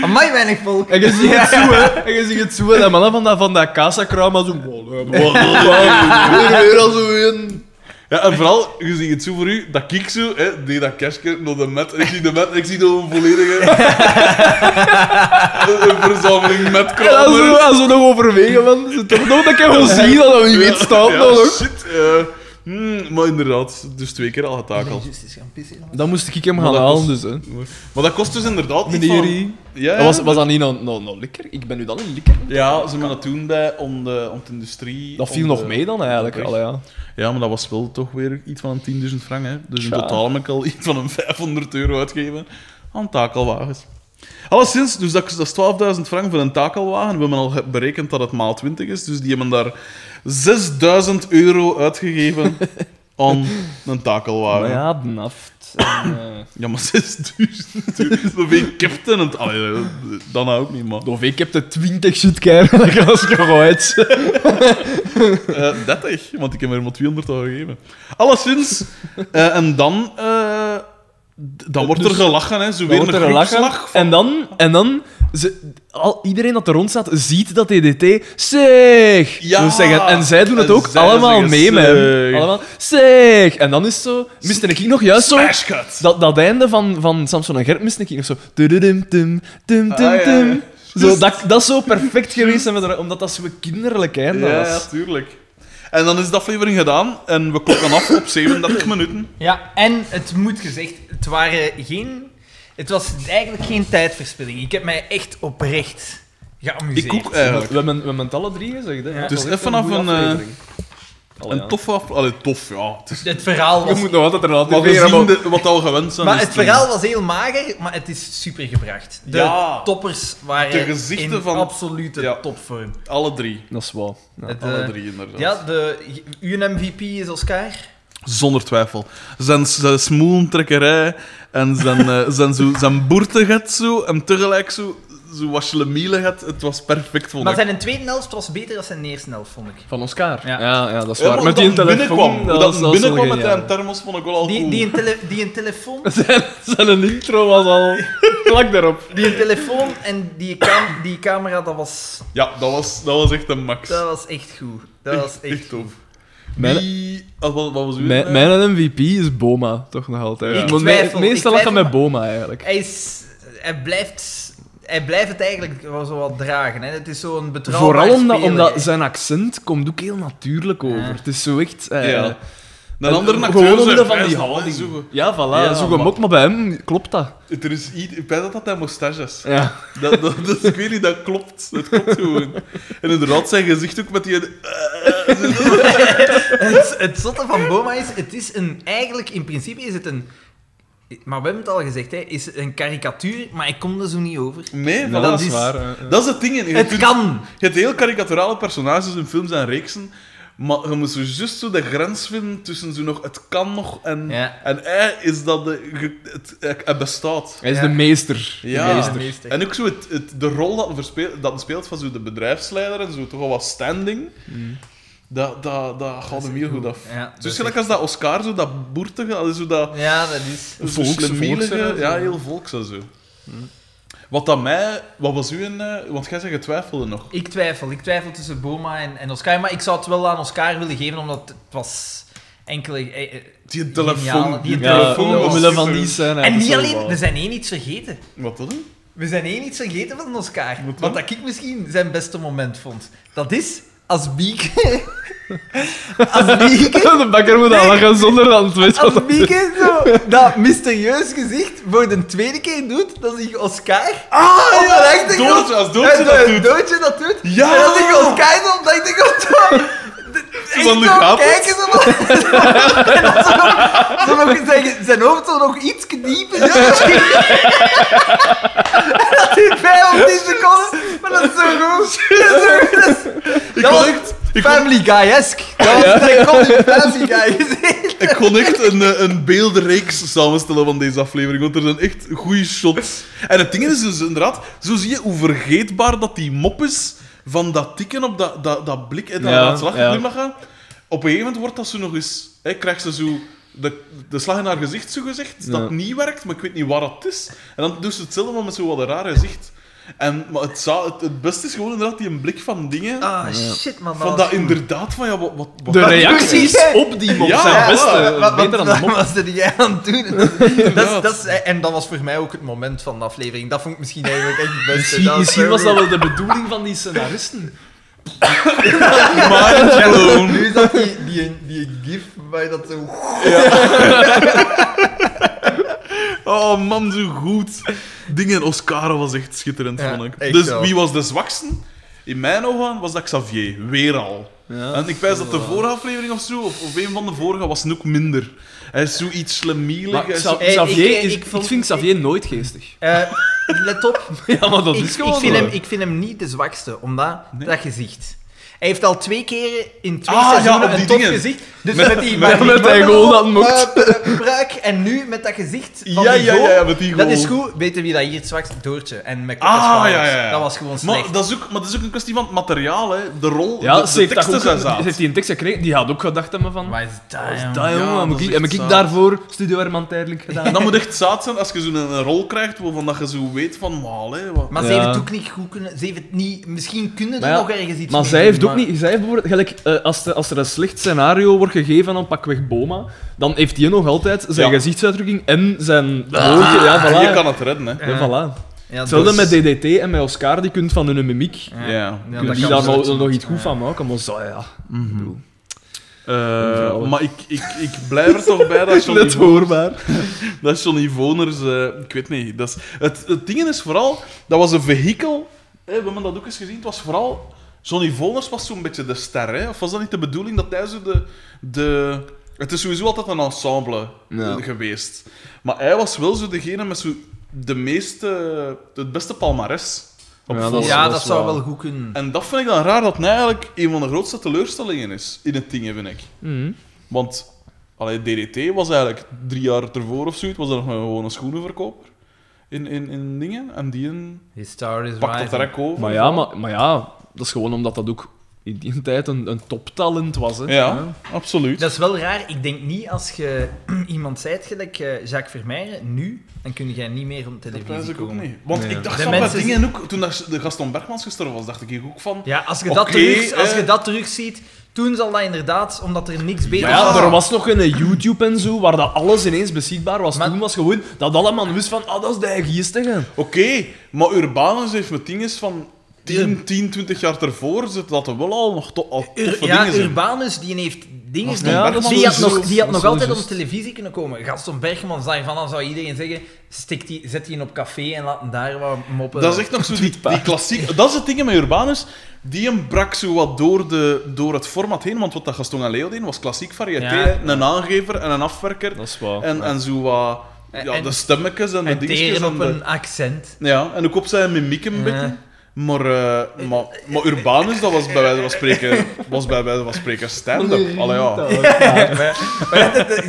C: Amai, weinig volk.
D: En je ziet het zo, hè. En je ziet het zo, hè. Dat mannen van dat, van dat kassa-kraam, maar zo... "Wow, hè,
B: Weer, weer al zo een...
A: Ja, en vooral, je ziet het zo voor u, dat ik zo, hè, deed dat kerstje naar de met. En ik zie de met en ik zie door een volledige... een- een verzameling met
D: En dan
A: krabbers.
D: zo, als we nog overwegen, man. Ze toch nog een keer wel zien dat we weet staat
A: ja,
D: nog. hoor.
A: Shit, eh, hmm, maar inderdaad, dus twee keer al getakeld.
B: Dan moest ik hem
A: Maar
B: gaan
A: dat
B: halen,
A: was-
B: dus. Hè.
A: Maar dat kost dus inderdaad niet
B: Meneer
A: van-
B: I.
A: Ja, ja.
B: Was, was dat niet nou, nou, nou likker? Ik ben nu dan in likker.
A: ja, ze hebben dat toen bij om de, om de industrie.
B: Dat viel
A: om
B: nog
A: de- Ah,
B: mee dan eigenlijk.
A: Oké.
B: Allee, ja.
A: Ja, maar dat was wel toch weer iets van een 10.000 frank. Hè? Dus in
B: Tja.
A: totaal heb ik al iets van een 500 euro uitgegeven aan takelwagens. Alleszins, dus dat, dat is 12.000 frank voor een takelwagen. We hebben al ge- berekend dat het maal 20 is. Dus die hebben daar 6.000 euro uitgegeven aan een takelwagen.
B: Maar ja, de naft. en, eh,
A: Ja, maar 6000 euro. Ik captain. En, allee, eh, dan ook niet, maar.
B: Of ik heb de 20 shitkeer dat ik was gegooid.
A: Eh 30, want ik heb er maar 200 al gegeven. Alleszins. eh, en dan. eh, d- dan wordt er
B: Dus-
A: gelachen, hè? Zo
B: Dan
A: weer
B: wordt
A: een
B: er gelachen.
A: groepslag.
B: En dan, en dan ze, al, iedereen dat er rond staat, ziet dat DDT. Zeg!
A: Ja!
B: wil zeggen. En zij doen het
A: En
B: ook
A: zij
B: allemaal
A: zeggen
B: mee met hem.
A: zeg.
B: Allemaal, zeg! En dan is het zo. Miste ik nog juist zo.
A: Smash cut.
B: Dat, dat einde van, van Samson en Gert miste ik nog zo. Tududum, tum, tum, tum,
A: Ah, ja,
B: tum.
A: ja.
B: Zo, dat, dat is zo perfect geweest, en we er- omdat dat zo kinderlijk einde
A: Ja, ja,
B: was.
A: tuurlijk. En dan is de aflevering gedaan en we klokken af op 37 minuten.
C: Ja, en het moet gezegd, het waren geen... Het was eigenlijk geen tijdverspilling. Ik heb mij echt oprecht geamuseerd.
A: Ik ook
B: We hebben-
A: eigenlijk.
B: we hebben we hebben het alle drie gezegd. Hè.
C: Ja.
B: Het
A: Dus
B: was echt
A: even af
B: goeie
A: een, eh,
B: aflevering. Allee, ja.
A: Een toffe aflevering. Allee, tof, ja. Het is...
C: Het verhaal was...
B: Je moet nog altijd er altijd
A: Maar we
B: weer
A: zien de- wat al gewend zijn.
C: Maar
A: is
C: het verhaal was heel mager, maar het is super gebracht. De
A: Ja.
C: toppers waren
A: De gezichten
C: in
A: van-
C: absolute
A: Ja.
C: topvorm.
A: Alle drie.
B: Dat is wel. Ja.
C: Het,
A: Alle
C: eh,
A: drie, inderdaad.
C: ja, de UNMVP is Oscar.
A: Zonder twijfel. Zijn, zijn smoelentrekkerij en zijn, eh, zijn, zo, zijn boertegat zo en tegelijk zo, zo was gaat. Het was perfect, vond
C: Maar
A: ik.
C: zijn tweede helft was beter dan zijn eerste helft, vond ik.
B: Van Oscar.
C: Ja.
B: Ja, ja, dat is
A: Ja,
B: waar.
A: maar
B: Met
A: hoe
B: die
A: dat
B: telefoon.
A: binnenkwam,
B: dat
A: dat
B: was-
A: dat
B: dat was
A: binnenkwam
B: wel
A: met
B: geniaal.
A: een thermos vond ik wel al
C: Die,
A: cool.
C: die, een, tele, die een telefoon...
B: Zijn een intro was al vlak daarop.
C: Die een telefoon en die, cam- die camera, dat was,
A: Ja, dat was, dat was echt een max.
C: dat was echt goed. Dat was echt,
A: tof.
B: Mijn-
A: Wie... ah, wat, wat was uw
B: Mijn, mijn MVP is Boma, toch nog altijd.
C: Ik
B: Want me-
C: twijfel, ik
B: meestal lachen
C: twijfel,
B: met Boma eigenlijk.
C: Hij, is, hij, blijft, hij blijft het eigenlijk wel zo wat dragen. Hè. Het is zo'n betrouwbaar
B: Vooral omdat,
C: speler, hè.
B: omdat zijn accent komt ook heel natuurlijk over. Het is zo echt. eh,
A: Ja. Een
B: en-
A: andere acteur
B: gewoon
A: zei,
B: omwille van
A: "Wij
B: die
A: zijn
B: houding."
A: wel eens zo-
B: Ja, voilà.
A: Ja,
B: zo
A: maar-
B: gemok, maar bij hem klopt dat.
A: Het- Er is iets... Ik weet dat dat hij moustache is.
B: Ja.
A: Dat, dat, dat- ik weet niet, dat klopt. Dat klopt gewoon. En inderdaad, zijn gezicht ook met die...
C: Het, het zotte van Boma is, het is een, eigenlijk in principe is het een, maar we hebben het al gezegd, hè, is een karikatuur, maar ik kom er zo niet over.
A: Nee,
B: Nou,
A: voilà.
B: dat is
C: is-
B: waar. eh, eh.
A: Dat is het ding. hè. Je
C: Het
A: kunt-
C: kan.
A: Je hebt heel karikaturale personages in films en reeksen, maar je moet zo juist zo de grens vinden tussen zo nog het kan nog en,
C: Ja.
A: en hij is dat de, ge- het, het bestaat.
B: Hij is
C: Ja.
B: de meester.
A: Ja.
C: Meester, meester.
A: En ook zo het, het, de rol dat hij speelt, dat hij speelt van zo de bedrijfsleider en zo toch al wat standing.
B: Mm.
A: Dat, dat, dat gaat hem heel goed af.
C: Ja, dat
A: dus
C: is
A: gelijk als dat Oscar, zo dat boertige, dat is zo dat
C: Ja, dat is.
A: zo
B: Volks-
A: slemielige,
B: volks-
A: eh, ja, heel volks en zo. Hm. Wat dat mij, wat was u een, eh, want jij zei je twijfelde nog.
C: Ik twijfel, ik twijfel tussen Boma en, en Oscar, maar ik zou het wel aan Oscar willen geven, omdat het was enkele... eh, eh,
A: Die telefoon.
C: Geniale- die
B: Ja,
C: telefoon was
B: omwille van
A: super.
B: die scène.
C: en
B: dat is
C: niet
B: wel
C: alleen,
B: waar.
C: we zijn één iets vergeten.
A: Wat dan?
C: We zijn één iets vergeten van Oscar.
A: Wat dan?
C: Wat dat ik misschien zijn beste moment vond. Dat is als Bieke. als Bieke.
B: de bakker moet al lachen zonder dat het weet wat
C: Als Bieke zo dat mysterieus gezicht voor de tweede keer doet, dan zie je Oscar. Ah, ja,
A: Doortje, als Doortje dat doet.
C: Doortje dat doet.
A: Ja!
C: En dan zie je Oscar zo op dat ik denk oh, de- echt
A: van de
C: zo
A: gapers.
C: kijken zo nog. En dan zo nog- zo nog zijn, zijn hoofd zo nog iets dieper. Ja, dat is- En dat duurt vijf of tien seconden, maar dat is zo goed. Dat is zo goed. Dat is-
A: Ik
C: Dat
A: was
C: was-
A: echt... Ik kon,
C: Family Guy-esque. Dat was de comedy Family Guy.
A: ik kon echt een, eh, een beeldenreeks samenstellen van deze aflevering, want er zijn echt goede shots. En het ding is dus inderdaad, zo zie je hoe vergeetbaar dat die mop is van dat tikken op dat, dat, dat blik en dat,
B: Ja,
A: dat slag-
B: ja.
A: glimlachen. Op een gegeven moment wordt dat zo nog eens... Hè, krijgt ze zo de, de slag in haar gezicht, zo gezegd, dat
B: Ja.
A: niet werkt, maar ik weet niet waar dat is. En dan doet ze hetzelfde, maar met zo wat een raar gezicht. En, maar het, zou, het, het beste is gewoon inderdaad die een blik van dingen...
C: Ah, shit, man.
A: Van dat inderdaad van ja, wat. wat, wat-
B: De
A: wat-
B: reacties op die mop
A: Ja,
B: zijn
A: ja,
B: best eh,
A: wat-
B: beter dan de
C: dat
B: mop.
C: was er jij aan het doen. Dat is- dat is,
A: Inderdaad.
C: dat is, en dat was voor mij ook het moment van de aflevering. Dat vond ik misschien eigenlijk echt het beste.
B: Misschien,
C: Dat
B: misschien was dat
C: zo-
B: wel de bedoeling van die scenaristen.
A: Mind blown.
C: Oh, Nu is dat die, die, die gif bij dat zo...
A: Oh man, zo goed. Dingen, Oscar was echt schitterend,
C: Ja,
A: vond ik.
C: echt
A: Dus
C: wel.
A: wie was de zwakste? In mijn ogen was dat Xavier, weer al. En ik wijs dat de vorige aflevering of zo, of, of een van de vorige, was nog minder. Hij is zoiets slemielig.
B: Maar
A: hij is
B: Xa-
A: zo-
C: Hey,
B: Xavier
C: ik-
B: is,
C: ik
B: ik,
C: vond-
B: vind Xavier nooit geestig.
C: Eh, let op.
B: Ja, maar dat
C: ik,
B: is gewoon
C: ik, vind
B: zo.
C: hem, ik vind hem niet de zwakste, omdat
A: Nee.
C: dat gezicht. Hij heeft al twee keren in twee
A: Ah, ja,
C: seizoenen
A: op die
C: een top
A: dingen.
C: gezicht. Dus met, die
B: met-
C: die
B: met hij gewoon dat
C: mannen op,
B: mocht.
C: eh, eh, pruik, en nu met dat gezicht van
A: Ja,
C: die
A: ja,
C: goal.
A: ja, met die
C: Dat
A: goal.
C: is goed. Weet je wie dat hier het zwakste? Doortje. En met
A: Ah,
C: Koppers
A: ja, ja, ja.
C: Dat was gewoon slecht.
A: maar, dat is ook, maar dat is ook een kwestie van het materiaal, hè. de rol,
B: Ja,
A: de,
B: ze
A: de
B: heeft, dat
A: teksten
B: ook-
A: zijn
B: ze
A: zaad.
B: heeft die een tekst gekregen, die had ook gedacht hebben van...
C: Maar is dat,
B: "Wat
C: jongen?
B: is dat,
A: dat
B: jongen? heb
A: is
B: ik,
A: echt
B: heb ik
A: zaad.
B: daarvoor Studio Herman tijdelijk gedaan?
A: En dat moet echt zaad zijn als je zo'n eh, een rol krijgt waarvan dat je zo weet van, maal, hè, wat...
C: Maar ze heeft
B: Ja.
C: het ook niet goed kunnen. Ze heeft het niet, misschien kunnen
B: Maar
C: er
B: ja,
C: nog ergens iets
B: Maar
C: mee
B: zij
C: doen,
B: heeft ook niet... Zij heeft bijvoorbeeld, gelijk, eh, als, de- als er een slecht scenario wordt gegeven aan pakweg Boma, dan heeft hij nog altijd zijn
A: Ja.
B: gezichtsuitdrukking en zijn woordje. Ja, voilà.
A: Je Ah, kan het redden, hè.
B: Ja, voilà.
C: Ja,
B: Hetzelfde
C: dus-
B: met DDT en met Oscar, die kunt van hun mimiek...
C: Ja.
A: Ja.
C: Ja,
B: kun
C: dat
B: je
C: kan
B: daar
C: ze
B: nog,
C: uitzien.
B: nog iets goed
C: Ja.
B: van maken, maar zo, ja. Ik bedoel,
A: Eh,
B: Vrouwen.
A: maar ik, ik, ik blijf er toch bij dat Johnny,
B: Net
A: Vo-
B: hoorbaar.
A: dat Johnny Voners... eh, ik weet niet. Dat is, het, het ding is vooral... Dat was een vehikel. Hè, we hebben dat ook eens gezien. Het was vooral... Johnny Voners was zo'n beetje de ster. Hè? Of was dat niet de bedoeling dat hij zo de... de het is sowieso altijd een ensemble
B: Ja.
A: eh, geweest. Maar hij was wel zo degene met zo de meeste... Het beste palmares. Op
B: Ja, dat
A: voorhand.
B: is-
C: Ja,
B: dat
C: dat
B: is
C: zou
B: wel-
C: wel goed kunnen.
A: En dat vind ik dan raar dat hij eigenlijk een van de grootste teleurstellingen is in het ding, vind ik.
B: Mhm.
A: Want allee, DDT was eigenlijk drie jaar ervoor of zoiets, was er nog maar gewoon een schoenenverkoper in, in, in dingen. En die een
C: His star is
A: pakt dat
C: rising.
A: direct over.
B: Maar ja, maar, maar ja, dat is gewoon omdat dat ook in die tijd een, een toptalent was. Hè.
A: Ja, absoluut.
C: Dat is wel raar. Ik denk niet als je iemand zijt, gelijk eh, Jacques Vermeijeren, nu, dan kun jij niet meer om
A: Dat pijs
C: televisie
A: ik ook
C: komen.
A: niet. Want
B: Nee.
A: ik dacht
C: De
A: van bij
C: mensen-
A: dingen ook, toen dat de Gaston Bergmans gestorven was, dacht ik hier ook van...
C: Ja, als je, dat
A: Oké,
C: terug, als
A: eh.
C: je dat terugziet, toen zal dat inderdaad, omdat er niks beter
B: Maar
A: Ja.
B: ja, er was nog een eh, YouTube en zo, waar dat alles ineens beschikbaar was.
C: Maar-
B: Toen was gewoon dat allemaal wist van, ah, dat is de geestige.
A: Oké, maar Urbanus heeft met dingen van 10, 10, 20 jaar ervoor, zit dat er wel al nog to al
C: Ur-
A: toffe
C: ja,
A: dingen zijn.
C: Urbanus, die heeft dingen...
A: Gaston
C: die-
B: Ja, dat
A: Bergmans
B: is
C: die had
B: sowieso-
C: nog, die had
B: dat
C: nog
B: is
C: altijd op
B: sowieso.
C: televisie kunnen komen. Gaston Bergman zei van, dan zou iedereen zeggen, stik die, zet die in op café en laat hem daar wat moppen.
A: Dat is echt nog zo die, die klassiek. Dat is het ding met Urbanus. Die hem brak zo wat door, de, door het format heen. Want wat dat Gaston en Leo deden was klassiek variété.
C: Ja.
A: hè. Een aangever en een afwerker.
B: Dat is waar.
A: En, en zo wat.
C: En-
A: Ja,
C: en-
A: de stemmetjes en de
C: en
A: dingetjes.
C: teren
A: En
C: op
A: de-
C: een accent.
A: ja, en ook op zijn mimiek een
C: Ja.
A: beetje. Maar, eh, maar, maar Urbanus, dat was bij wijze van spreken, was bij wijze van spreken stand-up. Allee, ja.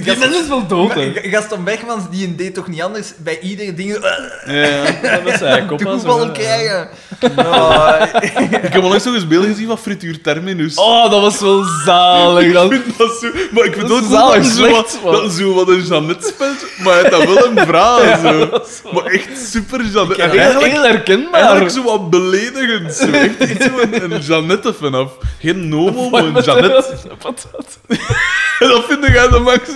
B: Die zijn dus wel dood, hè.
C: Ga- Gaston Bergmans, die deed toch niet anders? Bij iedere ding...
A: Ja.
B: Dat is eigenlijk op, hè, zo,
C: Koepel
B: hè.
C: krijgen. Nou,
A: Ik heb onlangs nog eens beelden gezien van Frituur Terminus.
B: Oh, dat was wel zalig.
A: Ik
B: Dat...
A: vind dat zo... Maar ik vind
B: Dat
A: ook
B: is
A: wel dat
B: zalig
A: hij zo
B: slecht,
A: wat,
B: man.
A: dat hij zo wat een Jeannette speelt, maar hij heeft dat wel een verhaal. zo. Maar echt super Jeannette. En
B: Heel,
A: eigenlijk,
B: heel herkenbaar.
A: eigenlijk zo wat beledigend. Zo. Echt, echt zo een, een Jeannette vanaf. Geen Nomo, maar een
B: Met de-
A: Jeannette.
B: patat.
A: En dat vind ik aan de max.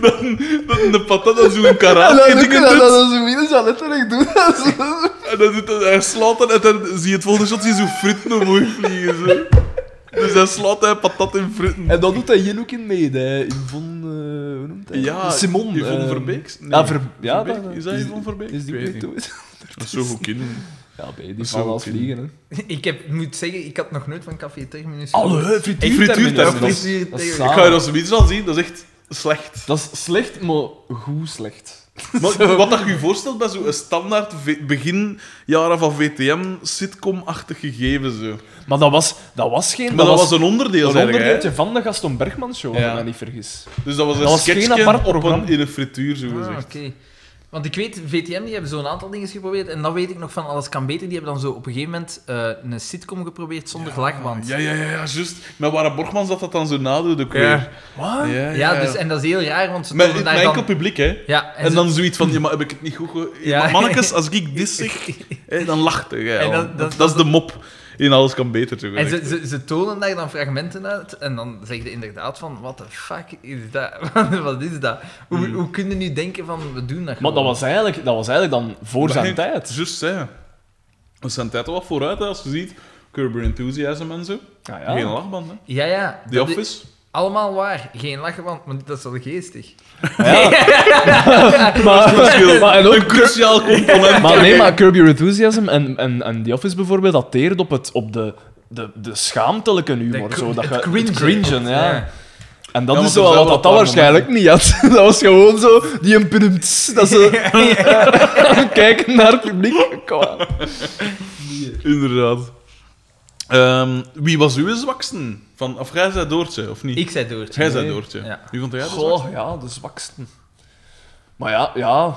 A: Dat, een- dat een patat dat zo'n karate dingen doet.
B: zo weer zal letterlijk doen.
A: En dan doet hij, hij slaat dan en dan zie je het volgende shot, zie je zo fritten omhoog vliegen. Zo. Dus hij slaat hij patat in fritten.
B: En dat doet hij hier ook in mee, hè. Yvonne, eh, hoe noemt hij?
A: Ja,
B: Simon.
A: Yvonne
B: eh,
A: Verbeeks? Nee.
B: Ja, Ver- ja,
A: Verbeek?
B: dat-
A: Is dat Yvonne Verbeek?
B: Is die
A: Ik
B: ook
A: weet
B: niet dood?
A: Dat is zo goed kinderen.
B: Ja, bij die
A: Zo
B: van als
A: kunnen.
B: vliegen, hè.
C: ik heb, moet zeggen, ik had nog nooit van Café Terminus
B: Alle
A: Frituurterminus.
B: frituurterminus. Dat is-
C: Frituurterminus.
B: dat is
A: Ik ga je
B: zalig.
A: dat zoiets al zien, dat is echt slecht.
B: Dat is slecht, maar goed slecht.
A: Maar wat dat je je voorstelt bij zo'n standaard ve- begin jaren van VTM sitcom-achtig gegeven. Zo. Maar,
B: Maar dat was, dat was geen...
A: dat, was, een onderdeel,
B: een
A: zeg ik, hè.
B: onderdeeltje van de Gaston Bergman show, als
A: Ja.
B: ik me niet vergis.
A: Dus dat was een
B: Dat was geen
A: sketchje
B: apart
A: op
B: programma.
A: een, in een frituur, zo
C: Ah,
A: gezegd.
C: oké. Want ik weet, VTM die hebben zo'n aantal dingen geprobeerd. En dat weet ik nog van Alles Kan Beter. Die hebben dan zo op een gegeven moment eh, een sitcom geprobeerd zonder
B: Ah.
C: lachband.
A: Ja, ja, ja, ja, juist. Met Wara Borgman zat dat dan zo nadoen ook
C: Ja.
A: weer.
B: Wat?
A: ja,
C: Ja, dus, en dat is heel raar, want ze
A: Met,
C: tonen
A: met
C: daar
A: enkel
C: dan...
A: publiek, hè.
C: Ja,
A: En,
C: ze-
A: dan zoiets van, ja, maar heb ik het niet goed ge...
C: Ja.
A: Maar mannetjes, als ik dit zeg, hè, dan lacht hij. hè,
C: En
A: al.
C: dat-
A: Dat,
C: dat-
A: is de mop. In alles kan beter, zo
C: En
A: gezegd.
C: ze, ze, ze tonen daar dan fragmenten uit en dan zeg je inderdaad van, what the fuck is dat? wat is dat? Hoe,
A: Hmm.
C: hoe kun je nu denken van, we doen dat
B: Maar
C: gewoon?
B: dat was eigenlijk, dat was eigenlijk dan voor
A: Maar
B: zijn
A: je-
B: tijd.
A: Juist, hè. We zijn tijd al wat vooruit, hè, als je ziet. Curb Your Enthusiasm en zo.
B: Ah,
A: Geen
B: ja.
A: lachband, hè.
C: Ja, ja.
A: The
C: dat is-
A: Office.
C: Allemaal waar. Geen lachband, maar dat is wel geestig.
B: maar, maar, en ook
A: Een cruciaal component.
B: Maar nee, maar Curb Your Enthusiasm en, en, en The Office bijvoorbeeld, dat teert op, het, op de, de, de schaamtelijke humor.
C: De-
B: zo, dat
C: het
B: je-
C: cringen.
B: het cringen, ja.
C: Ja.
B: En dat
A: Ja,
B: is
A: want er
B: zo
A: zijn
B: wat
A: wel
B: dat,
A: een paar
B: waarschijnlijk niet had. Dat was gewoon zo, die een pumts, dat ze kijken naar het publiek. Kom aan.
A: Inderdaad. Ehm, wie was uw zwakste? Van, of jij zei Doortje, of niet?
C: Ik zei door.
A: Jij zei Doortje.
C: Ja.
A: Wie vond jij de zwakste?
B: Goh, ja, de zwaksten. Maar ja, ja.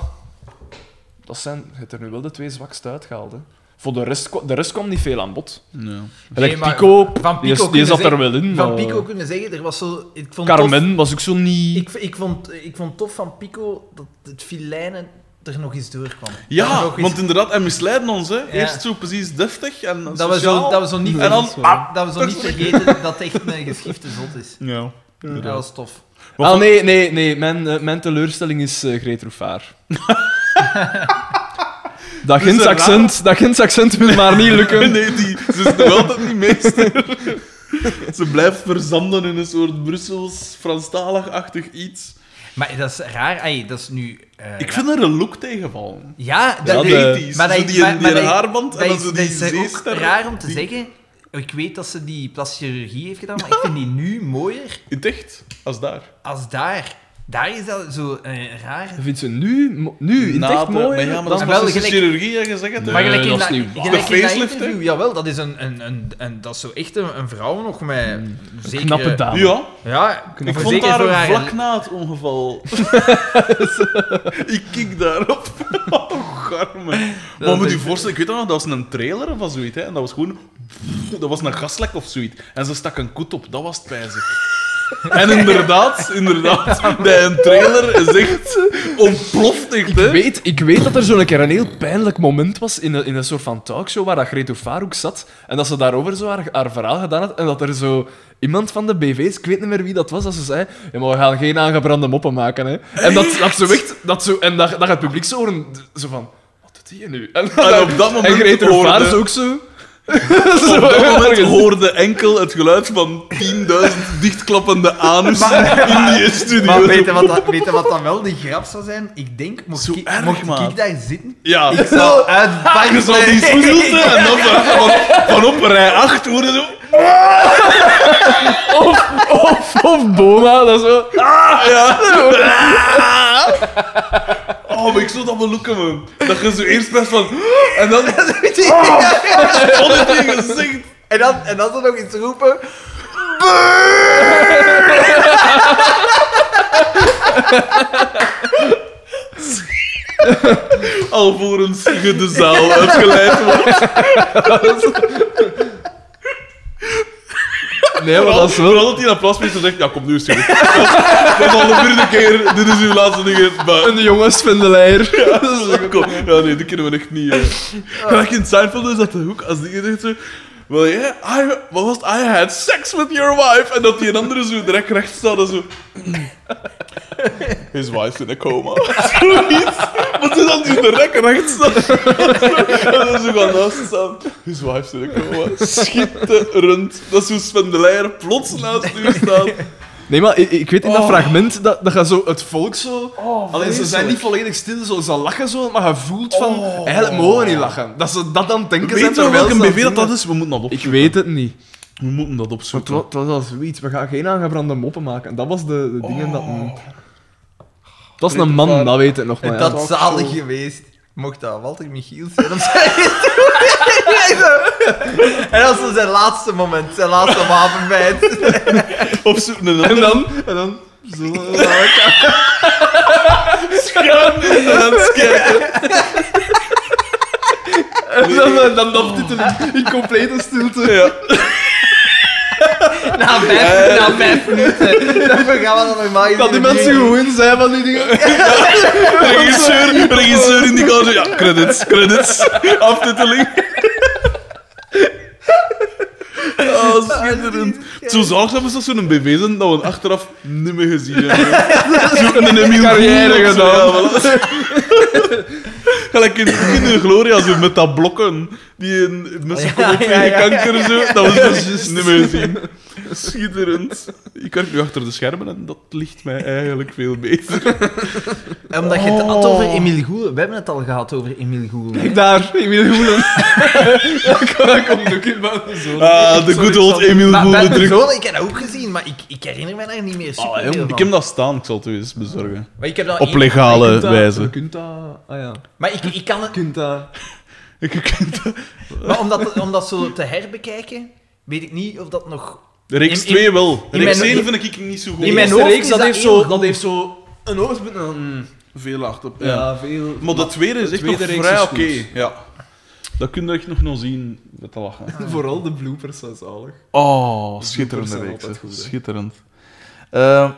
B: Dat zijn, je hebt er nu wel de twee zwakste uitgehaald, hè. Voor de rest, kwa- de rest kwam niet veel aan bod.
A: Nee.
B: Gelijk
C: maar
B: Pico,
C: van
B: die, is-
C: Pico
B: die zat
C: kunnen
B: er wel in.
C: Van
B: maar-
C: Pico kunnen zeggen, er was zo... Ik vond tof,
B: Carmen was ook zo niet...
C: ik, ik, vond, ik vond tof van Pico dat het filijnen er nog eens doorkwam.
A: Ja,
C: Dat nog eens-
A: want inderdaad, en misleiden ons, hè. Eerst zo precies deftig en
C: Dat we, zo,
A: sociaal.
C: dat we zo niet,
A: En dan...
C: ah, dat we zo niet vergeten dat het echt een geschifte zot is.
A: Ja.
C: Dat was tof.
A: Wat
B: ah,
A: vond-
B: nee, nee, nee. Mijn, eh, mijn teleurstelling is eh Greet Roefaar. dat
A: is
B: Gens
A: een
B: accent, dat Gens accent wil maar niet lukken.
A: Nee, die, ze is nog altijd niet meester. ze blijft verzanden in een soort Brussels, Franstalig-achtig iets.
C: Maar dat is raar. Ay, dat is nu... eh,
A: Ik vind er een look tegenvallen.
C: Ja,
B: Ja,
C: dat,
A: Dat
B: de-
A: de,
C: dat-
A: 80's.
C: maar
A: Maar
C: dat-
A: die, die,
C: maar- maar dat-
A: haarband
C: dat
A: en dan
C: is-
A: zo
C: dat
A: die
C: is ook
A: zeester.
C: raar om te
A: die-
C: zeggen. Ik weet dat ze die plastische chirurgie heeft gedaan, maar ik vind die nu mooier
A: In het echt, als daar.
C: als daar. Daar is dat zo eh, raar.
B: Vindt ze nu, mo- nu in het echt
A: Naten,
B: mooi?
A: Maar ja, maar
B: dan-
A: dat is
C: wel
A: plastische
C: gelijk-
A: chirurgie, hè, je zegt het. hè.
C: maar gelijk
B: dat
C: in
B: is
C: dat,
B: niet waar.
C: gelijk in
A: De
C: dat
A: facelift, hè?
C: interview, jawel, dat is, een, een, een, een, dat is zo echt een, een vrouw nog met
A: Mm,
C: zeker...
B: Knappe dame.
A: Ja,
C: Ja,
A: ik
C: voor-
A: vond
C: zeker
A: daar
C: voor
A: een
C: haar-
A: vlak na het ongeval. ik kik daarop. oh, garme. Maar moet je voorstellen, ik weet nog, dat was een trailer van zoiets. Hè, en dat was gewoon... Dat was een gaslek of zoiets. En ze stak een koet op, dat was het pijzig. En inderdaad, inderdaad, bij een trailer is echt ontploft echt,
B: Ik
A: hè.
B: weet, ik weet dat er zo'n keer een heel pijnlijk moment was in een, in een soort van talkshow waar dat Greet Roefaar ook zat en dat ze daarover zo haar, haar verhaal gedaan had en dat er zo iemand van de BV's, ik weet niet meer wie dat was, dat ze zei ja, maar we gaan geen aangebrande moppen maken. Hè. En dat, dat zo echt, dat zo, en dat, dat het publiek zo horen, zo van, wat doet die hier nu? En,
A: En op dat
B: en
A: moment
B: Greet Roefaar is
A: hoorde,
B: ook zo...
A: op
B: zo
A: dat moment
B: ergens.
A: hoorde enkel het geluid van 10.000 dichtklappende anus in die studio.
C: Maar weet je, wat dat, weet je wat dat wel de grap zou zijn? Ik denk, mocht,
A: Zo
C: ik,
A: erg,
C: mocht
A: man.
C: ik daar zitten,
A: Ja.
C: ik zou uit
A: Je zal Dus die stilte en dan van, van, van op rij 8 worden zo.
B: Of, of Bona, dat zo...
A: Oh, maar ik zou dat wel lukken, man. Dat je zo eerst best van. En dan is het in je gezicht.
C: En dan, en dan zo nog iets roepen.
A: Alvorens je de zaal uitgeleid wordt.
B: Nee, maar dat is wel...
A: Vooral dat die applausmeester zegt: Ja, kom nu eens. terug. Dat is al de vierde keer. Dit is uw laatste ding. Maar.
B: Een jongensvindelaar.
A: Kom. Ja, nee, dat kunnen we echt niet. hè.
B: Oh.
A: Gelijk in Seinfeld is dat de hoek. Als die zegt zo. Wel jij, I, wat was het? I had sex with your wife. En dat die een andere zo direct recht staat en zo. "Hmm. His wife's in a coma. Zoiets. Wat is dat die direct recht staat? en dan zo gaan naast staan. His wife's in a coma. Schitterend. Dat is hoe Sven de Leijer plots naast u staat.
B: Nee, maar ik, ik weet in dat
A: Oh.
B: fragment dat, dat je zo het volk zo. alleen ze zijn
A: vreselijk.
B: niet volledig stil, zo, ze lachen zo, maar je voelt van.
A: Oh.
B: Eigenlijk mogen we niet lachen. Dat ze dat dan denken zijn
A: Weet je
B: terwijl
A: welke
B: ze
A: BV dat
B: doen.
A: dat is? We moeten dat opzoeken.
B: Ik weet het niet.
A: We moeten dat
B: Maar het
A: opzoeken.
B: wa- het was al zoiets. We gaan geen aangebrande moppen maken. Dat was de, de dingen dat. mm. Dat is een man, dat weet ik nog maar. Ja.
C: dat zalig geweest. Mocht dat Walter Michiels zijn op zijn toe. En dat was zo zijn laatste moment, zijn laatste wapenfeit.
A: Of zo, een
B: En
A: ander-
B: dan, en dan, zo, en dan, en dan doftitelen in, in complete stilte.
C: Na vijf, na vijf minuten. Dan gaan we dan normaal gezien
B: Dat die mensen
C: beginnen.
B: gewoon zijn van die dingen.
A: regisseur, regisseur in die kamer. Ja, credits, credits. Aftiteling. Oh, schitterend. Zo zalig dat we zo zo'n BV zijn dat we achteraf niet meer gezien hebben. Zo'n Emil
B: Carrière
A: Carrière
B: gedaan.
A: gedaan. Gelijk in, in de Gloria, zo met dat blokken. Die in, met z'n
C: Ja,
A: kop
C: ja,
A: tegen
C: ja,
A: kanker en zo. Dat was dus niet meer gezien. Schitterend. Ik werk nu achter de schermen en dat ligt mij eigenlijk veel beter.
C: Omdat je het had over
B: Oh.
C: Emile Goelen. We hebben het al gehad over Emile Goelen.
B: Ik daar, ik wil goelen. Dat komt ook in mijn zoon.
A: Ah, de good old Emil
C: Maar
A: Goelen
C: bij
A: druk.
C: persoon, ik heb dat ook gezien, maar ik, ik herinner me daar niet meer
A: Ah,
C: super
A: jong,
C: veel
A: ik
C: van.
A: heb dat staan, ik zal het u eens bezorgen.
C: Maar ik heb dat
A: Op legale
B: Je
A: wijze.
B: kunt dat, ah ja, je
C: Maar ik, ik kan het...
B: kunt dat.
C: Maar om dat, om dat zo te herbekijken, weet ik niet of dat nog...
A: De reeks
C: In- in-
A: 2 wel.
C: in
A: reeks
C: mijn-
A: 7 vind ik niet zo goed.
C: In mijn
B: De
C: hoofd
B: reeks,
C: is
B: dat
C: dat
B: heeft
C: heel
B: zo-
C: goed.
B: dat heeft zo een oogstpunt en dan... mm,
A: Veel acht op. Ja.
B: Ja, veel...
A: Maar de tweede is
B: de
A: echt
B: tweede
A: nog
B: reeks
A: vrij
B: is
A: oké.
B: goed.
A: Ja. Dat kun je echt nog nog zien met te lachen.
B: Vooral de bloopers zijn zalig.
A: Oh,
B: bloopers
A: schitterende
B: zijn
A: reeks. hè.
B: altijd goed, hè.
A: Schitterend. Eh,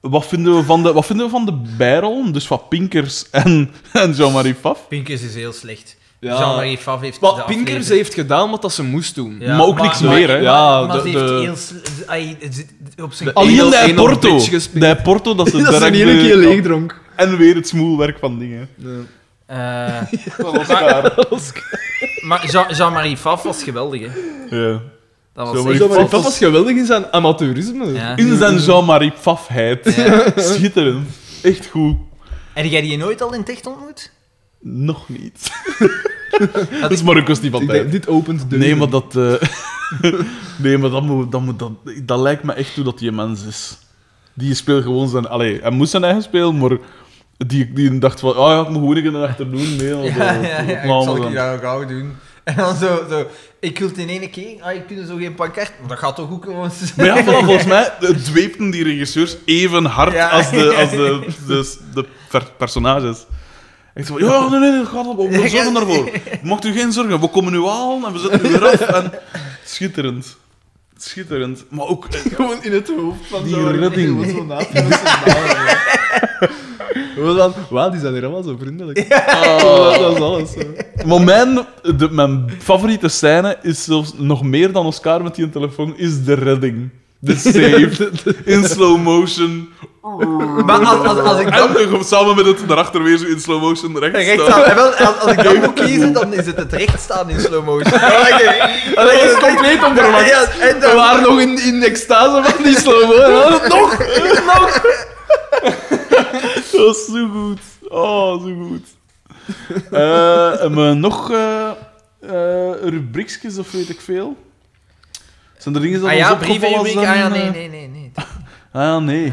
A: wat, vinden we van de, wat vinden we van de bijrollen? Dus van Pinkers en, en Jean-Marie Paf?
C: Pinkers is dus heel slecht.
B: Ja.
C: Jean-Marie Faf heeft de
B: Wat
C: aflevering-
B: Pinkers heeft gedaan wat dat ze moest doen.
C: Ja,
A: maar ook niks meer, hè.
C: Maar,
B: Ja,
C: maar
B: de-
C: ze heeft
B: de-
C: heel sl- ai, het zit op zijn...
B: Al-
A: Alleen
B: Enel-
A: de
B: Enel
A: Porto.
B: bitch gespeeld.
A: De Porto, dat ze
B: Dat ze
A: direct
B: een hele
A: de-
B: keer leeg dronk.
A: En weer het smoelwerk van dingen.
C: Eh,
A: Dat was daar.
C: maar Jean- Jean-Marie Faf was geweldig, hè.
A: Ja.
C: Dat was
A: Jean-Marie
C: echt-
A: Faf.
B: Dat was geweldig in zijn amateurisme.
C: Ja.
A: In zijn Jean-Marie Pafheid.
C: Ja.
A: Schitterend. Echt goed.
C: Heb jij die nooit al in het echt ontmoet?
A: Nog niet. dat is maar een kwestie van
B: Ik
A: tijd.
B: denk, dit opent de
A: Nee, maar dat... eh, nee, maar dat, moet, dat, moet, dat, dat lijkt me echt hoe dat die mens is. Die speelt gewoon zijn... Allee, hij moest zijn eigen spelen, maar... Die, die dacht van, oh ja, ik moet gewoon een achter doen. Nee, want,
C: Ja,
A: eh,
C: ja, ja,
A: opname
C: ik zal
A: zijn.
C: ik dat ook gauw doen. En dan zo, zo ik wil het in één keer, ah, ik kun zo geen pakkert, maar dat gaat toch ook gewoon...
A: Maar ja, voilà, volgens mij eh, dweepten die regisseurs even hard
C: Ja.
A: als de, als de, de, de per- personages. Echt zo van, ja, nee, nee, dat gaat op, we zorgen ervoor. Mocht u geen zorgen, we komen nu halen en we zetten u weer af. En... Schitterend. Schitterend. Maar ook... eh,
B: gewoon in het hoofd van
A: Die
B: zo'n
A: redding.
B: Wat zo'n naam van zo'n naam, ja. Wat dan? Wauw, die zijn hier allemaal zo vriendelijk.
A: ah.
B: Dat is alles. Zo.
A: Maar mijn, de, mijn favoriete scène is zelfs nog meer dan Oscar met die telefoon, is de redding. De save. In slow motion.
C: Maar als, als, als ik dat...
A: En nog samen met het erachter weer zo in slow motion recht
C: Recht
A: staan.
C: staan. En wel, als, als ik dat moet kiezen, dan is het het recht staan in slow motion. Ja, oké.
B: Dat is compleet onverwacht.
C: Ja, en
B: We
C: dan-
B: waren nog in, in extase van die slow Nog!
A: Dat is zo goed. Oh, zo goed. Eh, hebben we nog eh eh, rubriekjes of weet ik veel? Zijn er dingen dat
C: Ah ja,
A: ons opgevallen
C: brievenrubriek, ah
A: zijn?
C: ja, nee, nee, nee. nee.
A: Ah ja, nee.
C: Eh,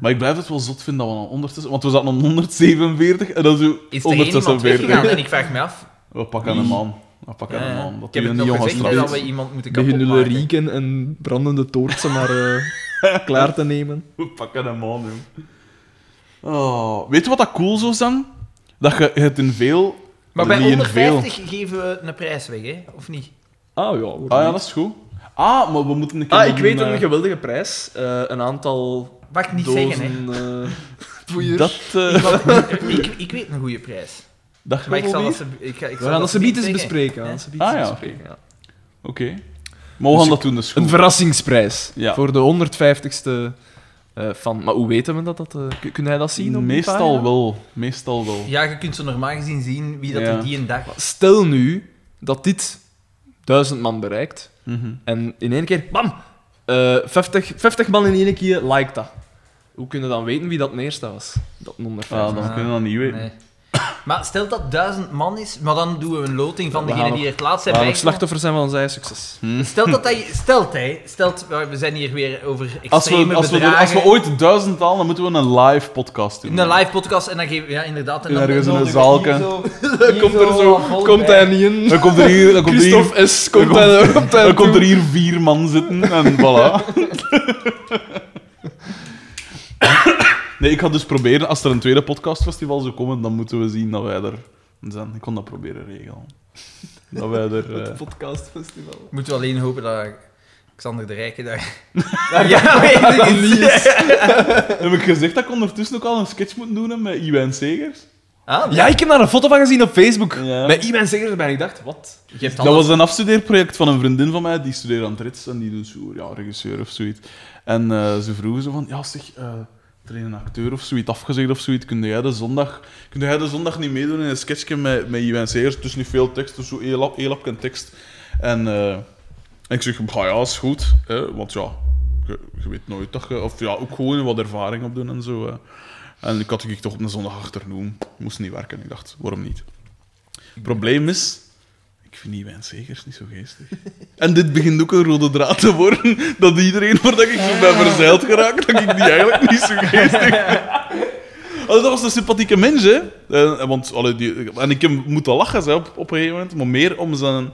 A: Maar ik blijf het wel zot vinden dat we dan ondertussen... Want we zaten op 147 en dan zo
C: is er één iemand
A: 146.
C: weggegaan en ik vraag me af.
A: We pakken hem aan. We pakken hem
C: eh,
A: aan. Dat
C: ik heb
A: die
C: het
A: niet
C: nog
A: jongens
C: gezegd hè, dat
A: straks.
C: we iemand moeten
B: Beginnen
C: kapotmaken.
B: rieken en brandende toortsen maar eh, klaar te nemen.
A: We pakken hem aan, joh. Oh, weet je wat dat cool zou zijn? Dat je het in veel...
C: Maar bij
A: niet in veel.
C: 150 geven we een prijs weg, hè? Of niet?
B: Ah ja. hoor.
A: Ah ja, dat is goed. Ah, maar we moeten een keer...
B: Ah,
A: nog
B: ik weet
A: eh,
B: een geweldige prijs. Eh, een aantal
C: Mag ik niet zeggen, hè?
B: dozen... eh, poeiers.
A: Dat, eh
C: Want ik, ik, ik weet een goede prijs.
A: dat gaat
C: Maar ik zal
A: wel
C: dat
A: weer?
C: ze- ik ga- ik
B: We
C: zal
B: gaan dat subiet
C: subiet
B: eens
C: zeggen.
B: bespreken. we gaan
C: Ja.
B: dat subiet
A: Ah,
B: eens
A: ja.
B: bespreken, ja.
A: Oké. Maar we gaan
B: Dus
A: dat doen, dus
B: Een
A: goed.
B: verrassingsprijs
A: Ja.
B: voor de 150ste eh fan. Maar hoe weten we dat? dat eh, kun- kun jij dat zien? Op die
A: Meestal
B: pagina?
A: wel. Meestal wel.
C: Ja, je kunt zo normaal gezien zien wie dat
A: Ja.
C: er die en dag...
B: Stel nu dat dit 1000 man bereikt
A: Mhm.
B: en in één keer, bam, eh 50, 50 man in één keer liked dat. Hoe kunnen we dan weten wie dat de eerste was? Dat een
A: Ah,
B: 150.
A: dan
C: Ah,
A: kunnen we dat niet weten.
C: Nee. Maar stel dat duizend man is, maar dan doen we een loting van
B: We
C: degenen
B: gaan
C: die er het laatst
B: We
C: zijn
B: gaan nog
C: bijgekomen.
B: slachtoffer zijn van ons eigen succes.
A: Hm.
C: Stelt dat hij, stelt hij, stelt, we zijn hier weer over extreme
A: Als we, als, we,
C: bedragen.
A: als we ooit duizend halen, dan moeten we een live podcast doen.
C: Een live podcast en dan geven we, ja inderdaad. En
A: Ja,
C: dan
A: ergens in
C: dan
A: een
C: doen we
A: zaalke.
C: hier zo-
B: Dan
C: hier
B: komt er
C: zo
B: zo,
C: vol
B: komt
C: bij.
B: hij niet in.
A: Dan komt er hier, dan komt hier,
B: Christophe S. komt
A: komt-
B: hij komt hij
A: dan komt er
B: toe.
A: hier vier man zitten en voilà. Nee, ik ga dus proberen, als er een tweede podcastfestival zou komen, dan moeten we zien dat wij er zijn. Ik kon dat proberen regelen. Dat wij er... eh,
D: Het podcastfestival.
C: Moeten we alleen hopen dat Xander de Rijke daar... ja, weet ik niet.
A: Heb ik gezegd dat ik ondertussen ook al een sketch moet doen hè, met Iwijn Segers?
C: Ah,
B: Ja, ik heb daar een foto van gezien op Facebook.
A: Ja.
B: Met iemand zeker erbij. en Ik dacht, wat?
C: je hebt
A: Dat was een afstudeerproject van een vriendin van mij, die studeerde aan het Rits en die doet zo, ja, regisseur of zoiets. En eh, ze vroegen zo van, ja zeg, eh er is een acteur of zoiets afgezegd of zoiets, kun jij de zondag, kun jij de zondag niet meedoen in een sketchje met, met Iwan Segers, dus niet veel tekst, dus zo heel lap- heel lap en tekst. En eh, ik zeg, "Bah, ja, is goed, hè, want ja, je, je weet nooit dat je, of ja, ook gewoon wat ervaring opdoen en zo. hè. En ik had ik toch op een zondag achternoem, moest niet werken, ik dacht, waarom niet? Probleem is, ik vind die wijnzegers niet zo geestig. En dit begint ook een rode draad te worden, dat iedereen voordat ik zo ben verzeild geraakt, dat ik die eigenlijk niet zo geestig vind. Allee, dat was een sympathieke mens, hè. Eh, want, allee, die, en ik heb moeten lachen hè, op, op een gegeven moment, maar meer om zijn...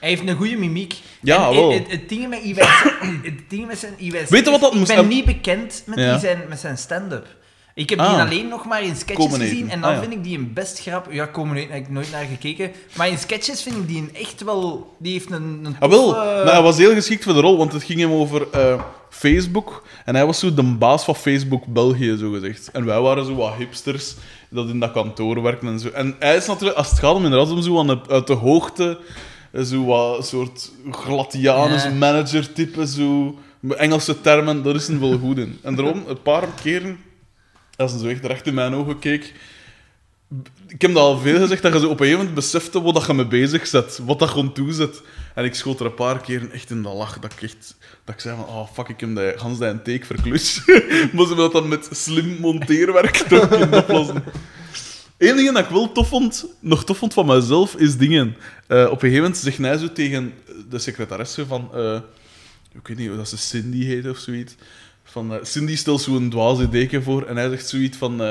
C: Hij heeft een goede mimiek.
A: Ja,
C: En
A: wel.
C: Het, het, het ding met Iwijn... Het ding met zijn Iwijn...
A: Weet je wat dat
C: Ik
A: moest-
C: ben niet bekend met,
A: Ja.
C: die zijn, met zijn stand-up. Ik heb die
A: Ah.
C: alleen nog maar in sketches
A: Komen eten.
C: gezien. En dan
A: Ah, ja.
C: vind ik die een best grap... Ja, komen eten heb ik nooit naar gekeken. Maar in sketches vind ik die een echt wel... Die heeft een... een
A: Ah, wel.
C: toffe-
A: Maar hij was heel geschikt voor de rol, want het ging hem over eh, Facebook. En hij was zo de baas van Facebook België, zo gezegd. En wij waren zo wat hipsters dat in dat kantoor werken en zo. En hij is natuurlijk, als het gaat om inderdaad om zo aan de- uit de hoogte, eh, zo wat een soort gladianus
C: Ja.
A: manager type, zo. Met Engelse termen, daar is hij wel goed in. En daarom, een paar keren, als hij zo echt recht in mijn ogen keek, ik heb dat al veel gezegd, dat je zo op een gegeven moment besefte wat dat je mee bezig zet, wat dat gewoon toezet. En ik schoot er een paar keer echt in de lach, dat ik echt... Dat ik zei van, oh fuck, ik heb die, gans die een take verklus. maar ze dat dan met slim monteerwerk toch kunnen oplossen. Eén ding dat ik wel tof vond, nog tof vond van mezelf, is dingen. Eh, op een gegeven moment zegt hij zo tegen de secretaresse van... eh, ik weet niet of dat ze Cindy heet of zoiets. Van, eh, Cindy stelt zo'n dwaze deken voor en hij zegt zoiets van... eh,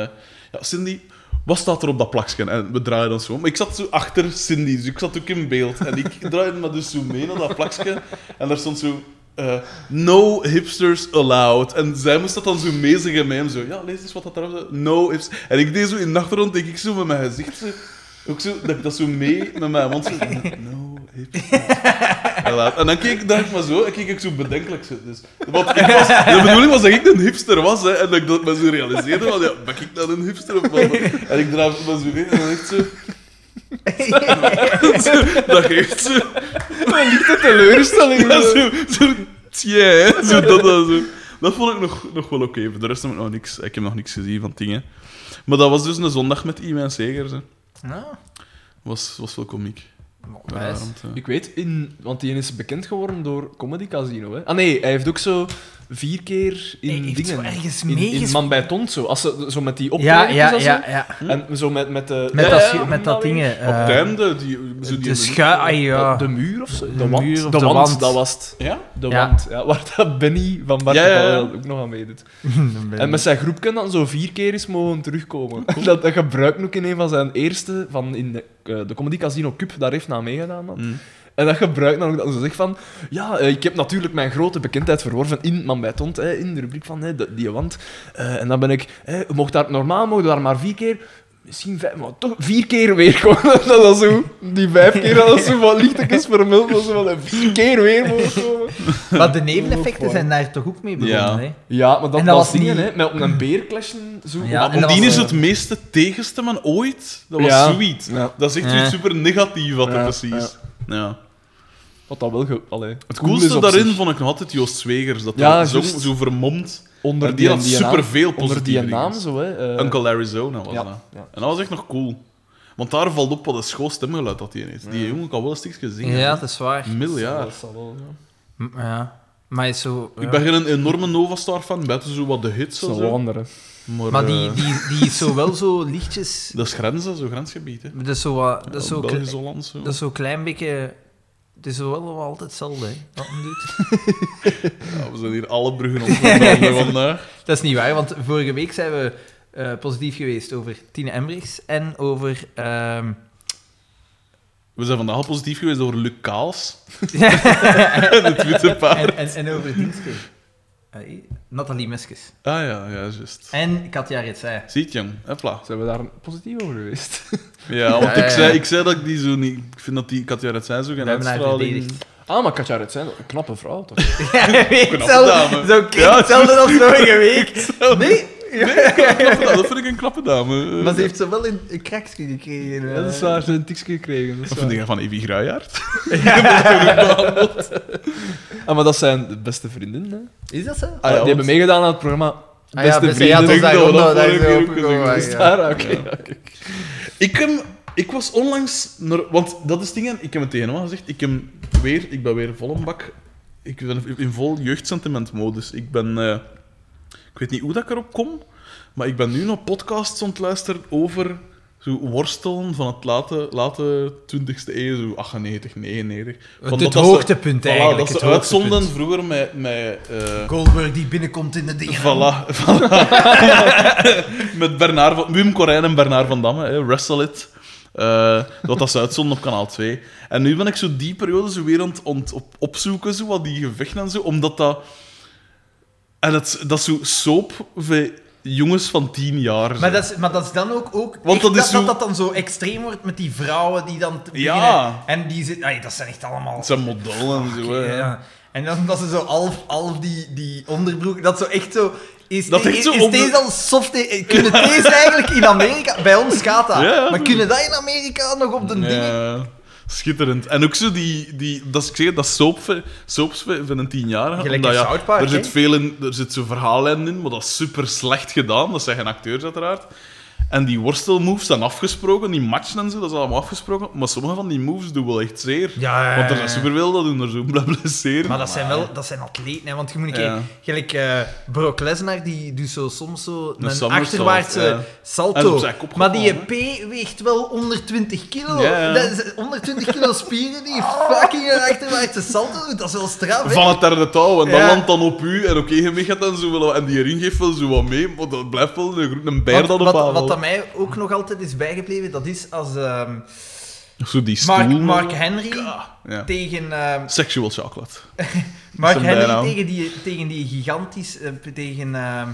A: ja, Cindy, wat staat er op dat plakje? En we draaien ons zo om. Maar ik zat zo achter Cindy, dus ik zat ook in beeld. En ik draaide me dus zo mee naar dat plakje. En daar stond zo... eh, no hipsters allowed. En zij moest dat dan zo meezeggen met hem. Zo, ja, lees eens wat dat erop staat. No hipsters. En ik deed zo in de achtergrond, denk ik zo met mijn gezicht... Zo, ook zo, dat ik dat zo mee met mijn mond zo... No hipsters. En, laat- en dan keek dacht ik maar zo, en keek ik zo bedenkelijk. zo. Dus, want ik was, de bedoeling was dat ik een hipster was, hè, en dat ik dat me zo realiseerde, van, ja, ben ik dan een hipster of wat? En ik draaf me zo in en dan echt zo... zo dat geeft zo...
B: Een lichte teleurstelling.
A: Ja, zo, zo tja, hè, zo dat, dat, zo. dat vond ik nog, nog wel oké. Voor de rest heb ik nog niks, ik heb nog niks gezien van dingen. Maar dat was dus een zondag met Iwan Segers. hè.
C: Nou,
A: Was, was wel komiek.
C: nice.
A: Daarom, hè.
B: Ik weet, in, want die is bekend geworden door Comedy Casino. Hè? Ah nee, hij heeft ook zo vier keer in
C: Hij heeft
B: dingen.
C: zo ergens
B: in- in,
C: meegespeeld.
B: Man bij Tont zo. Als ze, zo met die
C: Ja,
B: optredens.
C: ja,
B: en zo.
C: ja, ja.
B: En zo met, met de.
C: Met
A: Ja,
C: dat,
A: ja,
C: schu- met dat dingen.
A: Op
C: eh,
A: het einde, die, zo die
C: de schuim... Ah, ja.
B: De muur of zo. De,
C: De
B: wand.
C: muur of
B: de,
C: de
B: wand,
C: wand.
B: dat was het.
A: Ja?
B: De
C: Ja.
B: wand. Ja, waar dat Benny van Bart
A: Ja, ja, ja.
B: ook nog aan meedoet. En met zijn groep kan dan zo vier keer eens mogen terugkomen. Dat, dat gebruikt ook in een van zijn eerste, van in de, eh, de Comedy Casino Cup, daar heeft hij aan meegedaan. Man.
A: Mm.
B: En dat gebruikt dan ook dat ze zegt van... Ja, eh, ik heb natuurlijk mijn grote bekendheid verworven in Man bij Tont, hè, in de rubriek van hè, de- die wand. Eh, en dan ben ik... Hè, je mocht daar, normaal mogen we daar maar vier keer... Misschien vijf, maar toch vier keer weer komen. dat dat zo, die vijf keer dat dat zo van lichtekens vermeld. Dat ze wel eh, vier keer weer mogen komen.
C: Maar de neveneffecten zijn daar toch ook mee begonnen,
A: Ja.
C: hè?
B: Ja, maar dat,
C: En dat
B: dat was
C: was
B: dingen,
C: niet-
B: hè. Met op een beer clashen, zo.
C: Ja,
A: maar
C: en dat
A: Bondien
C: was,
A: is
C: eh,
A: het meeste tegenstemmen ooit. Dat was
B: Ja.
A: sweet.
B: Ja.
A: Dat is echt
C: Ja.
A: iets super negatief wat er
B: Ja,
A: precies. Ja.
B: Wat dat wel... Ge... Allee,
A: Het
B: cool
A: coolste
B: is op
A: daarin
B: zich.
A: vond ik nog altijd Joost Zwegers. Dat
B: Ja,
A: hij zong
B: juist.
A: zo vermomd.
B: Onder
A: en die
B: en
A: had superveel
B: Onder die
A: positieve
B: naam,
A: dingen.
B: zo, hè. eh,
A: Uncle Arizona was
B: ja,
A: dat.
B: ja.
A: En dat was echt nog cool. Want daar valt op wat een schoon stemgeluid dat hij heeft. Die jongen kan wel een stukje zingen.
C: Ja,
A: hè.
C: dat is waar.
A: Een miljard.
B: Dat zal wel, ja.
C: M- Ja. Maar is zo... ja.
A: Ik ben geen enorme Nova Star fan, buiten zo wat de hits en
B: Zo
A: zo.
B: wandelen.
A: Maar,
C: Maar die,
A: eh,
C: die, die is zo wel zo lichtjes...
A: dat is grenzen, zo grensgebied. Hè.
C: Dat is zo, wat- dat is zo, kle-
A: Belgisch-Hollands. zo.
C: dat is zo klein beetje... Het is zo wel altijd hetzelfde, hè. Wat men doet.
A: Ja, we zijn hier alle bruggen ontworpen vandaag.
C: Dat is niet waar, want vorige week zijn we eh, positief geweest over Tine Embrichs en over... ehm,
A: We zijn vandaag al positief geweest over Luc Kaals en het witte paard.
C: en, en, en over Dienstke. Eh, Nathalie Meskes.
A: Ah ja, ja, juist.
C: En Katja Ritsij.
A: Ziet je hem? Hopla.
B: Zijn we daar positief over geweest?
A: Ja, want
C: Ja, ja,
A: Ik,
C: ja.
A: zei, ik zei dat ik die zo niet... Ik vind dat die Katja Redzijn zo
C: We
A: geen
C: hebben haar
A: uitstraling...
C: verdedigd.
B: Ah, maar Katja Redzijn, een knappe vrouw, toch?
C: Ja, weet
A: Knappe
C: zelf-
A: dame.
C: Zo klinkt
A: Ja,
C: hetzelfde als vorige week. Nee,
A: Knappe dame, dat vind ik een knappe dame.
C: maar ze heeft zo wel een, een kraksje gekregen. eh.
B: Ja, dat is waar, ze heeft een tikje gekregen. Dat is
A: Wat vind
B: waar.
A: je van Evie Gruijaard?
B: Ah, maar dat zijn de beste vriendinnen, hè? Ah,
C: Is dat zo?
A: ja,
B: die hebben
A: want-
B: meegedaan aan het programma
C: Ah ja,
B: Beste
C: best-
B: Vrienden.
C: ja, dat is
A: Ik
C: daar
A: denk
C: ook
A: dat we dat
C: nog- daar is
A: vorige
C: ook
A: keer ook
C: gekomen,
A: gezegd
C: ja.
B: Daar, oké.
A: Ik, heb, ik was onlangs... Naar, want dat is dingen... Ik heb het tegen hem al gezegd. Ik, heb weer, ik ben weer vol een bak... Ik ben in vol jeugdsentimentmodus. Ik ben... eh, ik weet niet hoe dat ik erop kom, maar ik ben nu nog podcasts aan het luisteren over zo worstelen van het late, late 20e eeuw, zo 98, 99. Van
C: Het
A: dat dat ze-
C: hoogtepunt
A: Voilà,
C: eigenlijk.
A: dat ze
C: het
A: uitzonden
C: hoogtepunt.
A: vroeger met... met eh,
C: Goldberg die binnenkomt in de dingen.
A: Voilà, voilà. Met Bernard van, Wim Corijn en Bernard van Damme, hè, Wrestle It. Eh, dat dat ze uitzonden op kanaal 2. En nu ben ik zo die periode zo weer aan het ont- op, opzoeken, zo, wat die gevechten en zo, omdat dat. En het, dat is zo soap voor jongens van 10 jaar.
C: Maar
A: zo.
C: dat, is, maar dat is dan ook, ook
A: Want
C: echt
A: dat
C: dat,
A: is
C: dat,
A: zo-
C: dat dan zo extreem wordt met die vrouwen die dan te beginnen...
A: Ja.
C: En die zitten... Ay, dat zijn echt allemaal...
A: Het zijn modellen en zo. hè.
C: Ja. En dan dat ze zo half, half die, die onderbroek, dat zo echt zo... Is,
A: Dat echt
C: is,
A: zo
C: is
A: onder-
C: deze al soft... eh, Kunnen deze eigenlijk in Amerika... Bij ons gaat dat.
A: Ja, ja.
C: maar kunnen dat in Amerika nog op de dingen?
A: Ja, schitterend. En ook zo die, die dat is, ik zeg, dat is soap, van- soaps van van een tienjarige.
C: Gelijk
A: omdat
C: in
A: ja,
C: South Park,
A: er
C: hè?
A: zit veel in, er zit zo'n verhaallijn in, maar dat is super slecht gedaan. Dat zijn geen acteurs uiteraard. En die worstelmoves zijn afgesproken, die matchen en zo, dat is allemaal afgesproken. Maar sommige van die moves doen wel echt zeer.
C: Ja, ja, ja,
A: Want er
C: ja.
A: zijn superveel dat doen er zo blabla zeer.
C: Maar dat zijn wel dat zijn atleten, hè, want je moet een keer...
A: Ja.
C: Gelijk eh Brock Lesnar, die doet zo soms zo een,
A: somersault,
C: achterwaartse
A: ja. En
C: salto.
A: op zijn kop
C: Maar die
A: gevallen,
C: P weegt wel 120 kilo.
A: Ja, ja.
C: Dat is 120 kilo spieren die fucking een achterwaartse salto doet. Dat is wel straf, hè?
A: Van het derde touw, en dat
C: Ja.
A: landt dan op u. En oké, je meegaat en zo wel. En die ring geeft wel zo wat mee, maar dat blijft wel een, gro- een beer
C: Wat,
A: dan op
C: wat,
A: aanval.
C: wat aan mij ook nog altijd is bijgebleven, dat is als ehm,
A: Zo die stoel.
C: Mark, Mark Henry
A: Ja.
C: tegen, ehm,
A: Sexual chocolate.
C: Mark
A: zijn
C: Henry
A: bijnaam.
C: tegen, die, tegen die gigantisch, eh, tegen ehm,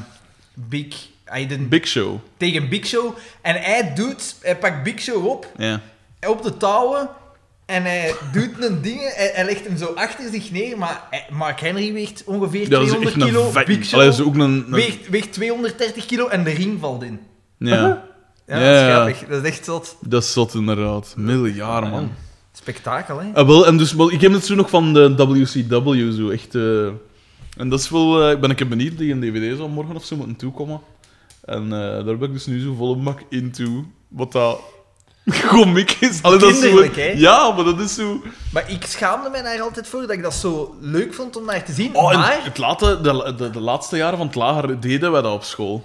C: Big, hij de-
A: Big Show.
C: tegen Big Show. En hij doet, hij pakt Big Show op,
A: Ja.
C: op de touwen. En hij doet een ding, hij, hij legt hem zo achter zich neer, maar hij- Mark Henry weegt ongeveer
A: Ja, dat is
C: 200
A: echt een
C: kilo.
A: vet-
C: Big Show
A: Allee, dat is ook een... een-
C: weegt, weegt 230 kilo en de ring valt in.
A: Ja.
C: Ja,
A: Ja,
C: dat is
A: ja.
C: grappig. Dat is echt zot.
A: Dat is zot, inderdaad. Miljard, man.
C: Spektakel, hè?
A: Ah, wel, en dus, wel, ik heb het zo nog van de WCW, zo echt... eh, en dat is wel... eh, Ik ben ik benieuwd, die een dvd zal morgen of zo moeten toekomen. En eh, daar ben ik dus nu zo volle mak in toe. Wat dat... Comic is. Allee, dat is zo-
C: Kinderlijk, hè?
A: Ja, maar dat is zo...
C: Maar ik schaamde mij daar altijd voor dat ik dat zo leuk vond om naar te zien.
A: Oh, en
C: maar
A: het late, de, de, de laatste jaren van het lager deden wij dat op school.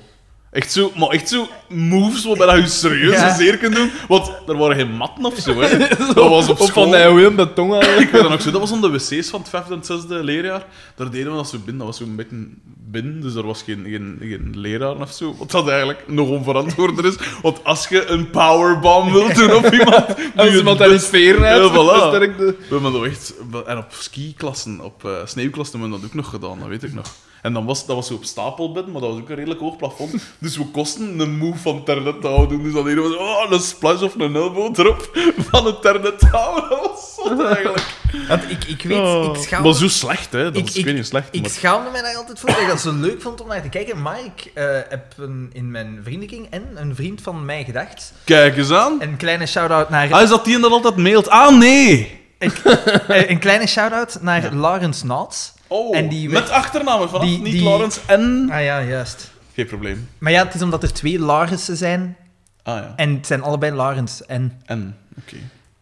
A: Echt zo, maar echt zo moves waarbij je serieus
C: Ja.
A: en zeer kunt doen. Want er waren geen matten of zo, hè. Dat was op
B: Of
A: school.
B: van die Willem de tong aan.
A: Ik weet dat nog zo. Dat was aan de wc's van het vijfde en het zesde leerjaar. Daar deden we dat zo binnen. Dat was zo'n beetje binnen, dus er was geen, geen, geen leraar of zo. Wat dat eigenlijk nog onverantwoorder is. Want als je een powerbomb wilt doen op iemand... doe
B: Als
A: je het
B: iemand daar in
A: best.
B: sfeer uit,
A: Ja, voilà.
B: versterkt de...
A: We hebben dat echt... En op skiklassen, op eh sneeuwklassen hebben we dat ook nog gedaan, dat weet ik nog. En dan was, dat was zo op stapelbed, maar dat was ook een redelijk hoog plafond. Dus we kosten een move van ternetouw doen. Dus dan deden we zo, oh, een splash of een elbow erop van het ternetouw. Dat was zot eigenlijk.
C: want ik, ik weet, ik schaamde
A: Maar zo slecht, hè. Dat
C: Ik-
A: is
C: ik-
A: ik, weet niet slecht.
C: Ik
A: maar-
C: schaamde mij daar altijd voor dat ik dat zo leuk vond om naar te kijken. Maar ik eh, heb een, in mijn vriendenking en een vriend van mij gedacht.
A: Kijk eens aan.
C: Een kleine shout-out naar,
A: Hij is dat die en dat altijd mailt. Ah, nee!
C: eh, een kleine shout-out naar Laurens Nauts.
A: Oh,
C: En die
A: met achternamen vanaf
C: die-
A: niet
C: die-
A: Lawrence en...
C: Ah ja, juist.
A: Geen probleem.
C: Maar ja, het is omdat er twee Laurensen zijn.
A: Ah ja,
C: En het zijn allebei Laurens. En,
A: en. Oké.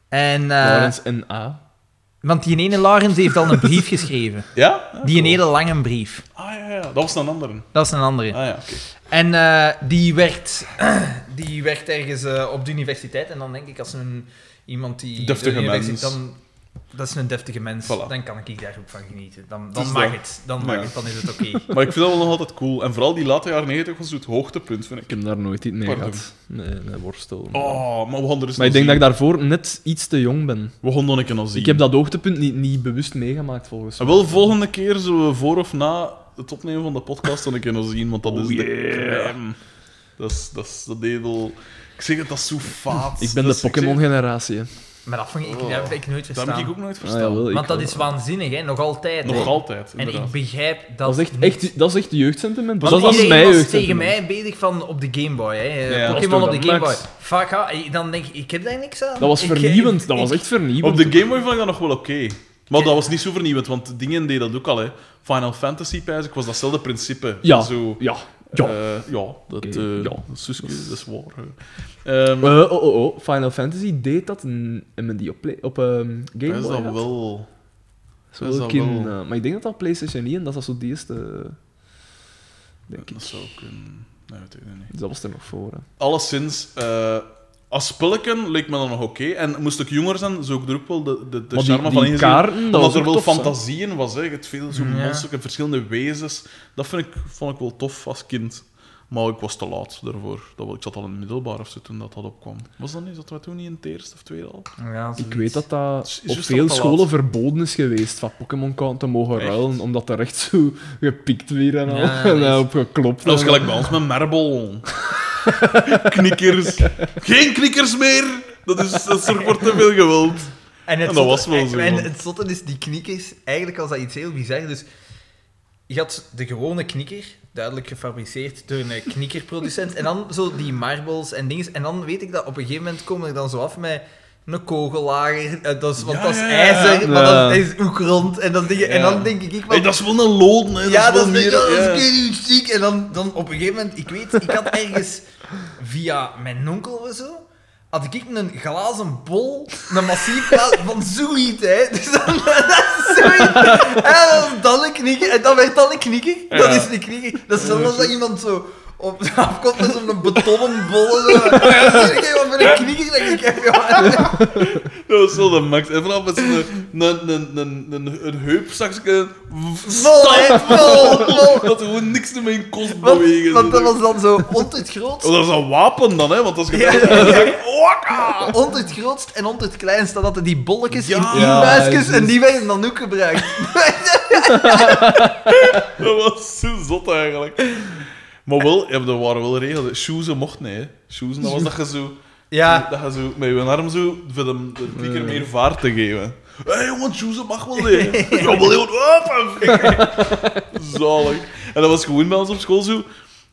C: en eh,
B: Laurens N.A.
C: Want die ene Laurens heeft al een brief geschreven.
A: Ja?
C: Die een hele lange brief.
A: Ah ja, ja, dat was een andere. Ah
C: Dat is een andere.
A: ja, oké.
C: En eh, die, werkt, die werkt ergens eh, op de universiteit. En dan denk ik, als een, iemand die... de
A: Deftige
C: universiteit-
A: mens.
C: Dan, dat is een deftige mens.
A: Voilà.
C: Dan kan ik daar ook van genieten. Dan, dan
A: Dus
C: mag
A: dat-
C: het. Dan
A: ja.
C: mag het. Dan is het oké.
A: Maar ik vind dat wel nog altijd cool. En vooral die late jaren 90 was het hoogtepunt, vind ik.
B: Ik heb daar nooit iets mee
A: Pardon.
B: gehad. Nee, nee, worstel.
A: Oh, maar we gaan er eens
B: maar ik
A: nog
B: denk dat ik
A: zien.
B: daarvoor net iets te jong ben.
A: We gaan dan een keer nog zien.
B: Ik heb dat hoogtepunt niet, niet bewust meegemaakt, volgens
A: En
B: mij.
A: wel, volgende keer zullen we voor of na het opnemen van de podcast dan een keer nog zien, want dat
B: Oh,
A: is de
B: yeah.
A: crème. Dat is, dat is de dedel... Ik zeg het, dat is zo faat.
B: Ik
A: Dat
B: ben de
A: is- ik zeg-
B: Pokémon-generatie. hè.
C: Maar dat, vond ik, dat heb ik nooit
A: Dat
C: verstaan.
A: heb Oh, ik ook nooit
B: Ah,
A: verstaan.
B: jawel, ik
C: Want dat
B: wel.
C: is waanzinnig, hè? nog altijd.
A: Nog
C: hè.
A: altijd,
C: En
A: inderdaad.
C: ik begrijp dat
B: Dat is echt,
C: niet.
B: echt, dat is echt jeugdsentiment.
C: Want
B: dat is
C: iedereen
B: mijn
C: was
B: jeugdsentiment.
C: tegen mij bezig van op de Game Boy. hè. Eh,
A: Ja, dat
C: Pokémon
B: was
C: op de
B: toch
C: Game
B: dat
C: Boy.
B: max?
C: Fuck, ja, eh, dan denk ik, ik heb daar niks aan.
B: Dat was
C: Ik-
B: vernieuwend.
C: ik-
B: Dat was
C: ik-
B: echt vernieuwend.
A: Op de Game Boy vond ik dat nog wel oké. Maar dat was niet zo vernieuwend, want dingen deden dat ook al. Hè. Final Fantasy, pijs ik, was datzelfde principe.
B: Ja,
A: Zo,
B: ja, ja.
A: eh, ja, dat, eh
B: Oké, ja.
A: dat is Suske, dat is waar. hè. Ehm,
B: Eh, oh, oh, oh. Final Fantasy deed dat en en men die op, play- op ehm Game
A: is
B: Boy
A: dat
B: had.
A: wel...
B: Zo
A: is dat
B: ook in,
A: wel-
B: eh, maar ik denk dat dat PlayStation 1, dat is zo de eerste. Denk ik.
A: Dat zou kunnen... Nee, dat weet ik niet.
B: Dus dat was er nog voor. Hè.
A: Alleszins, eh, als spelletje leek me dan nog oké. En moest ik jonger zijn, zou ik er ook wel de, de, de
B: maar die,
A: charme
B: die
A: van ingezien.
B: kaarten, dat
A: Omdat
B: was
A: er
B: ook
A: wel
B: tof, hè.
A: fantasie in was. Hè. Het veel zo'n
C: Ja.
A: monsters en verschillende wezens. Dat vind ik, vond ik wel tof als kind. Maar ik was te laat daarvoor. Dat, wel- ik zat al in het middelbaar of zo toen dat, dat opkwam. Was dat niet? Zat wij toen niet in het eerste of tweede al?
C: Ja,
B: Ik weet dat
A: Is-
B: dat
A: is
B: op
A: juist
B: veel
A: dat te
B: scholen
A: laat.
B: verboden is geweest van Pokémon-kaarten te mogen
A: Echt?
B: ruilen, omdat er echt zo gepikt weer en al.
C: Ja,
B: en
C: dat
B: eh,
C: is-
B: op geklopt.
A: Dat was
B: en-
A: gelijk bij ons met Marble. knikkers. Geen knikkers meer! Dat is, dat zorgt voor te veel geweld.
C: En het,
A: En dat
C: zotte-
A: was wel zo,
C: en
A: man.
C: het zotte is, die knikkers, eigenlijk was dat iets heel bizar. Dus je had de gewone knikker, duidelijk gefabriceerd door een knikkerproducent. en dan zo die marbles en dingen. En dan weet ik dat op een gegeven moment komen er dan zo af met een kogelager. eh, Dat is, want
A: Ja,
C: dat is
A: ja, ja.
C: ijzer, maar
B: Ja.
C: dat is ook rond. En, dan denk, je- en
A: Ja.
C: dan denk ik, ik
A: Hey, dat is wel een loden. Hè. Dat
C: ja,
A: is wel
C: dat is
A: meer-
C: dat is
A: ja.
C: keigoed ziek. En dan, dan op een gegeven moment, ik weet, ik had ergens via mijn onkel of zo, had ik een glazen bol, een massief glazen, van zoiets, hè. Dus dan, dat is zoiets. En dan, dan een knikker, en dan werd dan een knikker. Dat
A: Ja.
C: is een knikker. Dat is zelfs als dat iemand zo... Op afkomt met zo'n betonnen bol. Zo. Ja, dat is wat voor een knikker dat ik heb, joh.
A: Dat was wel de max. En vanaf met zo'n een, een, een, een, een heupzakje.
C: Vol, hè. Vol, vol.
A: Dat er gewoon niks meer in kost
C: Want,
A: bewegen.
C: want dat was dan zo ontzettend groot.
A: Oh, dat is een wapen dan, hè? Want als je
C: Ja,
A: dat-
C: ja, ja.
A: dan zeg je, "Waka!"
C: Onder Ah, het grootst en onder het kleinst, dan hadden die bolletjes
A: Ja.
C: in
B: Ja,
C: muisjes
B: juist.
C: en die werden dan ook gebruikt.
A: Dat was zo zot eigenlijk. Maar wel, ja, er waren wel regels. Shoesen mocht niet, hè? Shoesen, dat was dat je zo.
C: Ja,
A: Dat je zo met je arm zo. voor de de knikker meer vaart te geven. Hé hey, jongen, shoesen mag wel niet. hè. Ja, wel heel open. Zalig. En dat was gewoon bij ons op school zo.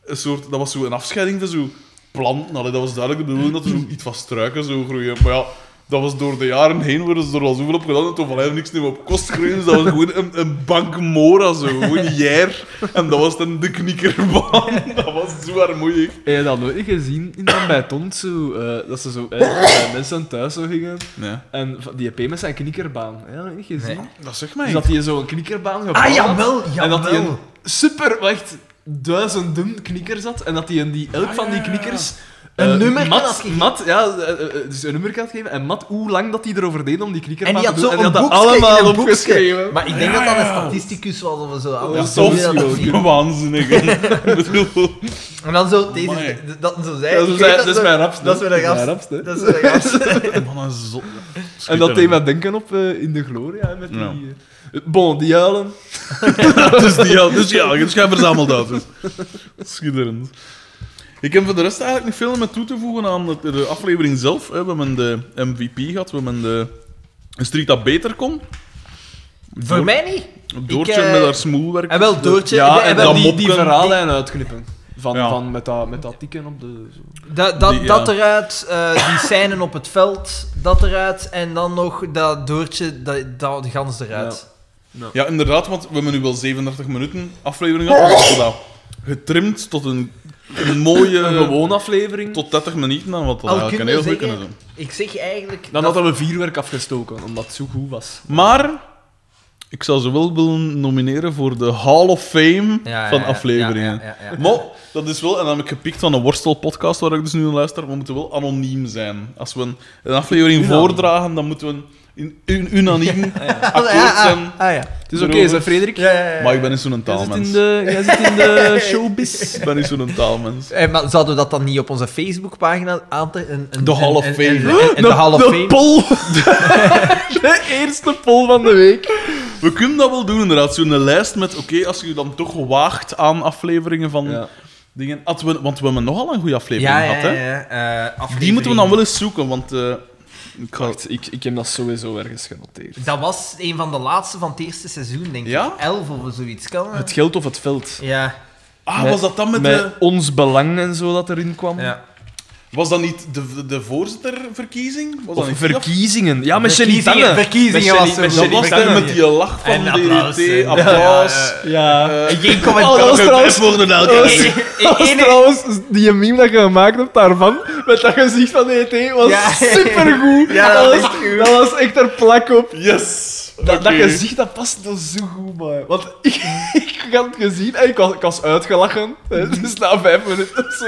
A: Een soort, dat was zo een afscheiding van zo planten. Allee, dat was duidelijk de bedoeling dat er zo iets van struiken zou groeien. Maar ja, dat was door de jaren heen worden ze er al zoveel op gedaan. En toen van hij niks meer op kost groeien. Dus dat was gewoon een, een bank mora zo. Gewoon jær. En dat was dan de knikkerbaan. Dat was zo armoeig.
B: Heb je dat nooit gezien in dat bij Tont zo, eh, dat ze zo eh, bij mensen thuis zo gingen
A: Nee.
B: en van- die EP met zijn knikkerbaan. Heb je dat nooit gezien?
C: Nee.
A: Dat zegt mij.
B: Dus dat hij zo'n knikkerbaan gebouwd
C: ah
B: had.
C: jawel,
B: En dat hij een
C: jawel.
B: super, wacht, duizenden knikkers had. En dat hij in die, elk
A: Ah,
B: van die
A: ja, ja, ja.
B: knikkers...
C: Een
B: eh,
C: nummer
B: mat,
C: had gegeven.
B: mat, ja, eh, eh, eh, dus een nummer had gegeven. En mat, hoe lang dat hij erover deed om die knikker
C: En die
B: te
C: had
B: doen.
C: zo
B: en die
C: een
B: had dat
C: boekje,
B: allemaal
C: in een boekje.
B: opgeschreven.
C: Maar ik denk
A: Ja,
C: dat dat een
A: ja.
C: statisticus was of zo.
A: Ja,
C: anders
A: soms
C: hoe dat
A: ook.
C: zien.
A: Waanzinnig. hè. Ik bedoel,
C: En dan zo deze,
A: Amai.
C: dat zo zei.
B: Ja, zo
C: ik
B: zei-
C: weet
B: dat is
C: zo-
B: mijn rapste.
C: Dat is mijn
B: Dat is mijn
C: rapste.
B: rapste.
C: Dat is mijn rapste.
A: man, een zot.
B: En dat deed mij denken op eh, In de Gloria. hè, Met die,
A: Ja.
B: eh, bon, die huilen.
A: dus, die, ja, dus ja, dus jij verzamelt dat. dus. Schitterend. Ik heb voor de rest eigenlijk niet veel meer toe te voegen aan het- de aflevering zelf. hè. We hebben de MVP gehad, we hebben de een street dat beter kon.
C: Voor
A: Door-
C: mij niet.
A: Doortje
C: Ik, eh,
A: met haar smoelwerk.
C: En wel Doortje.
B: Ja,
C: eh,
B: en
C: wel,
A: dat
B: dan die, die
A: mopken.
B: verhaallijn uitknippen. Van,
A: Ja.
B: van met, dat, met dat tikken op de... Zo.
C: Dat, dat,
A: Die, ja.
C: dat eruit, eh, die scènes op het veld, dat eruit. En dan nog dat doortje, dat, dat de gans eruit.
A: Ja, inderdaad, want we hebben nu wel 37 minuten aflevering gehad. We hebben dat getrimd tot een Een mooie...
B: Een gewone aflevering.
A: Tot 30 minuten aan wat dat
C: Al
A: eigenlijk
C: kun
A: een
C: je
A: heel goed
C: zeggen-
A: kunnen zijn.
C: Ik zeg eigenlijk...
B: Dan
C: dat-
B: hadden we vierwerk afgestoken, omdat het zo goed was.
A: Maar ik zou ze wel willen nomineren voor de Hall of Fame
C: Ja, ja,
A: van
C: ja,
A: afleveringen.
C: ja, ja, ja, ja.
A: Maar dat is wel, en dan heb ik gepikt van een worstelpodcast waar ik dus nu aan luister. We moeten wel anoniem zijn. Als we een, een aflevering voordragen, dan moeten we een, in- un- unaniem akkoord zijn.
C: Ah ja.
B: Het is oké,
A: Erover.
B: zei Frederik.
C: ja, ja, ja.
A: Maar ik ben niet zo'n
B: Jij zit, in
A: taalmens.
B: de, jij zit in de showbiz.
A: Ik ben niet zo'n taalmens.
C: Eh, maar zouden we dat dan niet op onze Facebookpagina aan te... Een, een,
A: De Hall of
C: een-
A: Fame.
C: een- een- een- De
B: De-
C: Hall of
B: de
C: Fame.
B: poll. de eerste poll van de week.
A: We kunnen dat wel doen, inderdaad. Zo'n lijst met, oké, als je je dan toch waagt aan afleveringen van
B: Ja.
A: dingen. Had we, want we hebben nogal een goede aflevering
C: Ja, ja,
A: gehad,
C: ja.
A: hè?
C: ja. Eh,
A: Die
C: aflevering-
A: moeten we dan wel eens zoeken, want... eh, ik ga...
B: Wacht, ik, ik heb dat sowieso ergens genoteerd.
C: Dat was een van de laatste van het eerste seizoen, denk
A: Ja?
C: ik. Elf of zoiets. Kan hè?
B: Het geld of het veld.
C: Ja,
A: Ah,
B: Met-
A: was dat dan met,
B: Met
A: de...
B: ons belang en zo dat erin kwam.
C: ja.
A: Was dat niet de, de, de voorzitterverkiezing? Was
B: Of
A: dat niet
B: verkiezingen. Ja, met Shelly
C: Verkiezingen-
B: Tange.
C: verkiezingen
B: Met
C: was zo.
A: Dat
B: Shelley-
A: was
B: met
A: dan
B: Shelley
A: met die lach van
C: En
A: DDT,
C: applaus,
A: applaus.
C: hè.
A: applaus.
B: Tange. Ja.
A: Eh,
C: En geen
B: Oh, dat
C: commentaar.
B: was trouwens-
A: voor de
C: Eén-
B: Dat was
C: één-
B: trouwens die meme dat je gemaakt hebt daarvan, met dat gezicht van ET, was
C: Ja.
B: supergoed.
C: Ja, dat was
B: was, dat was echt er plak op.
A: Yes!
B: Dat, dat
A: Oké.
B: gezicht, dat past wel zo goed, man. Want ik, ik had het gezien en ik was, ik was uitgelachen. Hè,
C: Mhm.
B: dus na vijf minuten of zo.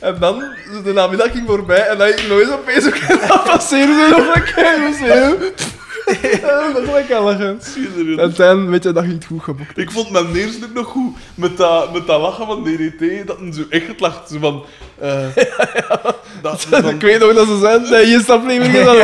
B: En dan, de namiddag ging voorbij en dan ik nooit opeens ook dat passeerde. En dan was ik heel zo... En dan was ik aan lachen. En
A: Schitterend.
B: uiteindelijk, weet je, dat ging het goed geboekt.
A: Ik vond mijn neerstuk nog goed. Met dat, met dat lachen van DDT, dat een zo echt lacht. Zo van... eh, dat, van-
B: Ik weet nog dat ze zijn, nee, je stapt niet meer dan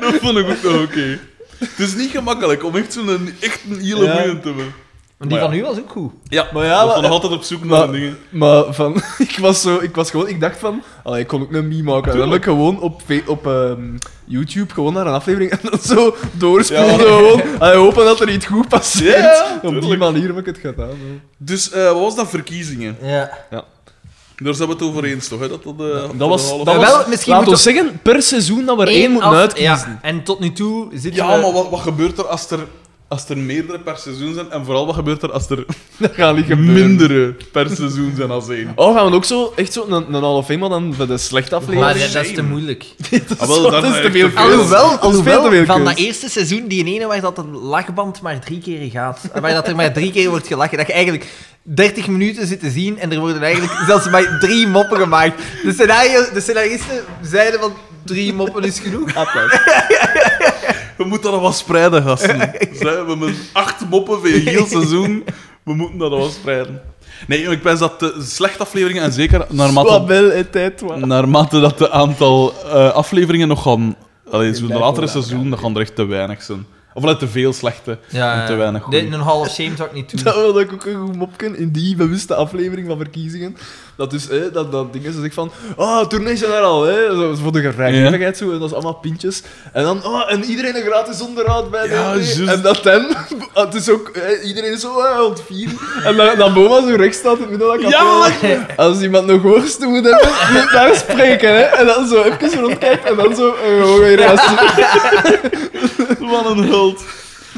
A: dat vond ik ook nog oké. Het is niet gemakkelijk om echt zo'n echt een hele
B: Ja.
A: goeie te hebben.
C: Want die van u was ook goed.
A: Ja,
B: Maar ja,
A: we
B: maar-
A: gaan nog altijd op zoek naar
B: Maar,
A: dingen.
B: maar van, ik was zo, ik was gewoon, ik dacht van, allee, ik kon ook een meme maken. En dan heb ik gewoon op, fe- op ehm, YouTube gewoon naar een aflevering en dan zo doorspoelde
A: Ja.
B: gewoon. Allee, hopen dat er iets goed passeert.
A: Ja,
B: op die
A: tuurlijk.
B: manier heb ik het gedaan. hè.
A: Dus eh, wat was dat, verkiezingen?
C: Ja.
A: Daar zijn we het over eens, toch? Hè? Dat, dat, eh,
B: Dat was,
A: de
B: dat
A: halve-
B: was
C: Wel, misschien
B: laat
C: moet
B: ons zeggen, per seizoen dat we er één, moeten
C: af-
B: uitkiezen.
C: ja. En tot nu toe zitten
A: Ja,
C: we...
A: maar wat, wat gebeurt er als er, als er meerdere per seizoen zijn? En vooral, wat gebeurt er als er
B: Dat gaat niet gebeuren.
A: mindere per seizoen zijn als één?
B: Oh, gaan we ook zo, echt zo, een, een half eenmaal dan bij de slechte aflevering?
C: Maar
A: is
C: dat, dat is te
A: shame.
C: moeilijk.
B: dat
A: Ah, wel,
B: zo-
A: daar
B: dat
A: ben
B: is
A: ik
B: te veel
A: te veel.
B: keus.
C: Alhoewel,
B: Dat is veel te
C: alhoewel
B: veel
C: van dat
B: keus.
C: eerste seizoen, die ene waar dat een lachband maar drie keer gaat. Waar dat er maar drie keer wordt gelachen. Dat je eigenlijk 30 minuten zit te zien en er worden eigenlijk zelfs maar drie moppen gemaakt. De, scenario, de scenaristen zeiden van drie moppen is genoeg.
B: Applaus.
A: We moeten dat wel spreiden, gasten. Zij, we hebben acht moppen voor je heel seizoen. We moeten dat wel spreiden. Nee, ik pens dat de slechte afleveringen, en zeker
B: Wat
A: naarmate,
B: bel en tijd, wat.
A: naarmate dat de aantal eh, afleveringen nog gaan... Allee, zo'n
B: blijven
A: latere
B: lager,
A: seizoen, dat gaan er echt te weinig zijn. Of allee, te veel slechte en te weinig goeie.
C: eh, een half shame zou ik niet doen.
B: Dat wilde ik ook een goed mopken in die bewuste aflevering van verkiezingen. Dat dus, hè, dat, dat ding is, dat ik van, ah, oh, tournees zijn er al, hè. Zo, voor de gerechtvaardigheid zo, en dat is allemaal pintjes. En dan, oh, en iedereen een gratis onderhoud bij
A: Ja,
B: de
A: juist.
B: En dat dan, het is ook, hè, iedereen is zo, ah, ontvieren. En dan, dan Boma zo rechts staat in het midden van dat
A: Ja,
B: kapel. Als iemand nog worsten moet hebben, moet daar spreken, hè. En dan zo even rondkijkt en dan zo, eh, gewoon weer rechts.
A: Wat een hult.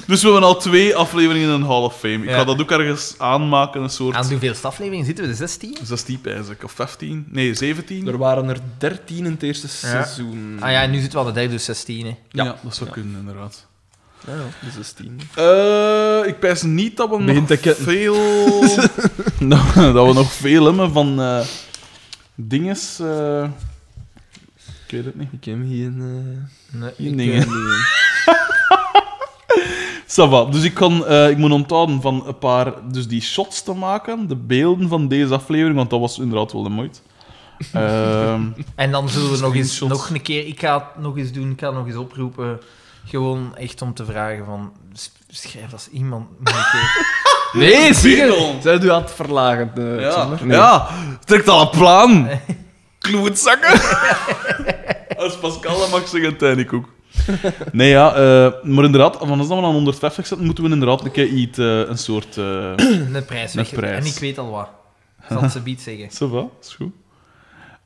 A: Dus we hebben al twee afleveringen in een Hall of Fame. Ik
C: Ja.
A: ga dat ook ergens aanmaken, een soort
C: Aan hoeveelste aflevering zitten we? De 16?
A: 16 pijs ik, of 15? Nee, 17?
B: Er waren er dertien in het eerste
C: Ja.
B: seizoen.
C: Ah ja, en nu zitten we aan de derde, dus 16. Hè.
A: Ja, dat zou kunnen, inderdaad.
B: Ja, ja, dus dat is tien.
A: Eh, ik pijs niet dat we
B: Begint te
A: nog
B: ketten.
A: veel... dat, we- dat we nog veel hebben van eh dinges... eh, Ik weet het niet.
B: Ik heb eh, hier een...
C: Nee.
A: Geen dingen. Sava, dus ik, kan, eh, ik moet onthouden van een paar dus die shots te maken, de beelden van deze aflevering, want dat was inderdaad wel de moeite. Ehm,
C: En dan zullen we nog eens,
A: Screenshots.
C: nog een keer, ik ga het nog eens doen, ik ga het nog eens oproepen. Gewoon echt om te vragen van, s- schrijf als iemand nog een keer.
B: Nee, zie
A: Beetel.
B: je. Zij u aan het verlagen. eh,
A: Ja,
B: Xander? Nee.
A: ja, trekt al een plan. Klootzakken. Als Pascal dat mag zeggen, tuin ik ook. Nee, ja, eh, maar inderdaad, van als we aan 150 zitten, moeten we inderdaad een keer iets, eh, een soort... eh
C: een prijs
A: Een
C: weg.
A: prijs.
C: En ik weet al wat. Ik zal het ze biedt zeggen.
A: ça va, is goed.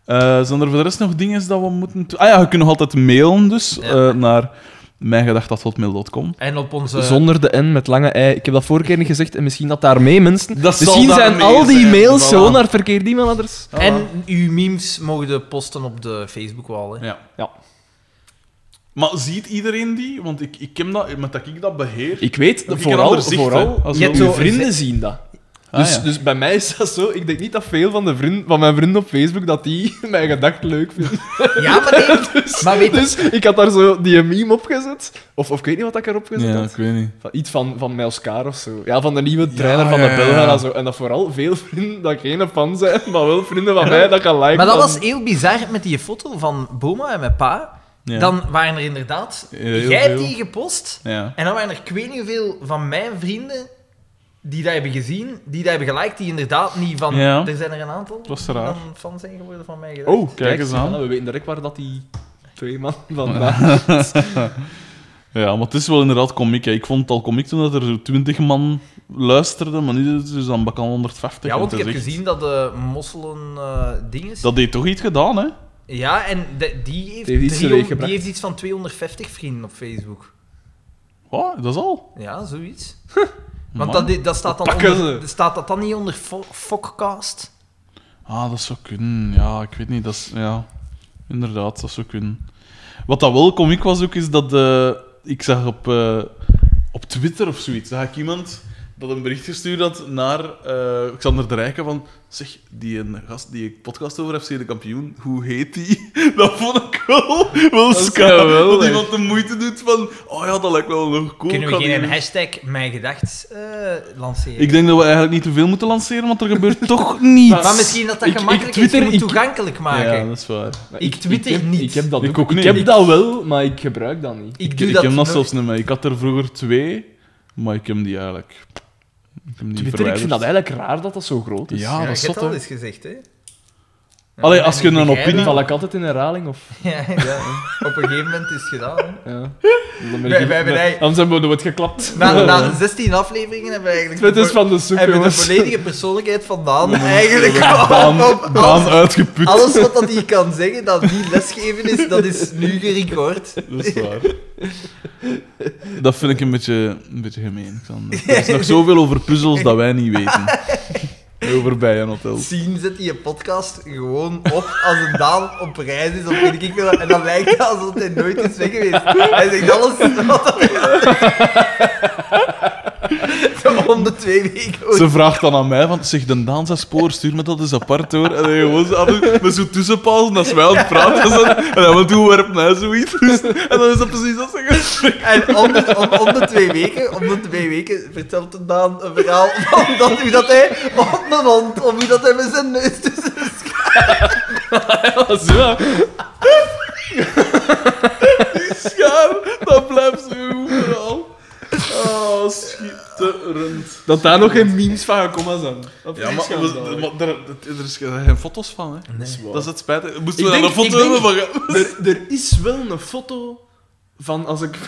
A: Eh, zijn er voor de rest nog dingen dat we moeten... to- Ah ja, je kunt nog altijd mailen dus,
C: Ja.
A: eh, naar mijngedacht.hotmail.com.
C: En op
A: eh,
C: onze...
B: Zonder de N met lange I. Ik heb dat vorige keer niet gezegd en misschien dat daarmee mensen.
A: Dat zal
B: misschien zijn
A: daarmee
B: al die
A: zijn,
B: mails
A: voilà.
B: zo naar het verkeerde e-mailadres.
C: En uw memes mogen de posten op de Facebook-wall. hè.
A: Ja.
B: Ja.
A: Maar ziet iedereen die? Want ik, ik ken dat, met dat ik dat beheer.
B: Ik weet,
A: heb ik een
B: vooral,
A: ander zicht,
B: vooral
A: hè, als
B: je
C: wel.
B: uw
C: Zo-
B: vrienden zien dat.
A: Ah,
B: dus,
A: ja.
B: dus bij mij is dat zo. Ik denk niet dat veel van, de vriend, van mijn vrienden op Facebook dat die mijn gedacht leuk vinden.
C: Ja, maar nee. maar weet je...
B: Dus ik had daar zo die meme opgezet. Of, of ik weet niet wat ik erop gezet had.
A: weet niet.
B: Van, iets van, van Melskar of zo. Ja, van de nieuwe trainer van de
A: ja, ja,
B: Belgen
A: ja.
B: en zo. En dat vooral veel vrienden dat geen fan zijn, maar wel vrienden van mij dat gaan liken.
C: Maar dat
B: van-
C: was heel bizar met die foto van Boma en mijn pa.
A: Ja.
C: Dan waren er inderdaad...
A: Heel
C: jij hebt
A: veel.
C: die gepost.
A: Ja.
C: En dan waren er, ik weet niet hoeveel, van mijn vrienden die dat hebben gezien, die dat hebben geliked, die inderdaad niet van...
A: Ja.
C: Er zijn er een aantal
A: was
C: die
A: raar.
C: dan fan zijn geworden van mij.
B: Oh, kijk,
A: Kijk eens aan.
B: We weten direct waar dat die twee man vandaan...
A: Ja, maar het is wel inderdaad komiek. hè. Ik vond het al komiek toen dat er zo 20 man luisterden, maar nu is het dus dan bakal 150.
C: Ja, want ik
A: het is
C: heb
A: echt-
C: gezien dat de mosselen eh dinges...
A: Dat heeft toch iets gedaan, hè?
C: Ja, en de- die, heeft
B: heeft iets
C: 300
B: teweeggebracht.
C: die heeft iets van 250 vrienden op Facebook.
A: Wat? Dat is al.
C: Ja, zoiets.
A: Man.
C: Want dat, dat staat, dan
B: Pakken
C: onder,
B: ze.
C: staat dat dan niet onder fo- Fokcast?
A: Ah, dat zou kunnen. Ja, ik weet niet. Dat is, ja, inderdaad, dat zou kunnen. Wat dat wel komiek was ook, is dat... eh, ik zag op, eh, op Twitter of zoiets, zag ik iemand dat een bericht gestuurd had naar eh, Xander de Rijken van... Zeg, die een gast die ik podcast over FC De Kampioen, hoe heet die? Dat vond ik wel, wel
B: is
A: ska.
B: geweldig.
A: Dat iemand de moeite doet van... Oh ja, dat lijkt wel nog cool.
C: Kunnen
A: ik
C: we
A: ga
C: geen
A: die-
C: hashtag mijn gedacht eh, lanceren?
A: Ik denk dat we eigenlijk niet te veel moeten lanceren, want er gebeurt toch niets.
C: maar misschien dat dat
B: Ik- ik
C: gemakkelijk
B: twitter-
C: is. Je moet
B: ik-
C: toegankelijk maken.
A: Ja, dat is waar.
C: Ik twitter
B: heb-
C: niet.
B: Ik heb dat,
A: Ik
B: ook-
A: ook niet.
B: ik heb dat wel, maar ik gebruik dat niet.
C: ik
A: Ik,
C: doe
A: ik
C: dat
A: heb dat
C: nooit.
A: zelfs niet mee. Ik had er vroeger twee, maar ik heb die eigenlijk. Ik heb die
B: Twitter, ik
A: verwijderd.
B: vind dat eigenlijk raar dat dat zo groot is.
A: Ja,
C: Ja,
A: dat
C: je
A: is
C: hebt
A: zot,
C: al
A: hè.
C: eens gezegd, hè? Ja,
A: Allee,
C: maar
A: als je
C: ik
A: een
C: begrijp
A: opinie-
C: dat.
B: Val ik altijd in herhaling? Of,
C: Ja, ja, op een gegeven moment is het gedaan. hè.
B: ja. Dan ben
C: Wij-
B: ik-
C: wij hebben eigenlijk-
B: Anders hebben we nooit geklapt.
C: Na, na 16 afleveringen hebben we eigenlijk...
B: Het is van de soep,
C: hebben we de
B: jongens.
C: volledige persoonlijkheid van Daan eigenlijk
A: Daan,
C: op, Ah. op
A: Daan
C: alles,
A: uitgeput.
C: alles wat dat hij kan zeggen, dat die lesgeven is, dat is nu gerecord.
A: Dat is waar. Dat vind ik een beetje, een beetje gemeen. Xander. Er is nog zoveel over puzzels dat wij niet weten. Over bij een hotel.
C: Zien zet die een podcast gewoon op als een Daan op reis is of weet ik veel wat, En dan lijkt het alsof hij nooit is weg geweest. Hij zegt alles wat hij- Zo om de twee weken. hoor.
A: Ze vraagt dan aan mij van, zeg, de Daan zijn spoor, stuur me dat eens apart hoor. En dan gewoon zo af en toe met zo'n tussenpauze, als wij aan het praten zijn. En dan toe werpt mij zoiets. En dan is dat precies dat ze gesprek.
C: En om de, om, om de twee weken, om de twee weken vertelt de Daan een verhaal van dat, hoe dat hij op een hond, of hoe dat hij met zijn neus tussen de schaar-
B: Zo.
A: schaar, dat blijft zo goed verhaal. Oh, schitterend.
B: Dat daar nog geen memes van gekomen zijn. Dat
A: Ja,
B: vind
A: maar,
B: ik
A: we-
B: schandalig.
A: maar er, er is geen foto's van, hè?
B: Dat is waar.
A: Dat is het spijt. Moesten
B: Ik
A: we daar een
B: denk-
A: foto
B: ik
A: hebben van? ge-
B: Er, er is wel een foto van als ik.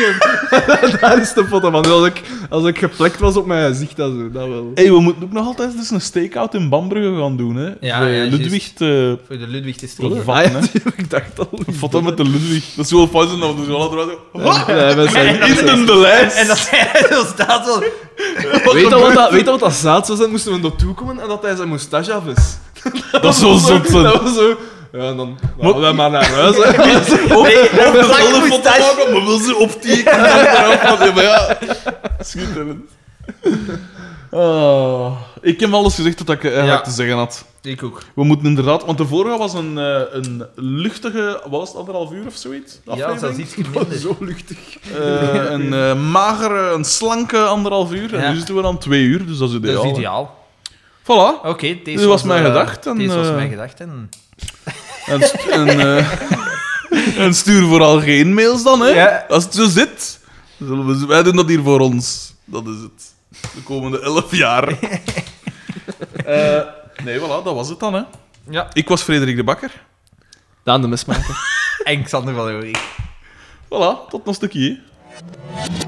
B: daar is de foto van. Dus Als ik, als ik geplekt was op mijn gezicht, dat, zo, dat wel.
A: Hé, hey, we moeten ook nog altijd dus een stakeout in Bambrugge gaan doen, hè?
C: ja,
A: Bij
C: juist.
A: Ludwig eh, te
C: Voor de Ludwig te
A: te
C: stelen.
A: vatten, hè.
B: ik dacht al.
A: Een foto met de Ludwig. Dat is wel fout, en dan doen ze wel eruit.
B: Nee, we zijn-
A: In de lijst.
C: En dat hij zo staat zo...
B: Weet je wat dat, weet je wat dat zaad zou zijn? Moesten we naartoe komen en dat hij zijn moustache af is.
A: Dat is zo zot. zijn.
B: Dat was zo... Ja, en dan gaan we maar naar huis. hè.
A: Of
C: Nee,
A: of
C: een
A: dezelfde
C: lange
A: foto
C: moustache.
A: maken, maar wil ze optekenen. eraf, want ja, maar ja, schitterend. Ah, ik heb alles gezegd wat ik eigenlijk
C: Ja.
A: te zeggen had.
C: Ik ook.
A: We moeten inderdaad, want de vorige was een, eh, een luchtige, wat was het, anderhalf uur of zoiets?
C: Ja,
A: aflevering?
C: zelfs iets minder.
B: Zo luchtig.
A: Eh, een eh, magere, een slanke anderhalf uur. En
C: Ja.
A: nu zitten we aan twee uur, dus dat is ideaal.
C: Dat is
A: hè.
C: ideaal.
A: Voilà.
C: Oké, deze
A: Dit was mijn
C: eh,
A: gedacht en,
C: Deze was
A: eh,
C: mijn gedacht en...
A: En, st- en, eh, en stuur vooral geen mails dan, hè.
B: Ja.
A: Als het zo zit. zullen we- wij doen dat hier voor ons. Dat is het. De komende elf jaar. Eh, nee, voilà, dat was het dan, hè.
C: Ja.
A: Ik was Frederik de Bakker.
B: Daan de mesmaker.
C: En Xander van Eurik.
A: Voilà, tot nog een stukje. hè.